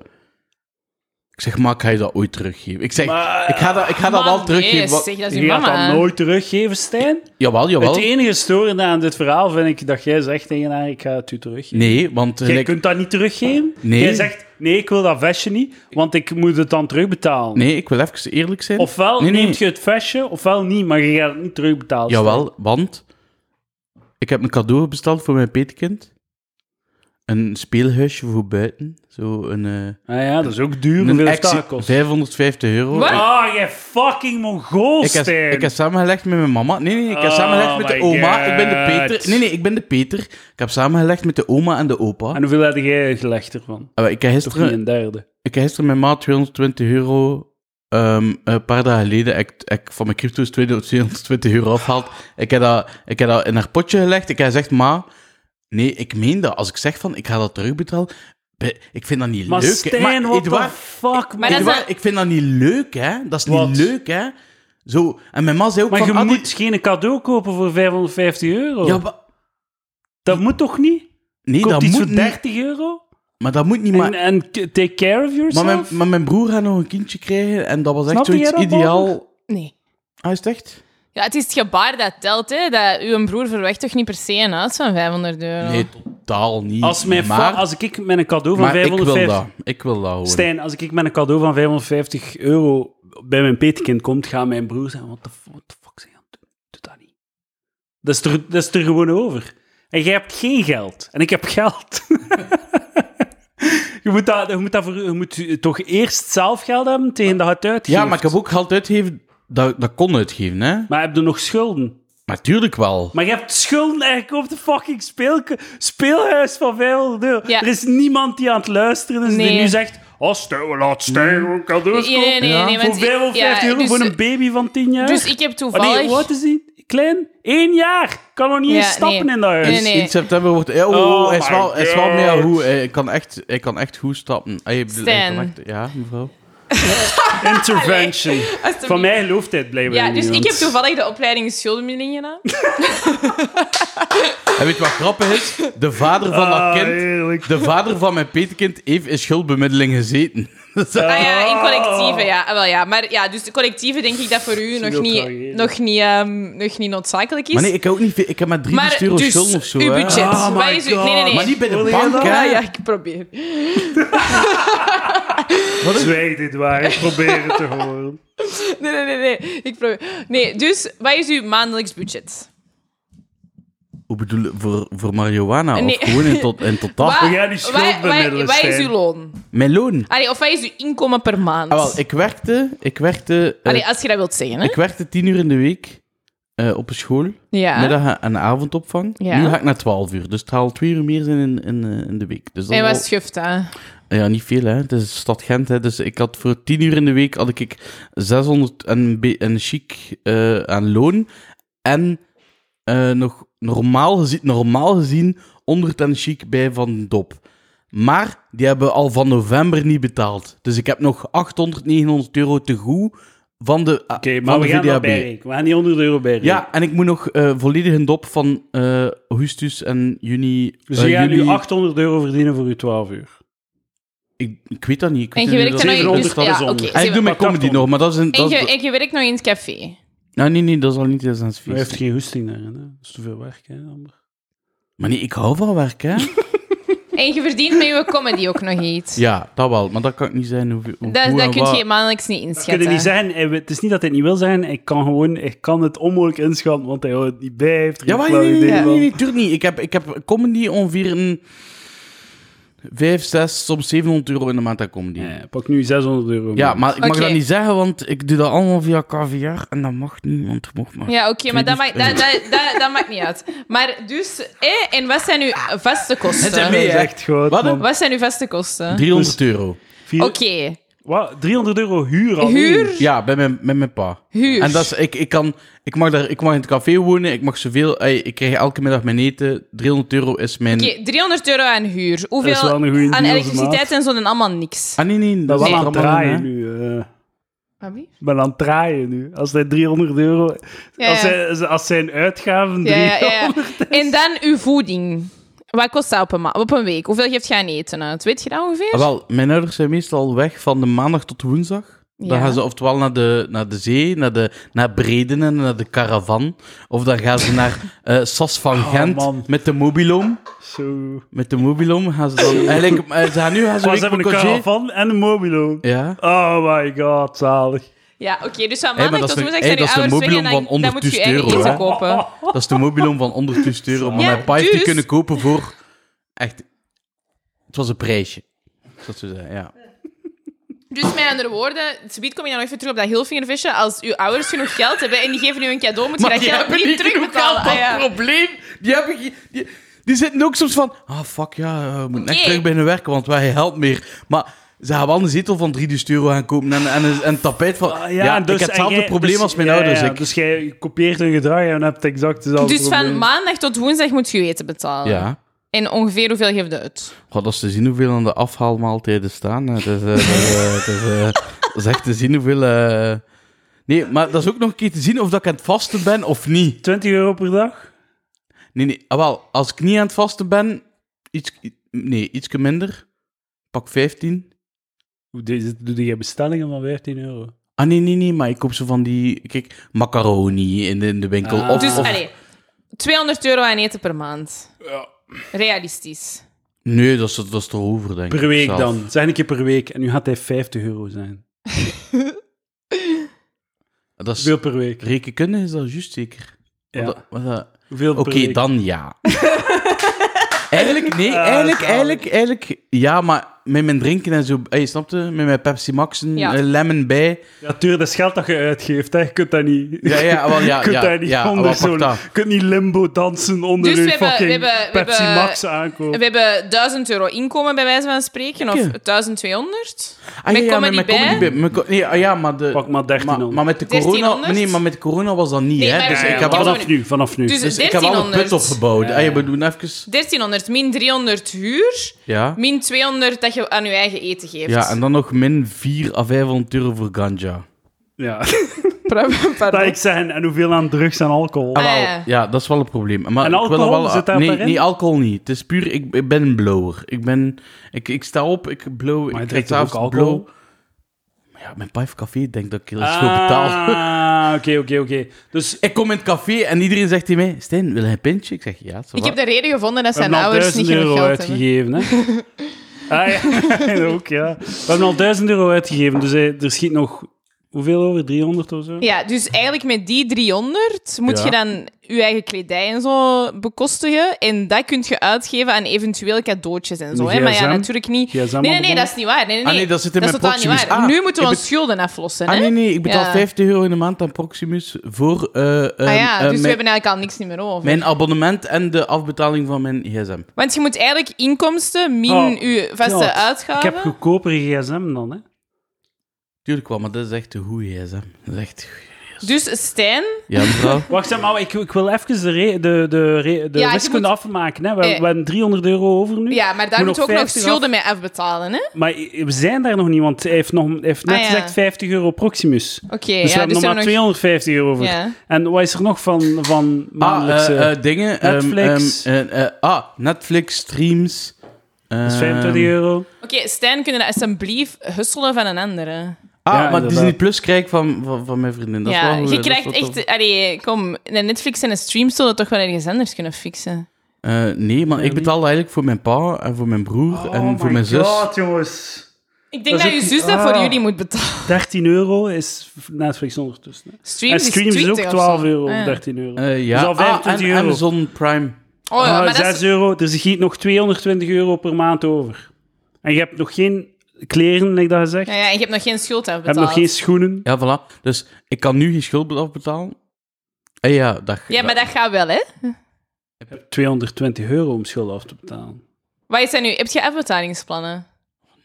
Speaker 2: Ik zeg, maar ga je dat ooit teruggeven? Ik zeg,
Speaker 1: Maar-
Speaker 2: ik ga dat, ik ga dat wel
Speaker 3: Man,
Speaker 2: teruggeven.
Speaker 3: nee,
Speaker 2: Wat-
Speaker 3: zeg, dat is
Speaker 1: Je
Speaker 3: uw
Speaker 1: gaat
Speaker 3: mama.
Speaker 1: dat nooit teruggeven, Stijn?
Speaker 2: Jawel, jawel.
Speaker 1: Het e- enige storende aan dit verhaal vind ik dat jij zegt tegen haar, ik ga het u teruggeven.
Speaker 2: Nee, want eh,
Speaker 1: Jij
Speaker 2: like-
Speaker 1: kunt dat niet teruggeven?
Speaker 2: Nee.
Speaker 1: Jij zegt, nee, ik wil dat vestje niet, want ik moet het dan terugbetalen.
Speaker 2: nee, ik wil even eerlijk zijn.
Speaker 1: Ofwel
Speaker 2: nee, nee.
Speaker 1: neemt je het vestje, ofwel niet, maar je gaat het niet terugbetalen.
Speaker 2: Jawel, want ik heb een cadeau besteld voor mijn petekind. Een speelhuisje voor buiten. Zo een, eh,
Speaker 1: Ah ja, dat is ook duur.
Speaker 2: een
Speaker 1: Hoeveel heeft
Speaker 2: actie-
Speaker 1: dat gekost?
Speaker 2: 550 euro.
Speaker 3: Wat?
Speaker 1: Ah, jij fucking mongool,
Speaker 2: Ik heb,
Speaker 1: Stijn.
Speaker 2: ik heb samengelegd met mijn mama. Nee, nee, ik heb
Speaker 1: Oh
Speaker 2: samengelegd met de
Speaker 1: my
Speaker 2: oma. Ik ben de
Speaker 1: God.
Speaker 2: Peter. Nee, nee, ik ben de Peter. Ik heb samengelegd met de oma en de opa.
Speaker 1: En hoeveel had jij gelegd ervan?
Speaker 2: Eh, ik, heb
Speaker 1: Toch niet
Speaker 2: gisteren,
Speaker 1: een derde?
Speaker 2: ik heb gisteren mijn ma 220 euro... ehm, een paar dagen geleden, ik, ik van mijn crypto's 220 euro afhaald. Ik heb, dat, ik heb dat in haar potje gelegd. Ik heb gezegd, ma, nee, ik meen dat. Als ik zeg van, ik ga dat terugbetalen, be- ik vind dat niet
Speaker 1: Maar
Speaker 2: leuk. hè.
Speaker 1: Stijn,
Speaker 2: maar,
Speaker 1: what the
Speaker 2: Edouard,
Speaker 1: fuck, man.
Speaker 3: Maar dat is
Speaker 2: Edouard,
Speaker 3: een-
Speaker 2: ik vind dat niet leuk, hè. Dat is
Speaker 1: Wat?
Speaker 2: niet leuk, hè. Zo, en mijn ma zei ook
Speaker 1: Maar
Speaker 2: van...
Speaker 1: je
Speaker 2: ah, die-
Speaker 1: moet geen cadeau kopen voor 550 euro.
Speaker 2: Ja, maar-
Speaker 1: dat moet toch niet?
Speaker 2: Nee,
Speaker 1: Koop
Speaker 2: dat
Speaker 1: iets
Speaker 2: moet
Speaker 1: voor
Speaker 2: niet.
Speaker 1: 30 euro
Speaker 2: Maar dat moet niet. Maar,
Speaker 1: en, eh, en k- take care of
Speaker 2: maar,
Speaker 1: yourself.
Speaker 2: mijn, maar mijn broer gaat nog een kindje krijgen en dat was echt
Speaker 1: Snapte
Speaker 2: zoiets
Speaker 1: jij dat,
Speaker 2: ideaal.
Speaker 1: Walter?
Speaker 3: Nee.
Speaker 2: Ah, is het echt?
Speaker 3: Ja, het is het gebaar dat telt, hè. Dat uw broer verwacht toch niet per se een huis van 500 euro?
Speaker 2: Nee, totaal niet.
Speaker 1: als, mijn fa-
Speaker 2: maar,
Speaker 1: als ik met een cadeau van
Speaker 2: maar ik wil
Speaker 1: 550...
Speaker 2: dat. Ik wil dat hoor.
Speaker 1: Stijn, als ik met een cadeau van 550 euro bij mijn petekind komt, gaat mijn broer zeggen, wat de fuck zijn je aan het doen? Doe dat niet. Dat is, er, dat is er gewoon over. En jij hebt geen geld. En ik heb geld. je, moet dat, je, moet dat voor, je moet toch eerst zelf geld hebben tegen dat je het uitgeeft.
Speaker 2: Ja, maar ik heb ook geld uitgeven. Dat, dat kon uitgeven, hè?
Speaker 1: Maar heb je nog schulden?
Speaker 2: Maar tuurlijk wel.
Speaker 1: Maar je hebt schulden eigenlijk op de fucking speel, speelhuis van 500 euro.
Speaker 3: Ja.
Speaker 1: Er is niemand die aan het luisteren is die
Speaker 3: Nee.
Speaker 1: nu zegt... Oh, stel, laat stijgen, gewoon cadeaus
Speaker 3: Nee, nee, nee,
Speaker 1: kopen."
Speaker 3: nee, nee,
Speaker 1: Voor
Speaker 3: want ik-
Speaker 1: 550
Speaker 3: ja,
Speaker 1: euro
Speaker 3: dus-
Speaker 1: voor een baby van 10 jaar?
Speaker 3: Dus ik heb
Speaker 1: Oh,
Speaker 3: toevallig...
Speaker 1: nee, hoe oud is die? Klein? Eén jaar! Kan nog niet
Speaker 3: Ja,
Speaker 1: eens stappen
Speaker 3: nee.
Speaker 1: in dat huis.
Speaker 3: Nee, nee.
Speaker 2: In september wordt. Ja, oh,
Speaker 1: Oh
Speaker 2: oh, hij, is
Speaker 1: my
Speaker 2: wel, hij is wel
Speaker 1: God.
Speaker 2: meer goed. Hij kan echt, hij kan echt goed stappen. Hij, hij kan
Speaker 3: Stijn.
Speaker 2: echt- ja, mevrouw.
Speaker 1: Intervention.
Speaker 3: Alsjeblieft.
Speaker 1: Van mij gelooft hij het blijkbaar
Speaker 3: Ja,
Speaker 1: niet,
Speaker 3: dus ik
Speaker 1: want-
Speaker 3: heb toevallig de opleiding schuldenbediening gedaan.
Speaker 2: En weet je wat grappig is? De vader van
Speaker 1: Ah,
Speaker 2: dat kind.
Speaker 1: heerlijk.
Speaker 2: De vader van mijn petekind heeft in schuldbemiddeling gezeten. Dat is-
Speaker 3: Ah ja, in
Speaker 1: Oh.
Speaker 3: collectieven, ja. Ah, wel, ja. Maar ja, dus de collectieven denk ik dat voor u nog
Speaker 1: heel
Speaker 3: niet,
Speaker 1: tragedie.
Speaker 3: nog, niet, ehm, nog niet noodzakelijk is.
Speaker 2: Maar nee, ik heb ook niet veel. Ik heb maar 300 euro
Speaker 3: dus,
Speaker 2: schulden of zo.
Speaker 3: uw
Speaker 2: hè.
Speaker 3: budget.
Speaker 1: Oh my
Speaker 3: Wat is uw... Nee, nee, nee.
Speaker 2: Maar niet bij de
Speaker 1: Wil je
Speaker 2: bank,
Speaker 1: dat?
Speaker 2: hè?
Speaker 3: Ja, ja, ik probeer.
Speaker 1: Zwijg dit waar, ik probeer het te horen.
Speaker 3: Nee, nee, nee, nee. Ik probeer. Nee, dus wat is uw maandelijks budget?
Speaker 2: Hoe bedoel je, voor, voor marihuana?
Speaker 3: Nee.
Speaker 2: Of gewoon in, tot, in totaal?
Speaker 3: Wat-
Speaker 1: we gaan die
Speaker 3: wat-
Speaker 1: schuld
Speaker 3: wat-
Speaker 1: bemiddelen,
Speaker 3: Wat is
Speaker 1: Stijn.
Speaker 3: uw loon?
Speaker 2: Mijn loon.
Speaker 3: Allee, of wat is uw inkomen per maand?
Speaker 2: Ah, wel, ik werkte, ik, werkte, eh,
Speaker 3: Allee, als je dat wilt zeggen, hè?
Speaker 2: ik werkte 10 uur in de week eh, op een school.
Speaker 3: Ja.
Speaker 2: Middag- en avondopvang.
Speaker 3: Ja.
Speaker 2: Nu ga ik naar 12 uur. Dus het haalt 2 uur meer zijn in, in, eh, in de week. Dus dat
Speaker 3: En
Speaker 2: is
Speaker 3: wat
Speaker 2: al-
Speaker 3: schuft dat?
Speaker 2: Ja, niet veel, hè. Het is de stad Gent, hè. Dus ik had voor 10 uur in de week had ik 600 en, be- en chic eh, aan loon. En eh, nog normaal gezien, normaal gezien 100 en chic bij Van Dop. Maar die hebben al van november niet betaald. Dus ik heb nog 800, 900 euro te goed van de Oké,
Speaker 1: Oké, maar we gaan dat bijrekenen. We gaan die 100 euro bijrekenen.
Speaker 2: Ja, en ik moet nog eh, volledig een dop van eh, augustus en juni.
Speaker 1: Dus
Speaker 2: eh,
Speaker 1: je gaat
Speaker 2: juli.
Speaker 1: nu 800 euro verdienen voor je 12 uur.
Speaker 2: Ik, ik weet dat niet. Ik
Speaker 3: En
Speaker 2: weet
Speaker 3: je
Speaker 2: niet
Speaker 3: werkt
Speaker 2: hoe
Speaker 3: er
Speaker 2: dat-
Speaker 3: nog in... dus-
Speaker 1: 700, dat is
Speaker 3: ja,
Speaker 1: onder.
Speaker 3: oké,
Speaker 2: Ah, ik doe mijn
Speaker 1: Maar
Speaker 2: comedy
Speaker 1: 800.
Speaker 2: nog, maar dat is een...
Speaker 3: En
Speaker 2: Dat is-
Speaker 3: je, en je werkt nog in het café.
Speaker 2: Nou, nee, nee, dat is al niet eens aan het
Speaker 1: Hij heeft
Speaker 2: feest.
Speaker 1: geen hoesting daarin, hè. Dat is te veel werk, hè, Amber?
Speaker 2: Maar nee, ik hou van werk, hè?
Speaker 3: En je verdient met je comedy ook nog iets.
Speaker 2: ja, dat wel. Maar dat kan ik niet zijn hoe, hoe,
Speaker 3: dat
Speaker 2: hoe
Speaker 3: dat
Speaker 2: en
Speaker 3: kun
Speaker 2: wat.
Speaker 3: je maandelijks niet inschatten.
Speaker 1: kunnen niet zeggen, eh, het is niet dat hij het niet wil zeggen, ik kan gewoon, ik kan het onmogelijk inschatten, want hij houdt het niet bij, hij heeft er
Speaker 2: Ja,
Speaker 1: geen
Speaker 2: maar
Speaker 1: flauw
Speaker 2: nee, nee, nee,
Speaker 1: idee
Speaker 2: nee,
Speaker 1: van.
Speaker 2: nee, tuurlijk niet. Ik heb, ik heb comedy ongeveer een... Vijf, zes, soms 700 euro in de maand aan comedy. Ja,
Speaker 1: Ja, pak nu 600 euro.
Speaker 2: maar ik mag
Speaker 3: Oké.
Speaker 2: dat niet zeggen, want ik doe dat allemaal via KVR. En dat mag niet, want het mocht maar.
Speaker 3: Ja, oké, maar dat maakt,
Speaker 2: Krediet-
Speaker 3: dat, dat, dat, dat maakt niet uit. Maar dus, eh, en wat zijn uw vaste
Speaker 2: zijn
Speaker 3: kosten?
Speaker 2: meer.
Speaker 1: dat is
Speaker 2: hè?
Speaker 1: echt goed,
Speaker 2: Wat een-
Speaker 1: man.
Speaker 3: Wat zijn uw vaste kosten?
Speaker 2: 300 euro.
Speaker 1: Vier-
Speaker 3: Oké,
Speaker 1: Wat? 300 euro huur alleen?
Speaker 3: huur,
Speaker 2: Ja, bij mijn, met mijn pa.
Speaker 3: huur.
Speaker 2: En dat is, ik, ik, kan, ik, mag daar, ik mag in het café wonen, ik mag zoveel... ey, Ik krijg elke middag mijn eten. 300 euro is mijn...
Speaker 3: Oké, 300 euro aan huur. Hoeveel
Speaker 1: Dat is wel een goeie
Speaker 3: aan
Speaker 1: deal,
Speaker 3: elektriciteit en zo en allemaal niks.
Speaker 2: Ah, nee, nee.
Speaker 1: Dat
Speaker 2: is
Speaker 1: is wel aan het
Speaker 2: allemaal
Speaker 1: draaien
Speaker 2: een, hè.
Speaker 1: nu. eh. Ik ben aan het draaien nu. Als hij 300 euro...
Speaker 3: Ja,
Speaker 1: Als,
Speaker 3: ja.
Speaker 1: hij, als zijn uitgaven...
Speaker 3: Ja, ja,
Speaker 1: 300
Speaker 3: ja, ja. En dan uw voeding. Wat kost dat op een, ma- op een week? Hoeveel geeft je aan eten uit? Weet je dat ongeveer?
Speaker 2: Ah, Wel, mijn ouders zijn meestal weg van de maandag tot woensdag. Dan
Speaker 3: Ja.
Speaker 2: gaan ze oftewel naar de, naar de zee, naar, de, naar Breden en naar de caravan. Of dan gaan ze naar eh, Sas van Gent
Speaker 1: Oh, man.
Speaker 2: met de mobiloom.
Speaker 1: Zo.
Speaker 2: Met de mobiloom gaan ze dan... Eigenlijk, eh, ze gaan nu gaan ze
Speaker 1: Maar ze
Speaker 2: week
Speaker 1: hebben een
Speaker 2: met congé.
Speaker 1: caravan en een mobilo.
Speaker 2: Ja.
Speaker 1: Oh my god, zalig.
Speaker 3: Ja, oké, dus van
Speaker 2: Hey, maar
Speaker 3: maandag
Speaker 2: dat
Speaker 3: tot
Speaker 2: is
Speaker 3: woensdag
Speaker 2: een-
Speaker 3: zijn uw
Speaker 2: hey, dat is een
Speaker 3: ouders weg en
Speaker 2: mobielom
Speaker 3: dan,
Speaker 2: van
Speaker 3: dan moet je je
Speaker 2: 100
Speaker 3: eigen
Speaker 2: euro,
Speaker 3: eten
Speaker 2: hè?
Speaker 3: kopen.
Speaker 2: Dat is de mobiloom van 100 euro. Maar
Speaker 3: Ja,
Speaker 2: mijn pa heeft die
Speaker 3: dus-
Speaker 2: kunnen kopen voor... Echt... Het was een prijsje. Dat ze zeggen, ja.
Speaker 3: Dus met andere woorden, subiet kom je dan nog even terug op dat Hilfingervisje. Als uw ouders genoeg geld hebben en die geven u een cadeau, moet je dat geld niet terugbetalen.
Speaker 2: dat
Speaker 3: Ah, ja.
Speaker 2: probleem. Die, hebben, ge- die, die zitten ook soms van... Ah, fuck ja, eh, we moeten echt
Speaker 3: Oké.
Speaker 2: terug beginnen werken, want wij helpt meer. Maar ze gaan wel een zetel van 3000 euro gaan kopen en, en, een- en een tapijt van...
Speaker 1: Ah, dus-
Speaker 2: ja, ik heb
Speaker 1: en
Speaker 2: hetzelfde
Speaker 1: jij-
Speaker 2: probleem
Speaker 1: dus-
Speaker 2: als mijn
Speaker 1: ja,
Speaker 2: ouders.
Speaker 1: ja,
Speaker 2: ik,
Speaker 1: Dus jij kopieert hun gedrag en hebt exact dezelfde
Speaker 3: Dus van
Speaker 1: probleem.
Speaker 3: maandag tot woensdag moet je je eten betalen.
Speaker 2: ja.
Speaker 3: En ongeveer hoeveel geeft dat uit?
Speaker 2: God, dat is te zien hoeveel aan de afhaalmaaltijden staan. hè. Het is, eh, dat, eh, het is, eh, dat is echt te zien hoeveel... eh, Nee, maar dat is ook nog een keer te zien of dat ik aan het vasten ben of niet.
Speaker 1: 20 euro per dag?
Speaker 2: Nee, nee. ah, wel, als ik niet aan het vasten ben, iets, i- nee, ietsje minder. Pak 15.
Speaker 1: Hoe deze- Doe je bestellingen van 15 euro?
Speaker 2: Ah, nee, nee, nee, maar ik koop zo van die, kijk, macaroni in de, in de winkel.
Speaker 1: Ah.
Speaker 2: Of,
Speaker 3: Dus,
Speaker 2: of-
Speaker 3: allee, 200 euro aan eten per maand. Realistisch.
Speaker 2: nee, dat is, dat is erover, denk ik.
Speaker 1: Per week
Speaker 2: zelf.
Speaker 1: dan. Zeg een keer per week. En nu gaat hij 50 euro zijn.
Speaker 2: Ah, Dat is,
Speaker 1: Hoeveel per week?
Speaker 2: rekenkunde is dat juist zeker.
Speaker 1: Ja.
Speaker 2: Wat dat- wat dat-
Speaker 1: Hoeveel per
Speaker 2: Oké,
Speaker 1: week?
Speaker 2: dan ja. eigenlijk, nee,
Speaker 1: Ah,
Speaker 2: eigenlijk,
Speaker 1: zalig.
Speaker 2: eigenlijk, eigenlijk, ja, maar met mijn drinken en zo, hey, snapte? Met mijn Pepsi Maxen,
Speaker 3: Ja.
Speaker 2: eh, lemon bij.
Speaker 1: Ja, tuurlijk, dat is geld dat je uitgeeft. Hè. Je kunt dat niet...
Speaker 2: Ja, ja, ah, wel, ja,
Speaker 1: je kunt
Speaker 2: ja,
Speaker 1: daar niet
Speaker 2: ja, wel,
Speaker 1: onder
Speaker 2: pak
Speaker 1: zo'n...
Speaker 2: dat.
Speaker 1: Je kunt niet limbo dansen onder
Speaker 3: Dus
Speaker 1: je
Speaker 3: we hebben-
Speaker 1: fucking
Speaker 3: we hebben- we
Speaker 1: Pepsi
Speaker 3: hebben-
Speaker 1: Max aankoop.
Speaker 3: We hebben 1000 euro inkomen bij wijze van spreken, of
Speaker 2: Oké.
Speaker 3: 1200.
Speaker 2: Ah,
Speaker 3: Met
Speaker 2: ja, ja,
Speaker 3: comedy bij?
Speaker 2: comedy Mijn co- nee, ah, ja, maar de...
Speaker 1: Pak maar 13
Speaker 2: Maar, maar met de corona,
Speaker 3: 1300?
Speaker 2: nee, maar met de corona was dat niet,
Speaker 3: Nee,
Speaker 2: hè?
Speaker 3: maar- eh,
Speaker 2: Dus
Speaker 3: Ja, ja,
Speaker 2: ik heb
Speaker 3: maar
Speaker 2: al,
Speaker 3: dat-
Speaker 1: vanaf nu, vanaf nu.
Speaker 3: Dus
Speaker 2: dus ik heb al een put
Speaker 3: 1300.
Speaker 2: opgebouwd. Ah, ja, we doen even...
Speaker 3: 1300 min 300 huur,
Speaker 2: Ja.
Speaker 3: min 200 dat je aan je eigen eten geeft.
Speaker 2: Ja, en dan nog min 4 à 500 euro voor ganja.
Speaker 1: ja.
Speaker 3: Pardon.
Speaker 1: dat ik zeggen. En hoeveel aan drugs en alcohol?
Speaker 2: Ah,
Speaker 3: Ah,
Speaker 2: wel,
Speaker 3: ja.
Speaker 2: ja. dat is wel een probleem. Maar
Speaker 1: En
Speaker 2: ik wil dat
Speaker 1: alcohol,
Speaker 2: wel,
Speaker 1: zit daar
Speaker 2: nee,
Speaker 1: daarin?
Speaker 2: nee, alcohol niet. Het is puur, ik, ik ben een blower. Ik ben, ik, ik sta op, ik blow,
Speaker 1: Maar je
Speaker 2: ik
Speaker 1: drinkt
Speaker 2: ga
Speaker 1: toch ook
Speaker 2: s'avonds
Speaker 1: alcohol?
Speaker 2: blow. dus Maar ja, mijn pijf café denkt dat ik heel iets voor betaal.
Speaker 1: Ah, oké, oké, oké. Dus
Speaker 2: Ik kom in het café en iedereen zegt tegen mij, Stijn, wil je een pintje? Ik zeg, ja,
Speaker 3: Ik heb de reden gevonden dat
Speaker 1: we
Speaker 3: zijn
Speaker 1: hebben al
Speaker 3: ouders niet
Speaker 1: 1000
Speaker 3: genoeg
Speaker 1: euro
Speaker 3: geld hebben.
Speaker 1: uitgegeven, hè. Ah, ja, ook, ja. We hebben al 1000 euro uitgegeven, dus hij- er schiet nog... Hoeveel over? 300 of zo?
Speaker 3: Ja, dus eigenlijk met die 300 moet
Speaker 2: Ja.
Speaker 3: je dan je eigen kledij en zo bekostigen. En dat kun je uitgeven aan eventueel cadeautjes en zo.
Speaker 1: Een
Speaker 3: Hè? Maar ja,
Speaker 1: GSM?
Speaker 3: natuurlijk niet.
Speaker 1: GSM
Speaker 3: Nee, nee, nee,
Speaker 1: abonnement?
Speaker 3: dat is niet waar. Nee, nee,
Speaker 2: Ah, nee, dat zit in
Speaker 3: is
Speaker 2: mijn
Speaker 3: totaal niet
Speaker 2: Proximus.
Speaker 3: waar.
Speaker 2: Ah,
Speaker 3: nu moeten
Speaker 2: ik
Speaker 3: we
Speaker 2: be-
Speaker 3: ons schulden aflossen.
Speaker 2: Ah,
Speaker 3: hè?
Speaker 2: nee, nee, ik betaal
Speaker 3: Ja.
Speaker 2: 50 euro in de maand aan Proximus voor eh, eh,
Speaker 3: Ah ja,
Speaker 2: eh,
Speaker 3: dus we
Speaker 2: mijn,
Speaker 3: hebben eigenlijk al niks niet meer over.
Speaker 2: mijn abonnement en de afbetaling van mijn gsm.
Speaker 3: Want je moet eigenlijk inkomsten min
Speaker 1: Oh,
Speaker 3: je vaste
Speaker 1: knalt. Ik
Speaker 3: uitgaven.
Speaker 1: heb goedkoper gsm dan, hè.
Speaker 2: Tuurlijk wel, maar dat is echt een goede gsm. Dat is echt een goeie.
Speaker 3: Dus Stijn,
Speaker 2: Ja, mevrouw?
Speaker 1: Wacht, zeg maar, ik, ik wil even de, re- de, de, re- de
Speaker 3: Ja, je
Speaker 1: wiskunde
Speaker 3: moet-
Speaker 1: afmaken. Hè. We,
Speaker 3: Eh.
Speaker 1: we hebben 300 euro over nu.
Speaker 3: ja, maar daar
Speaker 1: Moet
Speaker 3: moet je
Speaker 1: nog
Speaker 3: ook nog
Speaker 1: 50 af.
Speaker 3: schulden mee afbetalen, hè?
Speaker 1: Maar we zijn daar nog niet, want hij heeft, nog, hij heeft net
Speaker 3: Ah, ja.
Speaker 1: gezegd 50 euro Proximus.
Speaker 3: Oké,
Speaker 1: dus we
Speaker 3: ja,
Speaker 1: hebben
Speaker 3: dus
Speaker 1: nog maar
Speaker 3: er nog...
Speaker 1: 250 euro voor.
Speaker 3: Ja.
Speaker 1: En wat is er nog van, van
Speaker 2: Ah,
Speaker 1: maandelijkse...
Speaker 2: eh, eh, dingen. ehm,
Speaker 1: Netflix.
Speaker 2: ehm, eh, eh, ah, Netflix, streams.
Speaker 1: dat is 25
Speaker 2: ehm,
Speaker 1: euro.
Speaker 3: Oké, Stijn, kunnen we dat alsjeblieft husselen van een andere?
Speaker 2: Ah,
Speaker 1: Ja,
Speaker 2: maar
Speaker 1: inderdaad.
Speaker 2: Disney Plus krijg ik van, van, van mijn vriendin. Dat is
Speaker 3: ja,
Speaker 2: wel,
Speaker 3: je
Speaker 2: dat is
Speaker 3: krijgt
Speaker 2: wel tof.
Speaker 3: echt... Allee, kom, een Netflix en een stream zullen toch wel ergens anders kunnen fixen.
Speaker 2: Eh, nee, maar ik betaalde eigenlijk voor mijn pa en voor mijn broer
Speaker 1: Oh
Speaker 2: en voor mijn zus.
Speaker 5: God, jongens.
Speaker 3: Ik denk
Speaker 5: Dat
Speaker 3: dat,
Speaker 5: is
Speaker 3: je
Speaker 5: ook-
Speaker 3: zus dat voor
Speaker 5: Ah.
Speaker 3: jullie moet betalen.
Speaker 5: 13 euro is Netflix ondertussen. hè.
Speaker 3: Streams,
Speaker 5: en streams is ook
Speaker 3: 20 of zo.
Speaker 5: 12 euro
Speaker 3: Ah,
Speaker 5: of
Speaker 3: ja.
Speaker 5: 13 euro.
Speaker 2: Eh, ja,
Speaker 5: Dus al
Speaker 2: Ah,
Speaker 5: 25
Speaker 2: en
Speaker 5: euro.
Speaker 2: Amazon Prime.
Speaker 3: Oh ja,
Speaker 5: Ah,
Speaker 3: maar dat
Speaker 1: 6
Speaker 3: is...
Speaker 1: euro, dus je giet nog 220 euro per maand over. En je hebt nog geen kleren, like dat gezegd.
Speaker 3: Ja, ja, en je hebt nog geen schuld
Speaker 1: je hebt
Speaker 3: afbetaald.
Speaker 1: nog geen schoenen.
Speaker 2: Ja, voilà. Dus ik kan nu geen schuld afbetalen. En ja, dat...
Speaker 3: Ja, maar dat gaat wel, hè?
Speaker 1: 220 euro om schulden af te betalen.
Speaker 3: Wat is dat nu? Heb je afbetalingsplannen?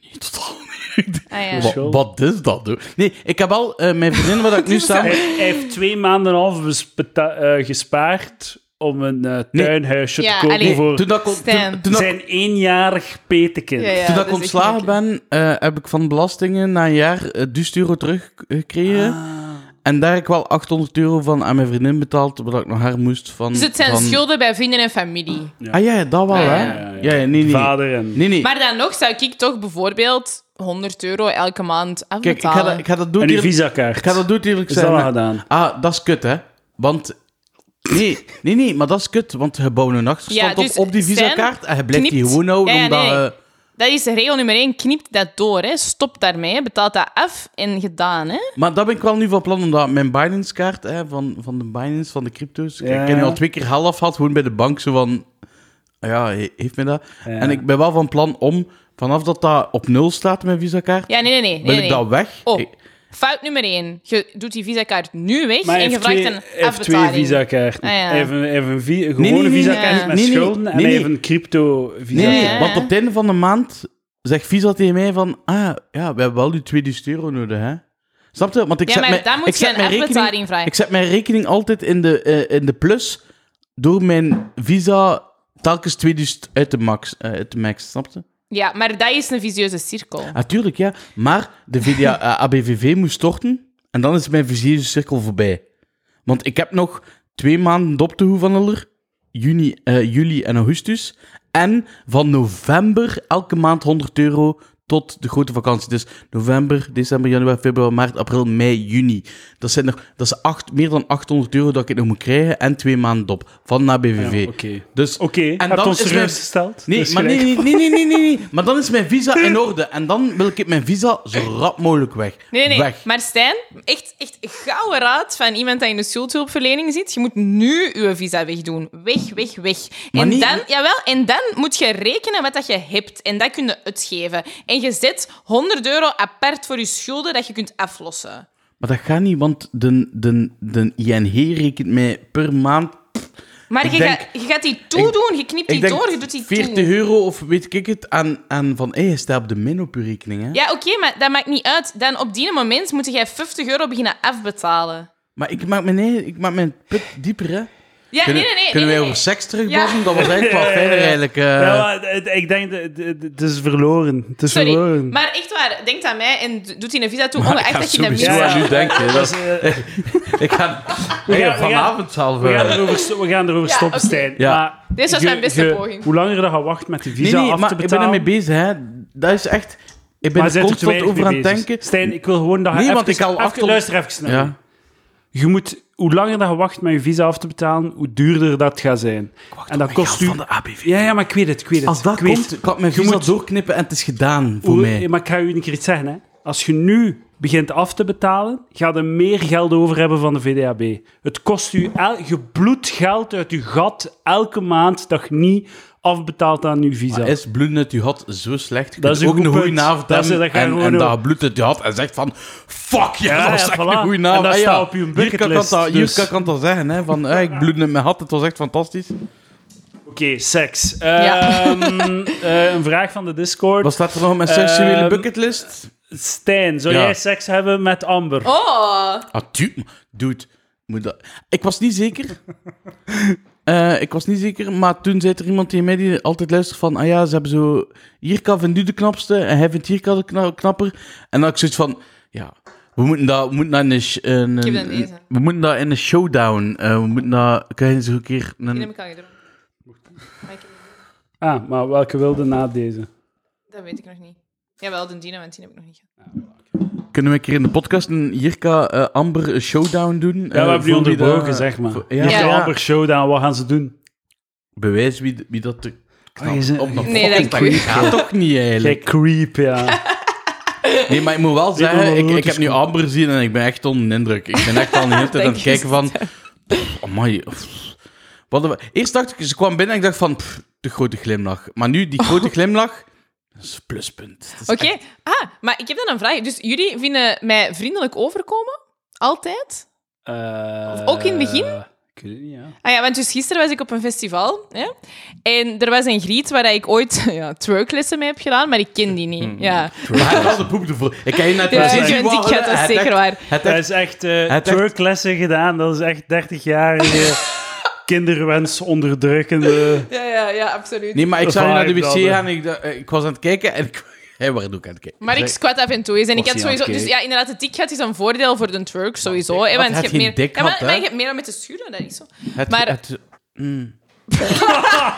Speaker 2: niet totaal niet.
Speaker 3: Ah ja.
Speaker 2: Wa- Wat, is dat, hoor? Nee, ik heb al eh, mijn vriendin, waar ik nu samen...
Speaker 1: Hij, hij heeft twee maanden en een half bespeta- eh, gespaard om een eh,
Speaker 2: Nee.
Speaker 1: tuinhuisje
Speaker 3: Ja,
Speaker 1: te kopen
Speaker 3: allee.
Speaker 1: voor
Speaker 2: Toen dat ik, on-
Speaker 3: Stijn.
Speaker 2: toen, toen dat,
Speaker 1: zijn eenjarig petekind.
Speaker 3: Ja, ja.
Speaker 2: toen dat
Speaker 3: dat
Speaker 2: ik
Speaker 3: is echt
Speaker 2: ontslagen ben, eh, heb ik van belastingen na een jaar eh, 1000 euro teruggekregen.
Speaker 3: Ah.
Speaker 2: En daar heb ik wel 800 euro van aan mijn vriendin betaald, wat ik nog haar moest van...
Speaker 3: Dus het zijn
Speaker 2: van...
Speaker 3: schulden bij vrienden en familie.
Speaker 2: Ah ja, dat wel, hè?
Speaker 1: ja, ja, ja.
Speaker 2: Ja, ja, nee, nee.
Speaker 1: Vader en...
Speaker 2: Nee, nee.
Speaker 3: Maar dan nog zou ik toch bijvoorbeeld 100 euro elke maand
Speaker 2: Kijk, ik ga,
Speaker 3: afbetalen.
Speaker 2: dat, ik ga dat doen.
Speaker 1: En uw
Speaker 2: eerlijk-
Speaker 1: visakaart.
Speaker 2: Ik ga dat doen, eerlijk
Speaker 1: Is dat
Speaker 2: zijn.
Speaker 1: al
Speaker 2: hè.
Speaker 1: gedaan?
Speaker 2: Ah, dat is kut, hè? Want. Nee, nee, nee, maar dat is kut. Want je bouwt een achterstand
Speaker 3: Ja, dus
Speaker 2: op, op die
Speaker 3: Stijn
Speaker 2: visa-kaart. En je blijft die
Speaker 3: knipt-
Speaker 2: gewoon houden.
Speaker 3: Ja, ja,
Speaker 2: omdat,
Speaker 3: nee.
Speaker 2: eh,
Speaker 3: Dat is regel nummer 1. Knip dat door. Hè. Stop daarmee. Betaal dat af en gedaan. Hè.
Speaker 2: Maar dat ben ik wel nu van plan, omdat mijn Binance-kaart hè, van, van de Binance, van de crypto's. Ik
Speaker 1: Ja.
Speaker 2: heb nu al twee keer half gehad, gewoon bij de bank. Zo van. "Ah, Ja, he- heeft me dat. En ik ben wel van plan om, vanaf dat dat op nul staat, mijn visa-kaart,
Speaker 3: Ja, nee, nee, nee.
Speaker 2: ben
Speaker 3: nee,
Speaker 2: ik
Speaker 3: nee.
Speaker 2: dat weg.
Speaker 3: Oh,
Speaker 2: Ik-
Speaker 3: fout nummer 1. Je doet die visakaart nu weg
Speaker 1: Maar hij
Speaker 3: en je
Speaker 1: heeft
Speaker 3: vraagt
Speaker 1: twee,
Speaker 3: een
Speaker 1: hij heeft twee
Speaker 3: afbetaling.
Speaker 1: visakaarten.
Speaker 3: Ah, ja.
Speaker 1: Hij heeft een, hij heeft een, vi- een
Speaker 2: Nee,
Speaker 1: gewone
Speaker 2: nee, nee,
Speaker 1: visakaart
Speaker 3: nee.
Speaker 1: met
Speaker 2: Nee, nee,
Speaker 1: schulden en
Speaker 2: nee,
Speaker 1: hij
Speaker 2: nee.
Speaker 1: heeft een crypto
Speaker 2: Nee,
Speaker 1: visakaart.
Speaker 2: nee,
Speaker 3: Ja.
Speaker 2: want op het einde van de maand zegt Visa tegen mij van... Ah, ja, we hebben wel die 2000 euro nodig, hè. Snap je? Want ik
Speaker 3: Ja,
Speaker 2: zet
Speaker 3: maar
Speaker 2: mijn,
Speaker 3: daar
Speaker 2: ik
Speaker 3: moet je
Speaker 2: zet
Speaker 3: een
Speaker 2: mijn rekening,
Speaker 3: afbetaling vragen.
Speaker 2: Ik zet mijn rekening altijd in de, eh, in de plus door mijn Visa telkens 2000 uit de max, eh, uit de max snap je?
Speaker 3: Ja, maar dat is een visieuze cirkel.
Speaker 2: Natuurlijk, ja. Maar de VDA, eh, ABVV moest storten en dan is mijn visieuze cirkel voorbij. Want ik heb nog twee maanden dop te hoeveneler, juni, eh, juli en augustus. En van november elke maand 100 euro tot de grote vakantie. Dus november, december, januari, februari, maart, april, mei, juni. Dat, zijn er, dat is acht, meer dan 800 euro dat ik nog moet krijgen en twee maanden dop van de ABVV.
Speaker 1: Ja, Oké,
Speaker 2: Dus
Speaker 1: Oké, je hebt
Speaker 2: dan
Speaker 1: ons
Speaker 2: is
Speaker 1: serieus
Speaker 2: mijn-
Speaker 1: gesteld.
Speaker 2: Nee,
Speaker 1: Dus
Speaker 2: maar nee,
Speaker 1: gelijk.
Speaker 2: nee, nee, nee, nee, nee, nee. Maar dan is mijn visa in orde. En dan wil ik mijn visa zo rap mogelijk weg.
Speaker 3: Nee, nee,
Speaker 2: Weg.
Speaker 3: maar Stijn, echt, echt gouden raad van iemand die in de schuldhulpverlening zit. Je moet nu je visa wegdoen. Weg, weg, weg.
Speaker 2: Maar
Speaker 3: en,
Speaker 2: niet-
Speaker 3: dan, jawel, en dan moet je rekenen wat dat je hebt. En dat kun je uitgeven. En je zet 100 euro apart voor je schulden dat je kunt aflossen.
Speaker 2: Maar dat gaat niet, want de, de, de ING rekent mij per maand...
Speaker 3: Maar
Speaker 2: Ik
Speaker 3: je,
Speaker 2: denk-
Speaker 3: gaat, je gaat die toedoen, je knipt die
Speaker 2: ik denk
Speaker 3: door, je doet die
Speaker 2: 40
Speaker 3: toe.
Speaker 2: euro of weet ik het. En, en van, hé, je staat op de min op je rekening, hè.
Speaker 3: Ja, oké, maar dat maakt niet uit. Dan op die moment moet jij 50 euro beginnen afbetalen.
Speaker 2: Maar ik maak mijn, eigen- ik maak mijn put dieper, hè.
Speaker 3: Ja,
Speaker 2: Kunnen,
Speaker 3: nee, nee, nee.
Speaker 2: kunnen
Speaker 3: nee,
Speaker 2: wij
Speaker 3: nee.
Speaker 2: over seks terugbabbelen?
Speaker 3: Ja.
Speaker 2: Dat was eigenlijk wel fijner, eigenlijk. eh.
Speaker 1: Ja, maar het- ik denk, dat- het- het is verloren. Het is
Speaker 3: Sorry,
Speaker 1: verloren.
Speaker 3: maar echt waar, denk aan mij en d- doet hij een visa toe,
Speaker 2: Maar ik
Speaker 3: ongeacht
Speaker 2: ga
Speaker 3: Oh, dat je dat
Speaker 2: sowieso
Speaker 3: wist.
Speaker 1: Ja,
Speaker 2: aan
Speaker 1: ja.
Speaker 2: u denken. Dat is-
Speaker 1: Dus, eh,
Speaker 2: ik ga
Speaker 1: gaan-
Speaker 2: ja,
Speaker 1: we gaan-
Speaker 2: vanavond zelf...
Speaker 1: we,
Speaker 2: eh,
Speaker 1: gaan erover, sto- we gaan erover
Speaker 3: Ja,
Speaker 1: stoppen,
Speaker 3: oké.
Speaker 1: Stijn.
Speaker 2: Ja.
Speaker 1: Maar
Speaker 3: Dit was
Speaker 1: je-
Speaker 3: mijn beste
Speaker 1: je-
Speaker 3: poging.
Speaker 1: Hoe langer dat je wacht met die visa
Speaker 2: nee, nee,
Speaker 1: af
Speaker 2: maar
Speaker 1: te
Speaker 2: ik ben
Speaker 1: betalen...
Speaker 2: ermee bezig, hè. Dat is echt... Ik ben
Speaker 1: maar
Speaker 2: er
Speaker 1: je bent er te
Speaker 2: constant
Speaker 1: weinig
Speaker 2: over aan
Speaker 1: mee
Speaker 2: het
Speaker 1: bezig.
Speaker 2: denken.
Speaker 1: Stijn, ik wil gewoon dat je
Speaker 2: Nee,
Speaker 1: even...
Speaker 2: want ik haal
Speaker 1: even-
Speaker 2: acht ton-
Speaker 1: Luister even snel.
Speaker 2: Ja.
Speaker 1: Je moet... Hoe langer dat je wacht met je visa af te betalen, hoe duurder dat gaat zijn. En dat kost u...
Speaker 2: van de ABV.
Speaker 1: Ja, ja, maar ik weet het, ik weet het.
Speaker 2: Als dat
Speaker 1: ik weet
Speaker 2: komt,
Speaker 1: het.
Speaker 2: kan ik mijn
Speaker 1: Je
Speaker 2: visa
Speaker 1: moet-
Speaker 2: doorknippen en het is gedaan voor
Speaker 1: Hoe-
Speaker 2: mij.
Speaker 1: Maar ik ga u een keer iets zeggen. Hè. Als je nu begint af te betalen, ga je meer geld over hebben van de VDAB. Het kost u el, je bloed geld uit uw gat elke maand dat je niet afbetaalt aan uw visa.
Speaker 2: Is bloed uit je had zo slecht? Je
Speaker 1: Dat
Speaker 2: kunt
Speaker 1: is een
Speaker 2: ook
Speaker 1: goed
Speaker 2: een goede
Speaker 1: punt.
Speaker 2: avond
Speaker 1: Dat is-
Speaker 2: hebben
Speaker 1: dat ga je
Speaker 2: en,
Speaker 1: gewoon
Speaker 2: en
Speaker 1: doen.
Speaker 2: dat bloed uit je had en zegt van... Fuck, ja,
Speaker 1: Ja,
Speaker 2: dat was
Speaker 1: ja,
Speaker 2: echt
Speaker 1: voilà.
Speaker 2: een goede
Speaker 1: En
Speaker 2: avond.
Speaker 1: dat
Speaker 2: Ah,
Speaker 1: staat op je
Speaker 2: Hier kan ik
Speaker 1: bucketlist,
Speaker 2: dat, hier
Speaker 1: dus.
Speaker 2: kan ik dat zeggen, hè. Van, eh, ik bloed uit mijn had, het was echt fantastisch.
Speaker 1: Oké, seks.
Speaker 3: Ja.
Speaker 1: Ehm, eh, een vraag van de Discord.
Speaker 2: Wat staat er nog op mijn seksuele
Speaker 1: Ehm,
Speaker 2: bucketlist?
Speaker 1: Stijn, zou
Speaker 2: Ja.
Speaker 1: jij seks hebben met Amber?
Speaker 3: Oh,
Speaker 2: Ah, tu- dude. Moet dat... Ik was niet zeker. Eh, ik was niet zeker, maar toen zei er iemand tegen mij die altijd luistert van... Ah ja, ze hebben zo... Jirka vindt nu de knapste en hij vindt Jirka de kna- knapper. En dan had ik zoiets van... Ja, we moeten dat, we moeten dat in een... sh- een-
Speaker 3: heb dat
Speaker 2: een-
Speaker 3: gelezen.
Speaker 2: we moeten dat in een showdown. eh, we moeten dat... Kan je zo een keer...
Speaker 3: die heb
Speaker 2: Een,
Speaker 3: ik al gedronken. Maar ik-
Speaker 1: Ah, maar welke wilde na
Speaker 2: Eh,
Speaker 1: deze?
Speaker 3: Dat weet ik nog niet. Jawel, de Dina, want die heb ik nog niet gehad.
Speaker 2: kunnen we een keer in de podcast een Jirka eh, Amber showdown doen? Eh,
Speaker 1: Ja, we hebben die onderbroken, zeg maar.
Speaker 2: Ja,
Speaker 1: Ja.
Speaker 2: ja.
Speaker 1: Amber Showdown, wat gaan ze doen?
Speaker 2: Bewijs wie, wie dat er knapt
Speaker 1: Oh, je zit-
Speaker 2: op een
Speaker 3: Nee,
Speaker 2: fucking
Speaker 3: dat
Speaker 2: plek gaat toch niet,
Speaker 1: Kijk,
Speaker 2: eigenlijk?
Speaker 1: creep, ja.
Speaker 2: Nee, maar ik moet wel
Speaker 1: nog
Speaker 2: zeggen,
Speaker 1: wel
Speaker 2: ik,
Speaker 1: hoe
Speaker 2: ik
Speaker 1: het
Speaker 2: heb nu Amber gezien en ik ben echt onder de indruk. Ik ben echt al een hele tijd aan het
Speaker 3: Dank je.
Speaker 2: kijken van... pff, Amai. pff. Wat hadden we- Eerst dacht ik, ze kwam binnen en ik dacht van... pff, de grote glimlach. Maar nu, die grote glimlach... Dat is een pluspunt. Dat is
Speaker 3: Oké,
Speaker 2: echt-
Speaker 3: ah, maar ik heb dan een vraag. Dus jullie vinden mij vriendelijk overkomen? Altijd?
Speaker 1: Eh,
Speaker 3: Ook in het begin?
Speaker 1: Ik weet het niet, ja.
Speaker 3: Ah ja, want dus gisteren was ik op een festival. Hè? En er was een griet waar ik ooit ja, twerklessen mee heb gedaan, maar ik ken die niet.
Speaker 2: Hmm,
Speaker 3: Ja,
Speaker 2: Maar hij had wel de poep ervoor. Ik heb je net
Speaker 3: ja
Speaker 2: wel zien
Speaker 3: ik ben
Speaker 2: waggelen.
Speaker 3: dik, dat is
Speaker 2: Hij
Speaker 3: zeker
Speaker 2: dacht-
Speaker 3: waar.
Speaker 2: hij
Speaker 1: Hij
Speaker 2: dacht-
Speaker 1: is echt eh
Speaker 2: echt-
Speaker 1: twerklessen gedaan. Dat is echt 30-jarige kinderwens onderdrukkende...
Speaker 3: Ja, ja, ja, absoluut.
Speaker 2: Nee, maar ik zou naar de
Speaker 1: Vibe,
Speaker 2: wc
Speaker 1: dat,
Speaker 2: gaan en ik, dacht- eh, ik was aan het kijken en ik... Hé, waar doe ik aan het kijken?
Speaker 3: Maar ik squat af en toe eens. En ik
Speaker 1: Was
Speaker 3: had
Speaker 1: hij aan
Speaker 3: sowieso...
Speaker 1: het
Speaker 3: Dus
Speaker 1: kijken?
Speaker 3: ja, inderdaad, de dik had is een voordeel voor de twerk, sowieso. hè,
Speaker 2: had
Speaker 3: want
Speaker 2: hij
Speaker 3: je hebt
Speaker 2: geen
Speaker 3: meer...
Speaker 2: dik
Speaker 3: ja, maar,
Speaker 2: had, hè?
Speaker 3: maar je hebt meer om met te schuren, dat is zo.
Speaker 2: Het,
Speaker 3: Maar-
Speaker 2: het- mm.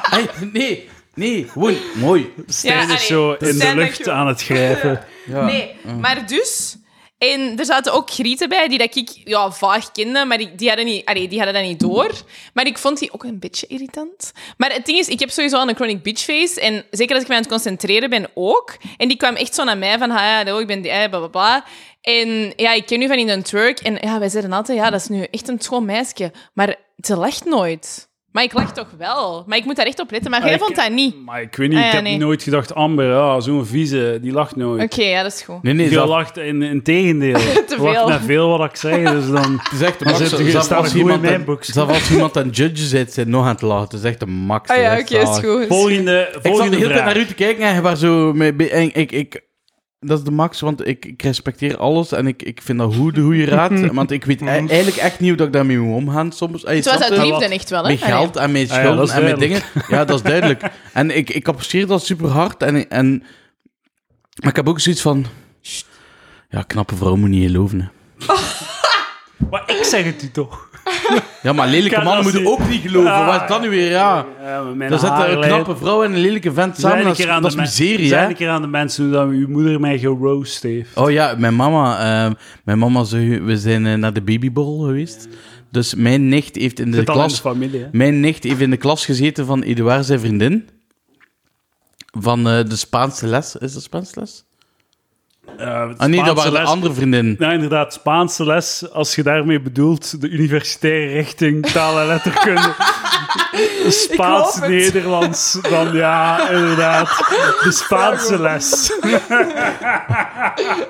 Speaker 2: Hey, nee, nee, gewoon mooi.
Speaker 1: Stijn
Speaker 3: Ja,
Speaker 1: is
Speaker 3: allee,
Speaker 1: zo in de
Speaker 3: Stijn,
Speaker 1: lucht
Speaker 3: dankjewel.
Speaker 1: aan het grijpen.
Speaker 2: Ja.
Speaker 3: Nee, maar dus... En er zaten ook grieten bij die dat ik ja, vaag kende, maar die, die, hadden niet, allee, die hadden dat niet door. Maar ik vond die ook een beetje irritant. Maar het ding is, ik heb sowieso al een chronic bitch face. En zeker als ik me aan het concentreren ben ook. En die kwam echt zo naar mij van, ah, ja, hallo, ik ben die, eh, bla, bla, bla. En ja, ik ken nu van in een twerk. En ja, wij zeiden altijd, ja, dat is nu echt een schoon meisje. Maar ze lacht nooit. Maar ik lach toch wel. Maar ik moet daar echt op letten.
Speaker 2: Ah,
Speaker 3: Maar jij
Speaker 1: ik-
Speaker 3: vond dat niet.
Speaker 1: Maar ik weet niet,
Speaker 3: Ah, ja,
Speaker 1: ik heb
Speaker 3: nee.
Speaker 1: nooit gedacht... Amber, ja, zo'n vieze, die lacht nooit.
Speaker 3: Oké, ja, dat is goed.
Speaker 2: Nee, nee,
Speaker 1: Die
Speaker 2: dat
Speaker 1: lacht in, in tegendeel. Te
Speaker 3: veel.
Speaker 1: lacht naar veel wat ik zeg, dus dan...
Speaker 2: het is echt de
Speaker 1: Dan
Speaker 2: max.
Speaker 1: zit je-
Speaker 2: Zelfs
Speaker 1: staat
Speaker 2: als
Speaker 1: goed in
Speaker 2: iemand
Speaker 1: mijn
Speaker 2: aan-
Speaker 1: boek.
Speaker 2: zelfs als iemand aan judge zit, zit nog aan het lachen. Het is echt de max.
Speaker 3: Ah
Speaker 2: Het
Speaker 3: ja,
Speaker 2: echt
Speaker 3: oké, is
Speaker 2: zalig.
Speaker 3: goed. is goed.
Speaker 1: Volgende,
Speaker 2: Ik zat de
Speaker 1: volgende
Speaker 2: hele tijd
Speaker 1: vraag.
Speaker 2: naar u te kijken en je was zo... Mee, be- en ik, ik, dat is de max, want ik, ik respecteer alles en ik, ik vind dat goed, de goede raad. want ik weet e- eigenlijk echt niet hoe dat ik daarmee moet omgaan soms. Hey,
Speaker 3: Het was
Speaker 2: snap
Speaker 3: uit
Speaker 2: je?
Speaker 3: liefde echt wel, hè?
Speaker 2: Met
Speaker 3: Allee.
Speaker 2: geld en met
Speaker 1: Ah ja,
Speaker 2: schulden
Speaker 1: dat is
Speaker 2: en met dingen.
Speaker 1: duidelijk.
Speaker 2: Ja, dat is duidelijk. En ik, ik apprecieer dat super hard. En, en, maar ik heb ook zoiets van... "Sst, Ja, knappe vrouw moet niet geloven. hè."
Speaker 1: Maar ik zeg het u toch.
Speaker 2: Ja, maar lelijke
Speaker 1: Kan
Speaker 2: mannen
Speaker 1: dat
Speaker 2: moeten
Speaker 1: niet?
Speaker 2: ook niet geloven.
Speaker 1: Ah,
Speaker 2: Wat is dat nu weer? Ja.
Speaker 1: Ja, maar mijn
Speaker 2: Dan zitten een
Speaker 1: haarlijn-
Speaker 2: knappe vrouw en een lelijke vent
Speaker 1: Zijn
Speaker 2: samen.
Speaker 1: een
Speaker 2: Dat is,
Speaker 1: keer aan
Speaker 2: dat is
Speaker 1: de men-
Speaker 2: miserie,
Speaker 1: zijn
Speaker 2: hè?
Speaker 1: een keer aan de mensen hoe dat uw moeder mij geroost heeft.
Speaker 2: Oh ja, mijn mama, eh, mijn mama zei, we zijn eh, naar de babyborrel geweest. Dus mijn nicht heeft in de
Speaker 1: Zit al in de
Speaker 2: klas...
Speaker 1: familie, hè?
Speaker 2: Mijn nicht heeft in de klas gezeten van Eduard zijn vriendin. Van eh, de Spaanse les. Is dat Spaanse les?
Speaker 1: Eh,
Speaker 2: Ah nee, dat
Speaker 1: Spaanse
Speaker 2: waren de
Speaker 1: les.
Speaker 2: andere vriendin.
Speaker 1: Nou, inderdaad, Spaanse les, als je daarmee bedoelt de universitaire richting taal en letterkunde.
Speaker 3: het.
Speaker 1: Spaans-Nederlands, dan ja, inderdaad. De Spaanse les.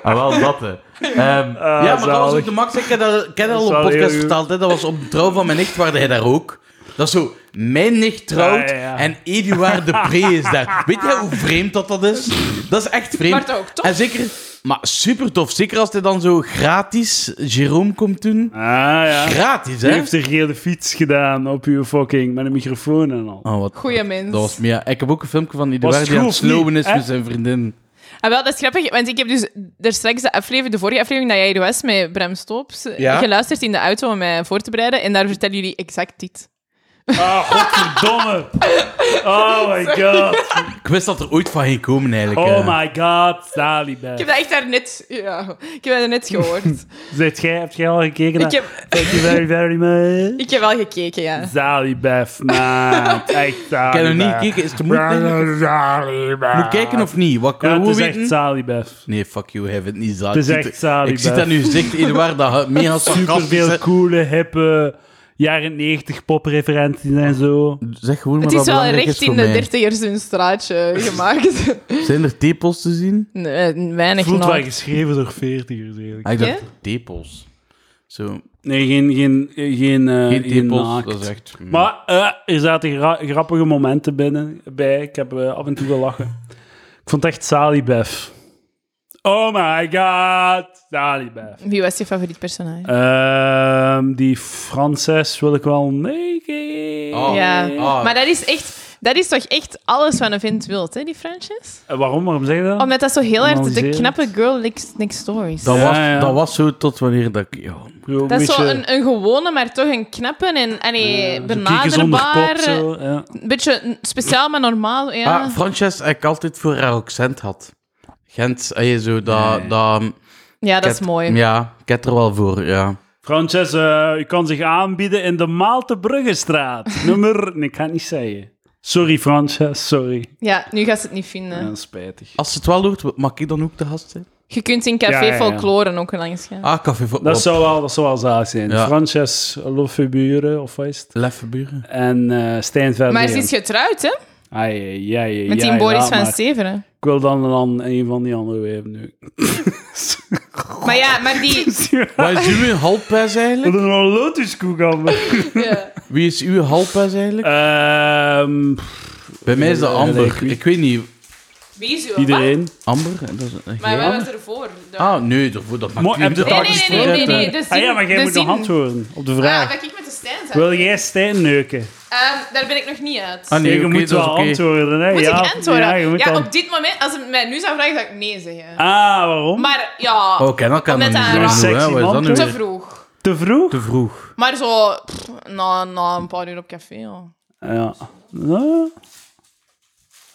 Speaker 2: Ah, wel dat, hè. Ehm, ja, maar dat was
Speaker 1: Ah, zalig.
Speaker 2: ook de max. Ik heb dat, ik heb dat al op
Speaker 1: Dat is wel heel
Speaker 2: podcast
Speaker 1: goed.
Speaker 2: verteld. Hè. Dat was op de trouw van mijn nicht, waarde hij daar ook. Dat is zo, mijn nicht trouwt
Speaker 1: Ja, ja, ja.
Speaker 2: en Eduard de Pre is daar. Weet jij hoe vreemd dat dat is? Dat is echt vreemd.
Speaker 3: Maar toch, toch?
Speaker 2: En zeker, maar super tof. Zeker als hij dan zo gratis Jerome komt doen.
Speaker 1: Ah ja.
Speaker 2: Gratis,
Speaker 1: Die
Speaker 2: hè?
Speaker 1: heeft een gele fiets gedaan op uw fucking, met een microfoon en al.
Speaker 2: Oh, wat.
Speaker 3: Goeie mens.
Speaker 2: Dat was, ja, ik heb ook een filmpje van Eduard
Speaker 1: het
Speaker 2: die aan het
Speaker 1: goed of niet,
Speaker 2: slowen is
Speaker 1: hè?
Speaker 2: met zijn vriendin.
Speaker 3: Ah, wel, dat is grappig, want ik heb dus er straks de, aflevering, de vorige aflevering dat jij er was met Bram Stoops eh,
Speaker 2: Ja?
Speaker 3: geluisterd in de auto om mij voor te bereiden. En daar vertellen jullie exact dit.
Speaker 1: Ah, godverdomme. Oh my god.
Speaker 2: Ik wist dat er ooit van ging komen, eigenlijk. eh.
Speaker 1: Oh my god. Dalibert.
Speaker 3: Ik heb dat echt daarnet, ja, ik heb dat net gehoord.
Speaker 1: Zegt jij, heb jij al gekeken
Speaker 3: ik,
Speaker 1: naar...
Speaker 3: heb,
Speaker 1: Thank you very, very much.
Speaker 3: ik heb wel gekeken, ja.
Speaker 1: Zalibef, maat. Echt
Speaker 2: Ik
Speaker 1: Zalibef.
Speaker 2: heb nog niet gekeken. Is het te moeilijk?
Speaker 1: Zalibef.
Speaker 2: Moet ik kijken of niet? Wat
Speaker 1: Ja, het
Speaker 2: kunnen we
Speaker 1: is
Speaker 2: weten?
Speaker 1: echt Zalibef.
Speaker 2: Nee, fuck you, hij heeft het niet zaad.
Speaker 1: Het is
Speaker 2: Ik zie
Speaker 1: echt zaad,
Speaker 2: Ik
Speaker 1: ik
Speaker 2: zit
Speaker 1: ben.
Speaker 2: aan uw gezicht, Eduard, dat je mega sarcastisch
Speaker 1: Superveel
Speaker 2: bent.
Speaker 1: coole, hippe, jaren 90 popreferenties en zo.
Speaker 2: Zeg gewoon maar
Speaker 3: Het is
Speaker 2: wat
Speaker 3: wel
Speaker 2: belangrijk
Speaker 3: recht
Speaker 2: is voor
Speaker 3: in de
Speaker 2: mij.
Speaker 3: dertigers hun straatje gemaakt.
Speaker 2: Zijn er tepels te zien?
Speaker 3: Nee, eh, weinig
Speaker 1: Voelt wel
Speaker 3: nog.
Speaker 1: geschreven door veertigers, eigenlijk.
Speaker 2: Ah, ik dacht,
Speaker 3: Ja?
Speaker 2: tepels. Zo,
Speaker 1: Nee, geen... Geen, eh, geen, eh,
Speaker 2: geen
Speaker 1: geen
Speaker 2: tepels,
Speaker 1: naakt.
Speaker 2: dat is echt... mm.
Speaker 1: Maar eh, er zaten gra- grappige momenten binnen bij. Ik heb eh, af en toe gelachen. Ik vond het echt Salibef. Oh my god, Salibef.
Speaker 3: Wie was je favoriet personage?
Speaker 1: Ehm, die Frances wil ik wel meegeven.
Speaker 2: Oh.
Speaker 3: ja,
Speaker 2: ah.
Speaker 3: maar dat is echt... Dat is toch echt alles wat een vent wilt, hè, die Frances?
Speaker 1: Eh, waarom? Waarom zeg je dat?
Speaker 3: Omdat Oh, dat zo heel erg de
Speaker 1: Analyseer.
Speaker 3: knappe girl next, next door is.
Speaker 2: Dat,
Speaker 1: Ja,
Speaker 2: was,
Speaker 1: ja.
Speaker 2: dat was zo tot wanneer dat ik... Ja.
Speaker 1: Ik bedoel,
Speaker 3: Dat is
Speaker 1: beetje,
Speaker 3: zo een, een gewone, maar toch een knappe en allee,
Speaker 1: eh, zo'n kieken zonder
Speaker 3: benaderbaar.
Speaker 1: kop, zo, ja.
Speaker 3: Een beetje n- speciaal, maar normaal. Ja.
Speaker 2: Ah, Frances, ik altijd voor haar accent had. Gent, eh, zo, dat...
Speaker 1: Nee.
Speaker 2: dat
Speaker 3: ja, dat is
Speaker 2: ket-
Speaker 3: mooi.
Speaker 2: Ja, ik heb er wel voor, ja.
Speaker 1: Frances, eh, u kan zich aanbieden in de Maaltebruggestraat. nummer... Nee, ik ga het niet zeggen. Sorry, Frances, sorry.
Speaker 3: Ja, nu gaat ze het niet vinden.
Speaker 4: Ja, spijtig.
Speaker 2: Als ze het wel doet, mag ik dan ook de gast zijn?
Speaker 3: Je kunt in café
Speaker 1: Ja, ja, ja.
Speaker 3: folkloren ook langs gaan.
Speaker 2: Ah, café voor
Speaker 1: Dat zou wel, dat zou wel zalig zijn.
Speaker 2: Ja.
Speaker 1: Frances Lofeburen, of wat is het?
Speaker 2: Leffenburen.
Speaker 1: En eh Stijn Verder.
Speaker 3: maar ze is getrouwd, hè?
Speaker 1: Ai, ja, ja,
Speaker 3: Met die Boris van Stevenen.
Speaker 1: Ik wil dan, dan een van die andere wijven nu.
Speaker 3: Maar ja, maar die...
Speaker 2: Wat is uw halpes eigenlijk?
Speaker 1: Wat een lotuskoek aan
Speaker 3: ja.
Speaker 2: Wie is uw halpes eigenlijk?
Speaker 1: Ehm,
Speaker 2: Bij mij is dat
Speaker 1: eh,
Speaker 2: Amber.
Speaker 1: gelijk wie?
Speaker 2: Ik weet niet.
Speaker 3: Wie is uw-
Speaker 1: iedereen.
Speaker 2: Amber? Dat is, eh,
Speaker 3: Maar
Speaker 2: jij?
Speaker 3: wij was ervoor. dan?
Speaker 2: Ah, nee, daarvoor- dat maakt
Speaker 1: Mooi, heb
Speaker 2: niet
Speaker 1: je
Speaker 2: uit.
Speaker 1: het al
Speaker 3: Nee, nee, nee,
Speaker 1: gesproken?
Speaker 3: nee,
Speaker 2: eh,
Speaker 3: nee, de
Speaker 1: Ah ja, maar
Speaker 3: zin- de
Speaker 1: jij moet nog
Speaker 3: zin.
Speaker 1: antwoorden op de
Speaker 3: Ah,
Speaker 1: vraag.
Speaker 3: dat ik met de Stijn zat.
Speaker 1: Wil jij Stijn neuken?
Speaker 3: Ehm, daar ben ik nog niet uit.
Speaker 2: Ah, nee,
Speaker 1: je
Speaker 2: oké,
Speaker 1: moet
Speaker 2: dat is
Speaker 1: wel
Speaker 2: oké.
Speaker 1: antwoorden, hè?
Speaker 3: Moet
Speaker 1: ja,
Speaker 3: ik antwoorden?
Speaker 1: Ja, je moet dan-
Speaker 3: op dit moment, als het mij nu zou vragen, zou ik nee zeggen.
Speaker 1: Ah, waarom?
Speaker 3: Maar ja,
Speaker 2: Oh, ken elkaar nog
Speaker 3: Omdat
Speaker 2: niet
Speaker 3: hij
Speaker 2: zo
Speaker 3: een
Speaker 2: goed,
Speaker 1: sexy
Speaker 2: hè? Wat is
Speaker 1: man
Speaker 2: dat nu
Speaker 1: is.
Speaker 3: te
Speaker 2: weer?
Speaker 3: vroeg.
Speaker 1: Te vroeg?
Speaker 2: Te vroeg.
Speaker 3: Maar zo, pff, na, na een paar uur op café. Ja.
Speaker 1: Ja. Nou.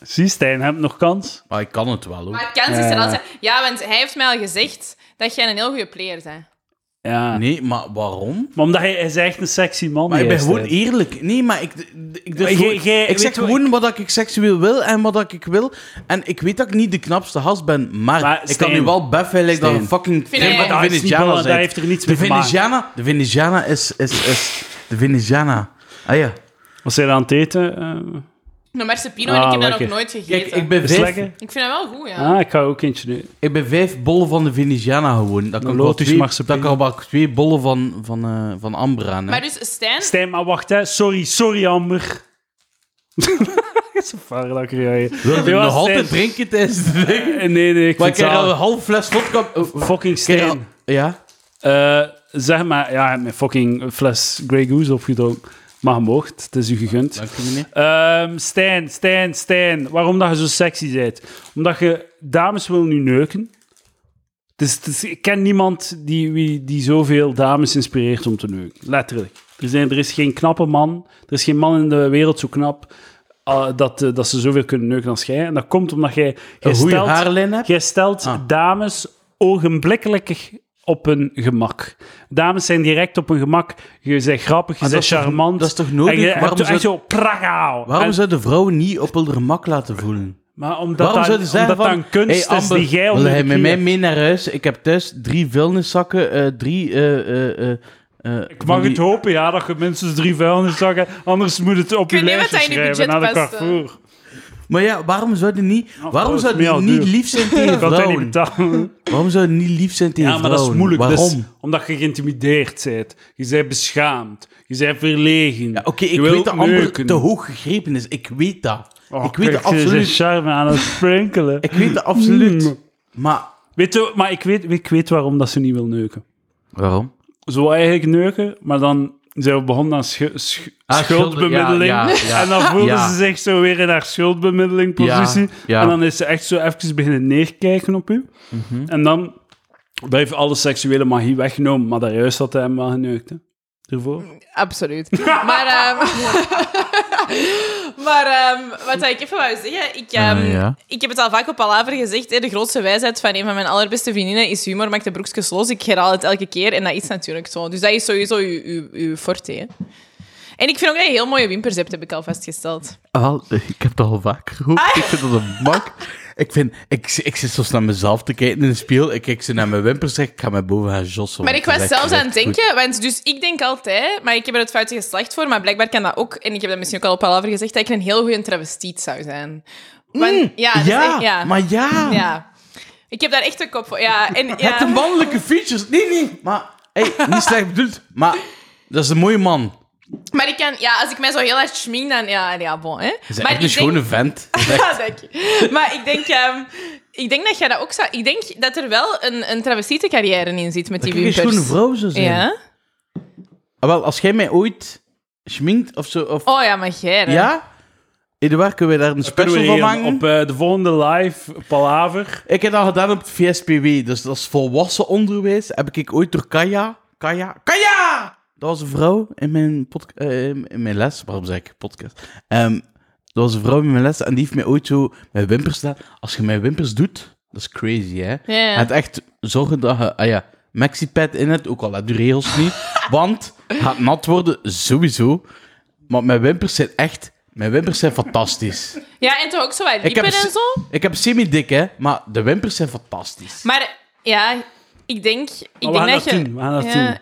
Speaker 1: Zie, Stijn, heb nog kans.
Speaker 2: Maar ik kan het wel, ook.
Speaker 3: Maar kans is
Speaker 1: Ja,
Speaker 3: er
Speaker 1: ja.
Speaker 3: altijd. Ja, want hij heeft mij al gezegd dat jij een heel goede player bent.
Speaker 1: Ja.
Speaker 2: Nee, maar waarom?
Speaker 1: Maar omdat hij, hij is echt een sexy man.
Speaker 2: Maar ik
Speaker 1: die
Speaker 2: ben
Speaker 1: hij
Speaker 2: gewoon
Speaker 1: is, eh.
Speaker 2: eerlijk. Nee, maar ik, ik, ik,
Speaker 1: Maar jij- jij
Speaker 2: ik zeg
Speaker 1: weet wat
Speaker 2: gewoon wat ik... seksueel wil en wat dat ik wil. En ik weet dat ik niet de knapste gast ben, maar,
Speaker 1: Maar
Speaker 2: ik
Speaker 1: Stijn,
Speaker 2: kan nu wel beffen like dat
Speaker 1: Stijn.
Speaker 2: een fucking
Speaker 3: Vind jij-
Speaker 2: crème
Speaker 3: Dat
Speaker 2: van de
Speaker 1: is niet
Speaker 2: Veneziana
Speaker 1: belangrijk,
Speaker 2: zijn.
Speaker 1: dat heeft er niets
Speaker 2: de
Speaker 1: mee te maken.
Speaker 2: Veneziana, de Veneziana is, is, is... De Veneziana. Ah ja.
Speaker 1: hè. Was hij aan het eten? eh?
Speaker 3: Een Marcepino en
Speaker 1: Ah,
Speaker 3: ik heb dat nog
Speaker 1: lekker.
Speaker 3: nooit gegeten.
Speaker 2: Kijk, ik
Speaker 1: Is
Speaker 2: ben,
Speaker 1: het
Speaker 2: vijf,
Speaker 1: lekker?
Speaker 3: Ik vind dat wel goed, ja.
Speaker 1: Ah, ik ga ook eentje nu.
Speaker 2: ik ben vijf bollen van de Veneziana gewoon. Dat kan ik wel
Speaker 1: Lotus
Speaker 2: twee,
Speaker 1: marsepein.
Speaker 2: dat kan wel twee bollen van, van, eh, van Amber aan. hè.
Speaker 3: Maar dus Stijn,
Speaker 1: Stijn, maar wacht, hè. Sorry, sorry, Amber. Zo vaar dat ik er jij-
Speaker 2: Wil je
Speaker 1: Ja,
Speaker 2: nog
Speaker 1: Stijn.
Speaker 2: altijd drinken tijdens de ding?
Speaker 1: Eh, Nee, nee, ik
Speaker 2: Maar
Speaker 1: vind het
Speaker 2: ik krijg al een
Speaker 1: zalig.
Speaker 2: half fles vodka... Oh, oh,
Speaker 1: Fucking
Speaker 2: ik krijg
Speaker 1: Stijn.
Speaker 2: al- Ja?
Speaker 1: Eh, zeg maar, ja, ik heb mijn fucking fles Grey Goose opgedronken. Maar je mocht, het is u gegund.
Speaker 2: Dank je, meneer.
Speaker 1: Ehm, Stijn, Stijn, Stijn. Waarom dat je zo sexy bent? Omdat je dames wil nu neuken. Het is, het is- ik ken niemand die, wie, die zoveel dames inspireert om te neuken. Letterlijk. Er, zijn, er is geen knappe man. Er is geen man in de wereld zo knap ah, dat, eh, dat ze zoveel kunnen neuken als jij. En dat komt omdat jij... jij
Speaker 2: Een goede
Speaker 1: stelt-
Speaker 2: haarlijn hebt?
Speaker 1: Jij stelt
Speaker 2: Ah.
Speaker 1: dames ogenblikkelijk op hun gemak. Dames zijn direct op hun gemak. Je bent grappig, je
Speaker 2: Maar
Speaker 1: bent
Speaker 2: Ah, dat is toch-
Speaker 1: charmant.
Speaker 2: dat is toch nodig?
Speaker 1: En je
Speaker 2: Waarom
Speaker 1: hebt echt
Speaker 2: zou-
Speaker 1: zo pragaal.
Speaker 2: Waarom
Speaker 1: En-
Speaker 2: zou de vrouwen niet op hun gemak laten voelen?
Speaker 1: maar omdat
Speaker 2: Waarom
Speaker 1: dat,
Speaker 2: zouden ze zeggen
Speaker 1: omdat
Speaker 2: van...
Speaker 1: dat een kunst
Speaker 2: "Hey,
Speaker 1: is
Speaker 2: Amber,
Speaker 1: die jij
Speaker 2: wil
Speaker 1: onder
Speaker 2: jij
Speaker 1: de
Speaker 2: met
Speaker 1: knie
Speaker 2: mij
Speaker 1: hebt.
Speaker 2: mee naar vuilniszakken? Ik heb thuis drie vuilniszakken, eh, drie... eh, eh, eh, eh,
Speaker 1: Ik mag
Speaker 2: van die-
Speaker 1: het hopen, ja, dat je minstens drie vuilniszakken... Anders moet het op
Speaker 3: weet
Speaker 1: je
Speaker 3: niet
Speaker 1: lijstje
Speaker 3: wat hij in je
Speaker 1: schrijven naar de
Speaker 3: budget past,
Speaker 1: Carrefour.
Speaker 2: Maar ja, waarom zouden niet... waarom
Speaker 1: trouwens,
Speaker 2: zouden die
Speaker 1: meer
Speaker 2: niet
Speaker 1: duur.
Speaker 2: lief zijn
Speaker 3: eh.
Speaker 2: tegen
Speaker 1: Ik kan het niet
Speaker 2: vrouwen?
Speaker 1: betalen.
Speaker 2: Waarom zouden die niet lief zijn tegen
Speaker 1: Ja, maar
Speaker 2: vrouwen?
Speaker 1: dat is moeilijk.
Speaker 2: Waarom?
Speaker 1: Dus, omdat je geïntimideerd bent. Je bent beschaamd. Je bent verlegen.
Speaker 2: Ja, Oké, ik
Speaker 1: je wilt
Speaker 2: weet dat Amber
Speaker 1: neuken.
Speaker 2: te hoog gegrepen is. Ik weet dat.
Speaker 1: Oh,
Speaker 2: ik weet dat
Speaker 1: kijk, ze is een
Speaker 2: absoluut.
Speaker 1: charme aan het sprinkelen.
Speaker 2: Ik weet dat absoluut.
Speaker 1: Mm.
Speaker 2: Maar...
Speaker 1: Weet je, maar ik weet, ik weet waarom dat ze niet wil neuken.
Speaker 2: Waarom?
Speaker 1: Ze wil eigenlijk neuken, maar dan zijn we begonnen aan schu- schu-
Speaker 2: Ah,
Speaker 1: schuldbemiddeling.
Speaker 2: schulden, ja, ja, ja.
Speaker 1: En dan voelde
Speaker 2: Ja.
Speaker 1: ze zich zo weer in haar schuldbemiddelingpositie.
Speaker 2: Ja, ja.
Speaker 1: En dan is ze echt zo even beginnen neerkijken op u.
Speaker 2: Mhm.
Speaker 1: En dan blijft alle seksuele magie weggenomen. Maar daarjuist had hij hem wel geneukt, hè. Ervoor.
Speaker 3: absoluut. maar ehm, maar ehm, wat ik even wou zeggen, ik, ehm,
Speaker 2: Eh, ja.
Speaker 3: ik heb het al vaak op Palaver gezegd, hè, de grootste wijsheid van een van mijn allerbeste vriendinnen is humor, maakt de broekjes los. Ik herhaal het elke keer en dat is natuurlijk zo. Dus dat is sowieso uw, uw, uw forte. hè. En ik vind ook dat je heel mooie wimpers hebt, heb ik al vastgesteld.
Speaker 2: Ah, Wel, ik heb het al vaker geroepen. Ik vind dat een mak. Ik, vind, ik, ik zit soms naar mezelf te kijken in de spiegel. Ik kijk ze naar mijn wimpers zeg ik ga mij boven gaan jossen.
Speaker 3: Maar ik
Speaker 2: want
Speaker 3: was
Speaker 2: het is echt
Speaker 3: zelfs aan het
Speaker 2: echt goed.
Speaker 3: denken, want dus ik denk altijd, maar ik heb er het foute geslacht voor, maar blijkbaar kan dat ook, en ik heb dat misschien ook al op Palaver gezegd, dat ik een heel goede travestiet zou zijn. Want, ja, dat is
Speaker 2: Mm, Ja,
Speaker 3: echt- ja.
Speaker 2: maar ja.
Speaker 3: Ja. Ik heb daar echt een kop voor. Ja, en,
Speaker 2: Het de
Speaker 3: ja.
Speaker 2: mannelijke features. Nee, nee. Maar, hey, niet slecht bedoeld. Maar dat is een mooie man.
Speaker 3: Maar ik kan, ja, als ik mij zo heel erg schmink, dan ja, ja bon. Hè.
Speaker 2: Hij is
Speaker 3: maar
Speaker 2: echt een
Speaker 3: ik denk-
Speaker 2: schone vent.
Speaker 3: Ja, dank je. Maar ik denk, ehm, ik denk dat jij dat ook zou... Ik denk dat er wel een, een travestietencarrière in zit met
Speaker 2: Dat
Speaker 3: die
Speaker 2: ik een
Speaker 3: wimpers.
Speaker 2: schone vrouw zou zijn.
Speaker 3: Ja?
Speaker 2: Ah, wel, als jij mij ooit schminkt of zo... Of,
Speaker 3: Oh ja, maar jij. hè.
Speaker 2: ja? Eduard, kunnen we daar een
Speaker 1: Kunnen we
Speaker 2: special van
Speaker 1: hier
Speaker 2: maken?
Speaker 1: op eh, de volgende live palaver...
Speaker 2: Ik heb dat gedaan op het VSPW, dus dat is volwassen onderwijs. Heb ik ooit door Kaya... Kaya... Kaya! Dat was een vrouw in mijn, podca- eh, in mijn les. Waarom zeg ik podcast? Ehm, dat was een vrouw in mijn les en die heeft mij ooit zo mijn wimpers gedaan. Als je mijn wimpers doet, dat is crazy, hè?
Speaker 3: Ja.
Speaker 2: Het echt zorgen dat je... Ah ja, maxipad in het, ook al heb je regels niet. want het gaat nat worden, sowieso. Maar mijn wimpers zijn echt Mijn wimpers zijn fantastisch.
Speaker 3: Ja, en toch ook zo wat
Speaker 2: Ik heb,
Speaker 3: riepen en
Speaker 2: se-
Speaker 3: zo.
Speaker 2: ik heb semi-dik, hè, maar de wimpers zijn fantastisch.
Speaker 3: Maar ja, ik denk, ik
Speaker 2: Oh,
Speaker 1: we
Speaker 3: denk
Speaker 1: gaan
Speaker 3: dat
Speaker 1: dat
Speaker 3: je...
Speaker 1: doen, we gaan dat
Speaker 3: Ja.
Speaker 1: doen.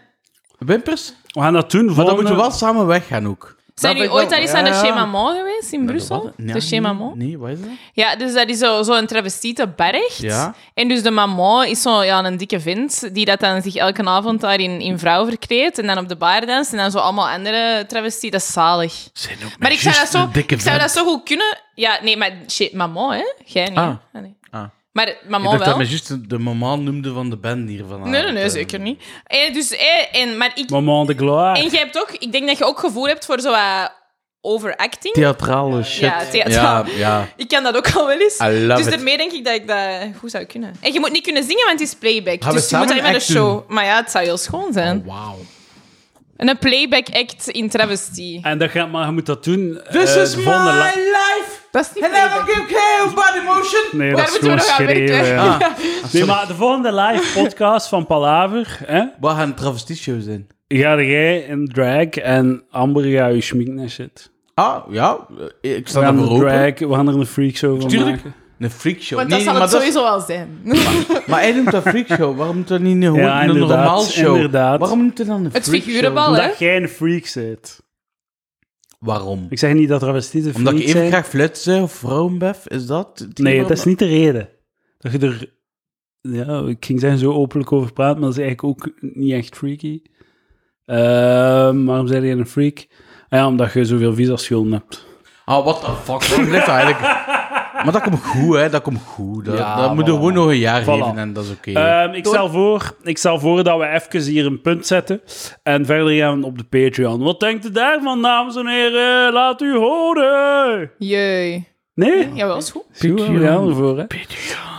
Speaker 2: Wimpers?
Speaker 1: We gaan dat doen.
Speaker 2: Maar dan eh,
Speaker 1: volgende-
Speaker 2: moeten we wel samen weggaan ook.
Speaker 3: Zijn jullie ooit al eens aan de Chemamont geweest in Brussel?
Speaker 2: Nee,
Speaker 3: de Chemamont?
Speaker 2: Nee, wat is dat?
Speaker 3: Ja, dus dat is zo'n zo zo'n travestiete berg.
Speaker 2: Ja.
Speaker 3: En dus de maman is zo'n ja, een dikke vent die dat dan zich elke avond daar in, in vrouw verkleedt en dan op de bar danst en dan zo allemaal andere travestie. Dat is zalig.
Speaker 2: Zijn ook
Speaker 3: Maar ik zou, dat
Speaker 2: juist
Speaker 3: zo,
Speaker 2: een dikke
Speaker 3: ik zou dat
Speaker 2: vent.
Speaker 3: zo goed kunnen... Ja, nee, maar shit, maman, hè? Jij niet. hè?
Speaker 2: Ah.
Speaker 3: Ah, nee.
Speaker 2: Ah.
Speaker 3: Maar
Speaker 2: Ik
Speaker 3: maman
Speaker 2: dacht dat
Speaker 3: wel.
Speaker 2: men juist de- de mama noemde van de band hier vanavond.
Speaker 3: Nee, nee,
Speaker 2: Eh,
Speaker 3: nee, zeker niet. Eh, dus, eh, en, maar ik,
Speaker 1: Moment de gloire.
Speaker 3: en jij hebt ook... Ik denk dat je ook gevoel hebt voor zo wat overacting.
Speaker 2: Theatrale shit.
Speaker 3: Ja, theatraal.
Speaker 2: Ja, ja.
Speaker 3: Ik kan dat ook al wel eens.
Speaker 2: I love
Speaker 3: dus
Speaker 2: it.
Speaker 3: daarmee denk ik dat ik dat goed zou kunnen. En je moet niet kunnen zingen, want het is playback.
Speaker 2: Gaan we
Speaker 3: dus je moet
Speaker 2: samen
Speaker 3: alleen maar de
Speaker 2: een act
Speaker 3: show. Maar ja, het zou heel schoon zijn.
Speaker 2: Wauw.
Speaker 3: En een playback act in travestie.
Speaker 1: En dat gaat, maar je moet dat doen.
Speaker 2: This
Speaker 1: eh,
Speaker 2: is
Speaker 1: de
Speaker 2: my
Speaker 1: volgende la-
Speaker 2: life!
Speaker 3: Dat is niet
Speaker 2: And I
Speaker 3: playback.
Speaker 2: will give care about emotion!
Speaker 1: Nee, dat
Speaker 3: Daar
Speaker 1: is
Speaker 3: moeten we
Speaker 1: gewoon
Speaker 3: nog aan werken.
Speaker 1: schreeuwen.
Speaker 2: Ah.
Speaker 1: Nee, maar de volgende live podcast van Palaver, hè,
Speaker 2: We gaan een travestie-show zijn.
Speaker 1: ga jij in drag en Amber gaat je schminken en shit.
Speaker 2: Ah, ja. eh, Ik
Speaker 1: We
Speaker 2: sta
Speaker 1: gaan,
Speaker 2: daarvoor
Speaker 1: er
Speaker 2: open.
Speaker 1: drag, we gaan er een freak show van
Speaker 2: Tuurlijk.
Speaker 1: maken.
Speaker 2: Een freakshow.
Speaker 3: Want dat
Speaker 2: Nee,
Speaker 3: zal
Speaker 2: maar
Speaker 3: het
Speaker 2: dat is-
Speaker 3: sowieso wel zijn.
Speaker 2: Maar hij noemt dat freakshow. Waarom moet dat niet een,
Speaker 1: Ja,
Speaker 2: een
Speaker 1: inderdaad,
Speaker 2: normaal show?
Speaker 1: inderdaad.
Speaker 2: Waarom noemt hij dan een
Speaker 3: Het
Speaker 2: freakshow?
Speaker 3: figurenbal, hè?
Speaker 1: Omdat jij een freak zit.
Speaker 2: Waarom?
Speaker 1: Ik zeg niet dat travestieten freak
Speaker 2: Omdat ik even
Speaker 1: zijn.
Speaker 2: graag fluit zei of vrouwenbef? Is dat? het
Speaker 1: Nee,
Speaker 2: thema?
Speaker 1: dat is niet de reden. Dat je er... Ja, ik ging zeggen zo openlijk over praten, maar dat is eigenlijk ook niet echt freaky. Ehm, waarom zei je een freak? Ah ja, omdat je zoveel visa-schulden hebt.
Speaker 2: Ah, what the fuck? Waarom blijft dat eigenlijk? Maar dat komt goed, hè? Dat komt goed. Dat,
Speaker 1: Ja,
Speaker 2: dat moet
Speaker 1: voilà.
Speaker 2: je gewoon nog een jaar
Speaker 1: Voilà.
Speaker 2: geven en dat is oké.
Speaker 1: Ehm, ik, stel voor, ik stel voor dat we even hier een punt zetten. En verder gaan we op de Patreon. Wat denkt u daarvan, dames en heren? Laat u horen!
Speaker 3: Jee.
Speaker 1: Nee?
Speaker 3: Ja, wel is goed.
Speaker 1: Patreon. Ja, ervoor, hè?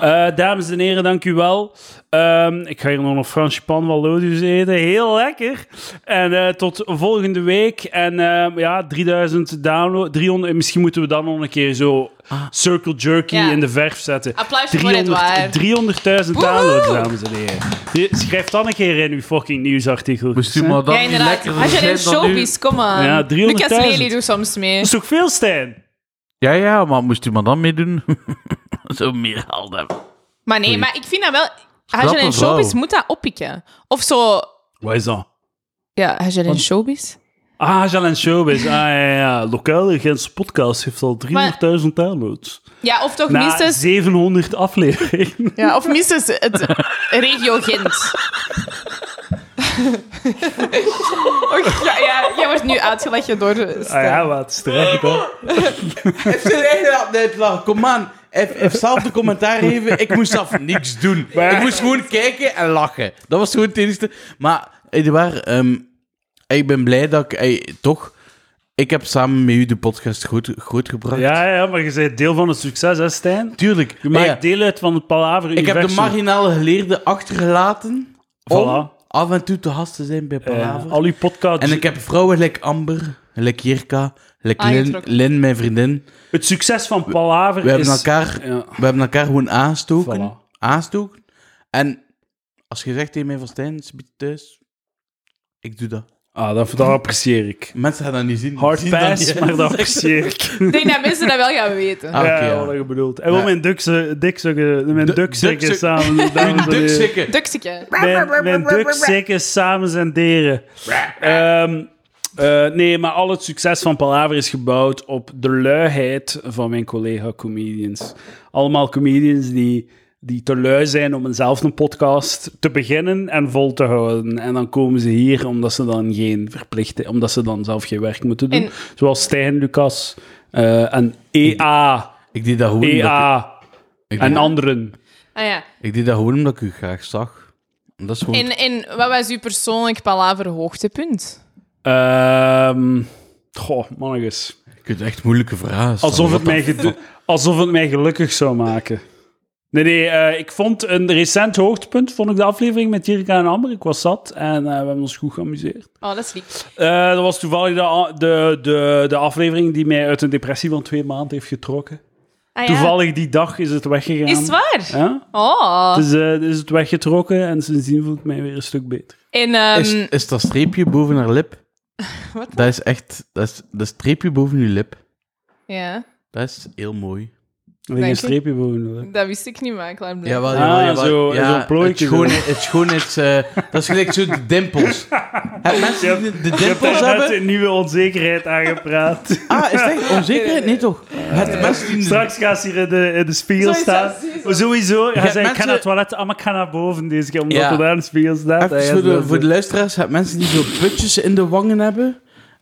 Speaker 1: Eh, dames en heren, dank u wel. Ehm, ik ga hier nog een Fransje pan Wallodius eten. Heel lekker. En eh, tot volgende week. En eh, ja, 3000 download. 300, misschien moeten we dan nog een keer zo Circle Jerky
Speaker 3: Ah. Ja.
Speaker 1: in de verf zetten.
Speaker 3: Applausje voor
Speaker 1: 300
Speaker 3: Edouard.
Speaker 1: 300.000 downloads, dames en heren. Je- Schrijf dan een keer in uw fucking nieuwsartikel. hè?
Speaker 2: maar dat
Speaker 3: Ja, inderdaad. Als je in showbiz, kom aan.
Speaker 1: Ja, 300.000.
Speaker 3: Lucas Lely doet soms mee.
Speaker 1: Dat is toch veel, Stijn?
Speaker 2: Ja, ja, maar moest u maar dan meedoen? Zo meer geld hebben.
Speaker 3: Maar nee, maar ik vind dat wel... Als je
Speaker 2: Knappe
Speaker 3: in showbiz
Speaker 2: vrouw.
Speaker 3: moet dat oppikken. Of zo...
Speaker 1: Wat is dat?
Speaker 3: Ja, als je in showbiz...
Speaker 1: Ah, Jalen Showbiz. Ah, ja, ja, ja. Lokale Gentse podcast heeft al 300.000 downloads.
Speaker 3: Ja, of toch
Speaker 1: Na
Speaker 3: minstens
Speaker 1: 700 afleveringen.
Speaker 3: Ja, of minstens het regio Gent. Och, Oh, ja, ja, jij wordt nu uitgelachen door...
Speaker 1: Ah ja, wat strijd, hè.
Speaker 2: Heeft zijn eigen hand uitlachen. Kom aan. Heeft heeft zelf de commentaar geven. Ik moest zelf niks doen. Ik moest gewoon kijken en lachen. Dat was gewoon het enige. Maar, Edouard, ehm, ik ben blij dat ik... ey, toch, ik heb samen met u de podcast goed, goed gebracht.
Speaker 1: Ja, ja, maar je bent deel van het succes, hè, Stijn?
Speaker 2: Tuurlijk.
Speaker 1: Je maakt
Speaker 2: Ja, ja.
Speaker 1: deel uit van het Palaver
Speaker 2: Ik heb de
Speaker 1: universum.
Speaker 2: marginale geleerde achtergelaten om
Speaker 1: Voilà.
Speaker 2: af en toe te gast te zijn bij
Speaker 1: Eh,
Speaker 2: Palaver.
Speaker 1: al uw podcasts.
Speaker 2: en ik heb vrouwen like Amber, like Jirka, like Lin,
Speaker 3: Aangetrokken.
Speaker 2: Lin, mijn vriendin.
Speaker 1: Het succes van Palaver
Speaker 2: We hebben,
Speaker 1: is...
Speaker 2: elkaar,
Speaker 1: Ja.
Speaker 2: we hebben elkaar gewoon aanstoken.
Speaker 1: Voilà.
Speaker 2: aanstoken. En als je zegt tegen mij van Stijn, alsjeblieft thuis, ik doe dat.
Speaker 1: Ah, dat, dat apprecieer ik.
Speaker 2: Mensen gaan dat niet zien.
Speaker 1: Hard
Speaker 2: Zien dat
Speaker 1: pass,
Speaker 2: niet, hè.
Speaker 1: maar dat apprecieer ik.
Speaker 3: Ik denk dat mensen dat wel gaan weten.
Speaker 2: Ah, oké,
Speaker 1: ja,
Speaker 2: ja.
Speaker 1: wat je bedoelt. En wel
Speaker 2: Ja.
Speaker 1: mijn dukse- dikzakken mijn
Speaker 2: Du-
Speaker 1: dukzakken
Speaker 2: dukzak-
Speaker 1: samen... dames
Speaker 2: Ah,
Speaker 1: en heren.
Speaker 2: Dukzikken.
Speaker 3: Dukseke.
Speaker 1: Mijn, mijn dukzekken samen zenderen. Ehm eh, nee, maar al het succes van Palaver is gebouwd op de luiheid van mijn collega-comedians. Allemaal comedians die, die te lui zijn om zelf een podcast te beginnen en vol te houden. En dan komen ze hier omdat ze dan geen verplichte, omdat ze dan zelf geen werk moeten doen.
Speaker 3: En-
Speaker 1: Zoals Stijn, Lucas eh, en EA,
Speaker 2: Ik deed dat gewoon omdat
Speaker 1: EA
Speaker 2: ik, ik,
Speaker 1: en
Speaker 2: deed,
Speaker 1: anderen.
Speaker 3: Ah ja.
Speaker 2: ik deed dat gewoon omdat ik u graag zag. Dat is gewoon...
Speaker 3: En, en wat was uw persoonlijk palaver hoogtepunt?
Speaker 1: Ehm goh, mannetjes.
Speaker 2: Ik vind het echt moeilijke vragen. stellen.
Speaker 1: Alsof
Speaker 2: Wat
Speaker 1: het, mij
Speaker 2: de
Speaker 1: gedu- alsof het mij gelukkig zou maken. Nee, nee, eh, ik vond een recent hoogtepunt, vond ik de aflevering met Jirka en Amber. Ik was zat en eh, we hebben ons goed geamuseerd.
Speaker 3: Oh, dat is lief.
Speaker 1: Eh, dat was toevallig de, a- de, de, de aflevering die mij uit een depressie van twee maanden heeft getrokken.
Speaker 3: Ah, ja.
Speaker 1: Toevallig die dag is het weggegaan.
Speaker 3: Is het waar?
Speaker 1: Ja?
Speaker 3: Oh.
Speaker 1: Dus eh, is het weggetrokken en sindsdien voel ik mij weer een stuk beter.
Speaker 3: En, ehm,
Speaker 2: Is, is dat streepje boven haar lip?
Speaker 3: Wat?
Speaker 2: Dat is echt... Dat is dat streepje boven je lip.
Speaker 3: Ja,
Speaker 2: Dat is heel mooi.
Speaker 1: Er ligt
Speaker 3: je?
Speaker 1: een streepje boven. hoor.
Speaker 3: dat wist ik niet, maar klaarblijkelijk.
Speaker 2: Jawel,
Speaker 1: Ah,
Speaker 2: jawel, jawel.
Speaker 1: zo- zo'n
Speaker 2: het
Speaker 1: plooitje
Speaker 2: schoon, het schoon is... eh, dat is gelijk zo de dimpels. Hebben mensen die de dimpels
Speaker 1: Net
Speaker 2: hebben...
Speaker 1: een nieuwe onzekerheid aangepraat.
Speaker 2: Ah, is dat echt onzekerheid? Nee, toch? Het mensen die...
Speaker 1: Straks gaat ze hier in de, in de spiegel
Speaker 3: Sowieso,
Speaker 1: staan.
Speaker 3: sowieso.
Speaker 1: Sowieso. Hij
Speaker 2: hebt
Speaker 1: zei, ik ga
Speaker 2: mensen-
Speaker 1: naar het toilet, ah, maar ik ga naar boven deze keer, omdat
Speaker 2: Ja.
Speaker 1: er daar een spiegel staat.
Speaker 2: Even
Speaker 1: Hij
Speaker 2: voor,
Speaker 1: is wel
Speaker 2: de,
Speaker 1: zo-
Speaker 2: voor de luisteraars, je hebt mensen die zo putjes in de wangen hebben.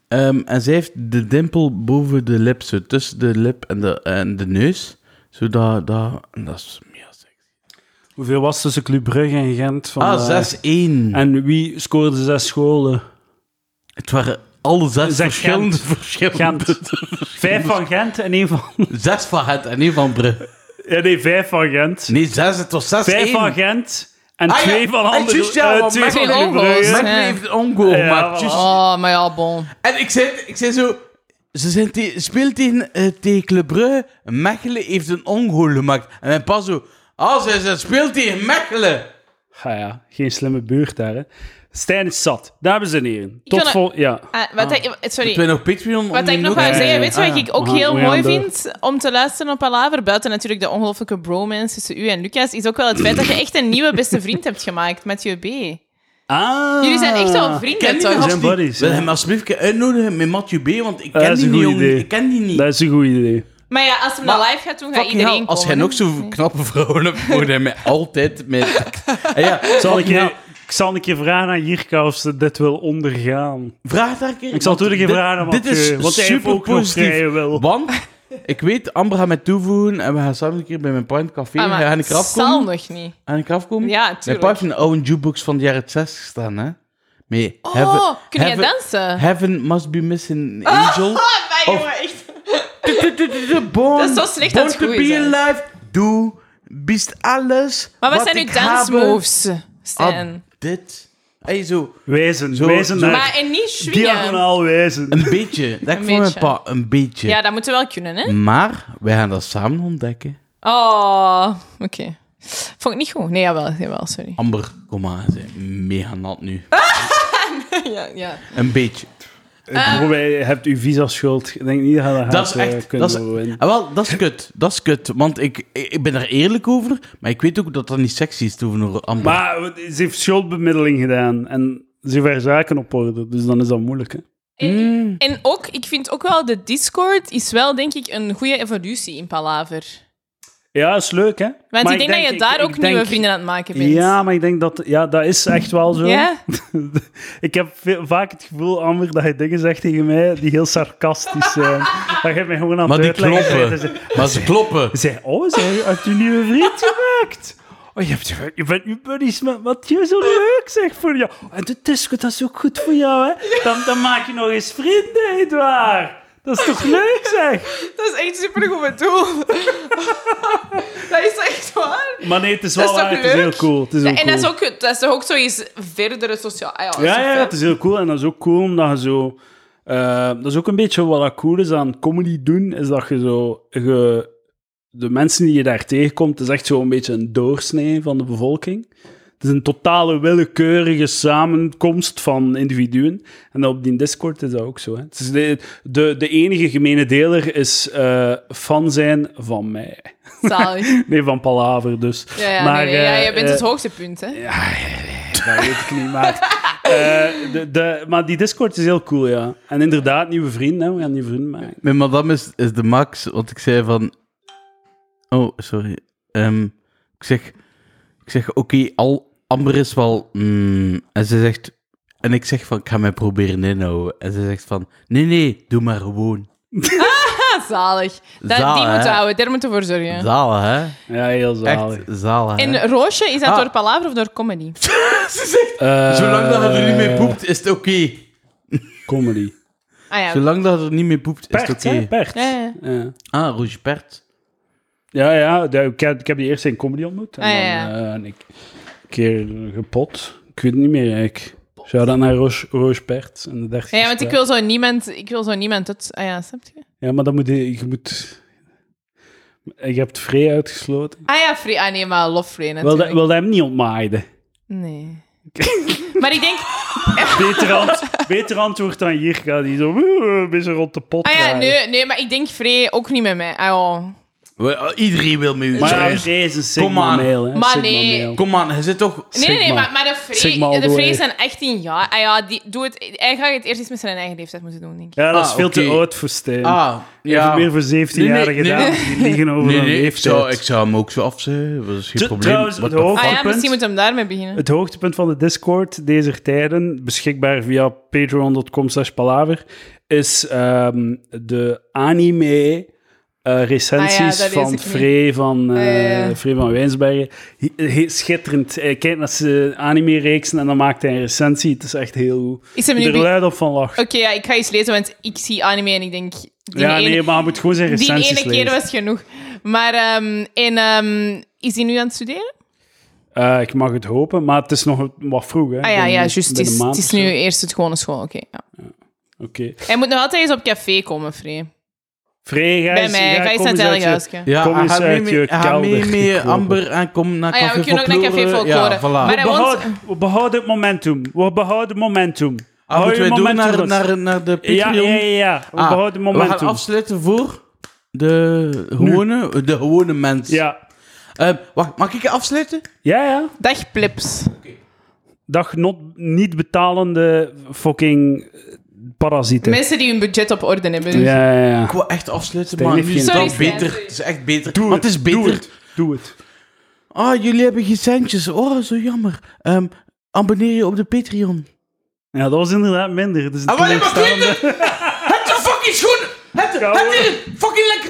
Speaker 2: Ehm, en zij heeft de dimpel boven de lip, zo tussen de lip en de, en de neus. Zo dat, dat, en dat is meer sexy.
Speaker 1: Hoeveel was tussen Club Brugge en Gent? Van,
Speaker 2: Ah,
Speaker 1: eh,
Speaker 2: 6-1.
Speaker 1: En wie scoorde zes scholen?
Speaker 2: Het waren alle zes
Speaker 1: Zeg
Speaker 2: verschillende,
Speaker 1: Gent.
Speaker 2: verschillende.
Speaker 1: Gent. Vijf van Gent en één van...
Speaker 2: Zes van het en één van Brugge.
Speaker 1: Ja, nee, vijf van Gent.
Speaker 2: Nee, zes, het was 6-1.
Speaker 1: Vijf van Gent en
Speaker 2: Ah, ja.
Speaker 1: twee van
Speaker 2: Ah,
Speaker 1: andere...
Speaker 2: juist, ja,
Speaker 1: eh,
Speaker 2: want
Speaker 1: twee
Speaker 3: Mechelen
Speaker 1: van Club
Speaker 3: was-
Speaker 1: Brugge.
Speaker 2: Mechelen
Speaker 3: Ja.
Speaker 2: heeft een
Speaker 1: Ja,
Speaker 2: goal gemaakt.
Speaker 1: voilà.
Speaker 2: juist.
Speaker 3: Oh, maar ja, bon.
Speaker 2: En ik zei, ik zei zo... Ze zijn te, speelt tegen, eh, tegen Club Brugge. Mechelen heeft een ongoal gemaakt. En mijn pa zo... Ah, ze, ze speelt tegen Mechelen.
Speaker 1: Ah ja, geen slimme buurt daar, hè. Stijn is zat. Dames en heren,
Speaker 3: kan
Speaker 1: tot
Speaker 3: het-
Speaker 1: vol... Ja.
Speaker 3: Ah, wat ik- sorry,
Speaker 2: Moeten we nog Patreon
Speaker 3: Wat ik nog
Speaker 2: wel
Speaker 3: wou zeggen, weet je wat
Speaker 1: Ah,
Speaker 3: ik ook
Speaker 1: we gaan-
Speaker 3: heel
Speaker 1: we gaan
Speaker 3: mooi
Speaker 1: door.
Speaker 3: vind om te luisteren op Palaver, buiten natuurlijk de ongelooflijke bromance tussen u en Lucas, is ook wel het feit dat je echt een nieuwe beste vriend hebt gemaakt, Mathieu B.
Speaker 1: Ah.
Speaker 3: Jullie zijn echt wel vrienden,
Speaker 2: die
Speaker 3: toch?
Speaker 1: gast? buddies,
Speaker 2: Wil
Speaker 1: ja.
Speaker 2: hem alsjeblieft uitnodigen met Mathieu B, want ik
Speaker 1: dat
Speaker 2: ken
Speaker 1: is
Speaker 2: die
Speaker 1: een
Speaker 2: niet,
Speaker 1: goed
Speaker 2: jongen.
Speaker 1: idee.
Speaker 2: Ik ken die niet.
Speaker 1: Dat is een goed idee.
Speaker 3: Maar ja, als hem naar live gaat doen, gaat
Speaker 2: Fucking
Speaker 3: iedereen
Speaker 2: hell,
Speaker 3: komen. Ah,
Speaker 2: als jij nog
Speaker 3: hè?
Speaker 2: zo'n knappe vrouwen hebt, moet hij mij altijd met... En ja,
Speaker 1: Zal ik,
Speaker 2: fucking hell.
Speaker 1: je, Nou, ik zal een keer vragen aan Jirka of ze dit wil ondergaan.
Speaker 2: Vraag daar een keer.
Speaker 1: Ik zal toen
Speaker 2: want
Speaker 1: een keer
Speaker 2: dit-
Speaker 1: vragen aan
Speaker 2: Dit is
Speaker 1: Mathieu, want hij heeft
Speaker 2: super
Speaker 1: ook nog
Speaker 2: positief.
Speaker 1: vrije wil.
Speaker 2: Want ik weet, Amber gaat mij toevoegen en we gaan samen een keer bij mijn pa in het café.
Speaker 3: Ah,
Speaker 2: gaan
Speaker 3: maar
Speaker 2: gaan ik eraf
Speaker 3: zal
Speaker 2: komen?
Speaker 3: nog niet.
Speaker 2: Gaan ik eraf komen?
Speaker 3: Ja,
Speaker 2: Mijn pa
Speaker 3: tuurlijk.
Speaker 2: heeft een oude jukebox van de jaren 60 staan, hè? Mee.
Speaker 3: Oh, kun je
Speaker 2: heaven,
Speaker 3: dansen?
Speaker 2: Heaven must be missing angel.
Speaker 3: Ah, maar jongen, echt.
Speaker 2: Born,
Speaker 3: Dat is zo slecht
Speaker 2: born
Speaker 3: dat het
Speaker 2: to
Speaker 3: goed
Speaker 2: be
Speaker 3: is, hè.
Speaker 2: alive. Doe, bist alles.
Speaker 3: Maar wat zijn uw
Speaker 2: ik habe
Speaker 3: dansmoves,
Speaker 2: aan
Speaker 3: Stijn?
Speaker 2: Dit. Hey, zo.
Speaker 1: Wijzen,
Speaker 2: Zo-
Speaker 1: wijzen
Speaker 2: zo-
Speaker 1: naar...
Speaker 3: Maar en niet swingen.
Speaker 1: Diagonaal wijzen.
Speaker 2: Een beetje. Dat ik voor mijn
Speaker 3: beetje.
Speaker 2: pa, een beetje.
Speaker 3: Ja, dat moeten we wel kunnen,
Speaker 2: Mm.
Speaker 3: hè?
Speaker 2: Maar wij gaan dat samen ontdekken.
Speaker 3: Oh, oké. Vond ik niet goed. Nee, jawel, jawel sorry.
Speaker 2: Amber, kom maar, ze is mega nat nu.
Speaker 3: Ja, ja.
Speaker 2: Een beetje.
Speaker 3: Eh.
Speaker 1: Bro, wij- Eh, je hebt uw visa schuld. Ik denk niet dat je dat
Speaker 2: Dat is
Speaker 1: gaat, eh,
Speaker 2: echt.
Speaker 1: kunnen
Speaker 2: Dat is,
Speaker 1: overwinnen.
Speaker 2: Ah, wel, dat is kut. Dat is kut. Want ik, ik ben er eerlijk over, maar ik weet ook dat dat niet sexy is tegenover Amber.
Speaker 1: Maar wat- ze heeft schuldbemiddeling gedaan en ze heeft haar zaken op orde, dus dan is dat moeilijk. Hè? Mm.
Speaker 3: En, en ook, ik vind ook wel, de Discord is wel, denk ik, een goede evolutie in Palaver.
Speaker 1: Ja, is leuk, hè?
Speaker 3: Want
Speaker 1: Maar
Speaker 3: ik denk dat je
Speaker 1: ik-
Speaker 3: daar
Speaker 1: ik
Speaker 3: ook nieuwe
Speaker 1: denk-
Speaker 3: vrienden aan het maken bent.
Speaker 1: Ja, maar ik denk dat... Ja, dat is echt wel zo.
Speaker 3: Ja?
Speaker 1: ik heb veel- vaak het gevoel, Amber, dat je dingen zegt tegen mij die heel sarcastisch zijn. dat je mij gewoon aan
Speaker 2: Maar
Speaker 1: het
Speaker 2: die
Speaker 1: uitleggen bent Dus- en
Speaker 2: kloppen.
Speaker 1: ze-
Speaker 2: Maar Eh, ze kloppen.
Speaker 1: Ze zei, oh, ze heeft een nieuwe vriend gemaakt. Oh, je, hebt, je bent nu buddies met Mathieu, zo leuk zeg voor jou. Oh, En de Tesco, dat is ook goed voor jou, hè. Dan, dan maak je nog eens vrienden, Edouard. Dat is toch leuk, zeg?
Speaker 3: Dat is echt supergoed bedoeld. dat is echt waar.
Speaker 1: Maar nee, het is
Speaker 3: Dat
Speaker 1: wel
Speaker 3: is toch
Speaker 1: waar, het is
Speaker 3: leuk?
Speaker 1: heel cool. Het is heel
Speaker 3: en dat is,
Speaker 1: cool.
Speaker 3: ook, dat is toch ook zoiets verdere sociaal... Ah, ja, dat is
Speaker 1: Ja,
Speaker 3: toch
Speaker 1: ja,
Speaker 3: vet.
Speaker 1: het is heel cool. En dat is ook cool omdat je zo... eh, dat is ook een beetje wat dat cool is aan comedy doen, is dat je zo... Je, de mensen die je daar tegenkomt, is echt zo'n beetje een doorsnee van de bevolking. Het is een totale willekeurige samenkomst van individuen. En op die Discord is dat ook zo. Hè. Het is de, de, de enige gemene deler is eh, fan zijn van mij.
Speaker 3: Zalig.
Speaker 1: Nee, van Palaver dus.
Speaker 3: Ja, ja,
Speaker 1: Maar,
Speaker 3: nee, nee, ja,
Speaker 1: eh,
Speaker 3: je bent
Speaker 1: eh,
Speaker 3: het hoogtepunt, hè?
Speaker 1: dat weet ik niet, maar... eh, de, de, maar die Discord is heel cool, ja. En inderdaad, nieuwe vrienden, hè. we gaan nieuwe vrienden maken.
Speaker 2: Mijn madame is, is de max, want ik zei van... Oh, sorry. Ehm, ik zeg, ik zeg oké, al Amber is wel... mm, en ze zegt... En ik zeg van, ik ga mij proberen inhouden. En ze zegt van, nee, nee, doe maar gewoon.
Speaker 3: Ah, zalig.
Speaker 2: Zalig,
Speaker 3: Dat, die
Speaker 2: hè?
Speaker 3: moeten we houden, daar moeten we voor zorgen.
Speaker 2: Zalen, hè?
Speaker 1: Ja, heel zalig.
Speaker 2: Echt zalen, hè?
Speaker 3: En Roosje, is dat
Speaker 2: Ah.
Speaker 3: door Palaver of door comedy?
Speaker 2: ze zegt,
Speaker 1: Eh,
Speaker 2: zolang dat je er niet mee poept, is het oké.
Speaker 1: Comedy.
Speaker 3: Ah ja.
Speaker 2: Zolang dat je er niet mee poept, is het
Speaker 1: Pert,
Speaker 2: oké.
Speaker 1: hè, Pert.
Speaker 3: Ja, ja.
Speaker 1: Ja.
Speaker 2: Ah, Rouge Pert.
Speaker 1: Ja, ja, de- ik heb, ik heb die eerst in comedy ontmoet. En
Speaker 3: Ah,
Speaker 1: dan
Speaker 3: ja, ja.
Speaker 1: eh, en ik een keer gepot. Ik weet het niet meer eigenlijk. Zou dat naar Roos, Roos Pert en de 30
Speaker 3: Ja, want ik wil zo niemand, ik wil zo niemand het. Ah ja, snap je?
Speaker 1: Ja, maar dan moet je, je moet... Je hebt Free uitgesloten.
Speaker 3: Ah ja, free. Ah nee, maar love free
Speaker 1: Wil dat,
Speaker 3: natuurlijk.
Speaker 1: wil dat hem niet ontmaaiden?
Speaker 3: Nee. maar ik denk, ah
Speaker 1: Beter als Beter antwoord dan hier gaat die zo "Woe, een beetje rond de pot.
Speaker 3: Ah ja,
Speaker 1: draaien.
Speaker 3: nee, nee, maar ik denk Free ook niet met mij. Ah, ja.
Speaker 2: We- oh, Iedereen wil mee.
Speaker 1: Maar ja,
Speaker 2: draaien.
Speaker 1: deze is een
Speaker 2: Kom aan.
Speaker 1: Sigma mail. Hè.
Speaker 3: Maar
Speaker 1: Sigma
Speaker 3: nee.
Speaker 1: mail.
Speaker 2: Kom aan, hij zit toch...
Speaker 3: Nee, nee, nee,
Speaker 1: Sigma.
Speaker 3: maar, maar de
Speaker 1: Sigma
Speaker 3: Free
Speaker 1: all
Speaker 3: de
Speaker 1: the
Speaker 3: Free
Speaker 1: way.
Speaker 3: is dan 18 jaar. Ah ja, die, doe het, hij gaat het eerst iets met zijn eigen leeftijd moeten doen, denk ik.
Speaker 1: Ja, dat
Speaker 2: Ah,
Speaker 1: is veel te
Speaker 2: oké.
Speaker 1: oud voor Stijn.
Speaker 2: Ah, ja.
Speaker 1: Even meer voor 17-jarigen
Speaker 2: Nee, nee,
Speaker 1: dames die liggen over
Speaker 2: Nee,
Speaker 1: hun
Speaker 2: nee, ik
Speaker 1: leeftijd.
Speaker 2: zou, ik zou hem ook zo afzeggen. Dat is geen
Speaker 1: Tr-
Speaker 2: probleem.
Speaker 1: trouwens,
Speaker 2: What
Speaker 1: de
Speaker 2: the
Speaker 1: hoofd-
Speaker 3: Ah
Speaker 2: fuck?
Speaker 3: ja,
Speaker 1: Vakpunt.
Speaker 3: misschien moeten we daarmee beginnen.
Speaker 1: Het hoogtepunt van de Discord deze tijden, beschikbaar via patreon.com slash palaver, is ehm, de anime eh,
Speaker 3: Ah
Speaker 1: recensies
Speaker 3: ja, dat lees ik
Speaker 1: van
Speaker 3: niet. Ah,
Speaker 1: Frey van, eh
Speaker 3: Ja, ja, ja.
Speaker 1: Frey van Wijnsbergen. He- he- Schitterend. Hij kijkt naar zijn anime-reeksen en dan maakt hij een recensie. Het is echt heel goed.
Speaker 3: Is hem nu
Speaker 1: Ik er
Speaker 3: be-
Speaker 1: luid op van lachen.
Speaker 3: Oké, ja, ik ga iets lezen, want ik zie anime en ik denk... Oh, Die
Speaker 1: ja,
Speaker 3: ene-
Speaker 1: nee, maar hij moet gewoon zijn
Speaker 3: Die
Speaker 1: recensies
Speaker 3: ene keer
Speaker 1: lezen.
Speaker 3: was genoeg. Maar ehm, en, ehm, is hij nu aan het studeren?
Speaker 1: Eh, ik mag het hopen, maar het is nog wat vroeg. Hè?
Speaker 3: Ah ja,
Speaker 1: Binnen-
Speaker 3: ja juist. Het
Speaker 1: binnen
Speaker 3: is,
Speaker 1: een maand
Speaker 3: het is
Speaker 1: of zo.
Speaker 3: nu eerst het gewone school. Oké. ja.
Speaker 1: Oké.
Speaker 3: Hij moet nog altijd eens op café komen, Free.
Speaker 1: Frey, ga
Speaker 3: Bij
Speaker 1: eens-
Speaker 3: mij.
Speaker 1: ja,
Speaker 3: Ga eens
Speaker 1: kom
Speaker 3: naar het
Speaker 1: eens uit je-
Speaker 3: Elgehuisje.
Speaker 2: Ja,
Speaker 1: Kom eens
Speaker 2: ga mee
Speaker 1: uit
Speaker 2: met-
Speaker 1: je
Speaker 2: Ga mee
Speaker 1: kelder
Speaker 2: met
Speaker 1: gekropen.
Speaker 2: Amber en kom naar
Speaker 3: Ah ja,
Speaker 2: Café
Speaker 3: we kunnen ook naar Café
Speaker 2: Folklore.
Speaker 3: Folklore.
Speaker 2: Ja, voilà.
Speaker 3: Maar eh, hij
Speaker 1: We
Speaker 3: woont-
Speaker 1: behouden, we behouden het momentum. We behouden momentum.
Speaker 2: Ah,
Speaker 1: Hou
Speaker 2: moeten
Speaker 1: je
Speaker 2: wij door
Speaker 1: momentum
Speaker 2: naar,
Speaker 1: vast.
Speaker 2: naar, naar de
Speaker 1: ja,
Speaker 2: Patreon?
Speaker 1: ja, ja, ja. We
Speaker 2: Ah,
Speaker 1: behouden
Speaker 2: we
Speaker 1: momentum.
Speaker 2: gaan afsluiten voor de gewone, de gewone mens.
Speaker 1: ja.
Speaker 2: Eh, wacht, mag ik afsluiten?
Speaker 1: ja, ja.
Speaker 3: Dag, plips.
Speaker 1: Dag not, niet betalende fucking eh, parasieten.
Speaker 3: Mensen die hun budget op orde hebben. dus.
Speaker 1: ja, ja, ja.
Speaker 2: Ik wil echt afsluiten,
Speaker 1: Stijn
Speaker 2: maar
Speaker 1: heeft
Speaker 2: nu is
Speaker 1: geen
Speaker 2: dat
Speaker 3: tijd. Sorry, Stijn,
Speaker 2: beter.
Speaker 3: sorry.
Speaker 2: Het is echt beter.
Speaker 1: Doe
Speaker 2: Want het is beter.
Speaker 1: Doe het. Doe het.
Speaker 2: Ah, jullie hebben geen centjes. Oh, zo jammer. Ehm, abonneer je op de Patreon.
Speaker 1: Ja, dat was inderdaad minder. Dus
Speaker 2: Ah, wat heb ik Het fucking schoenen! Het,
Speaker 1: Ja, hoor.
Speaker 2: het is fucking lekker!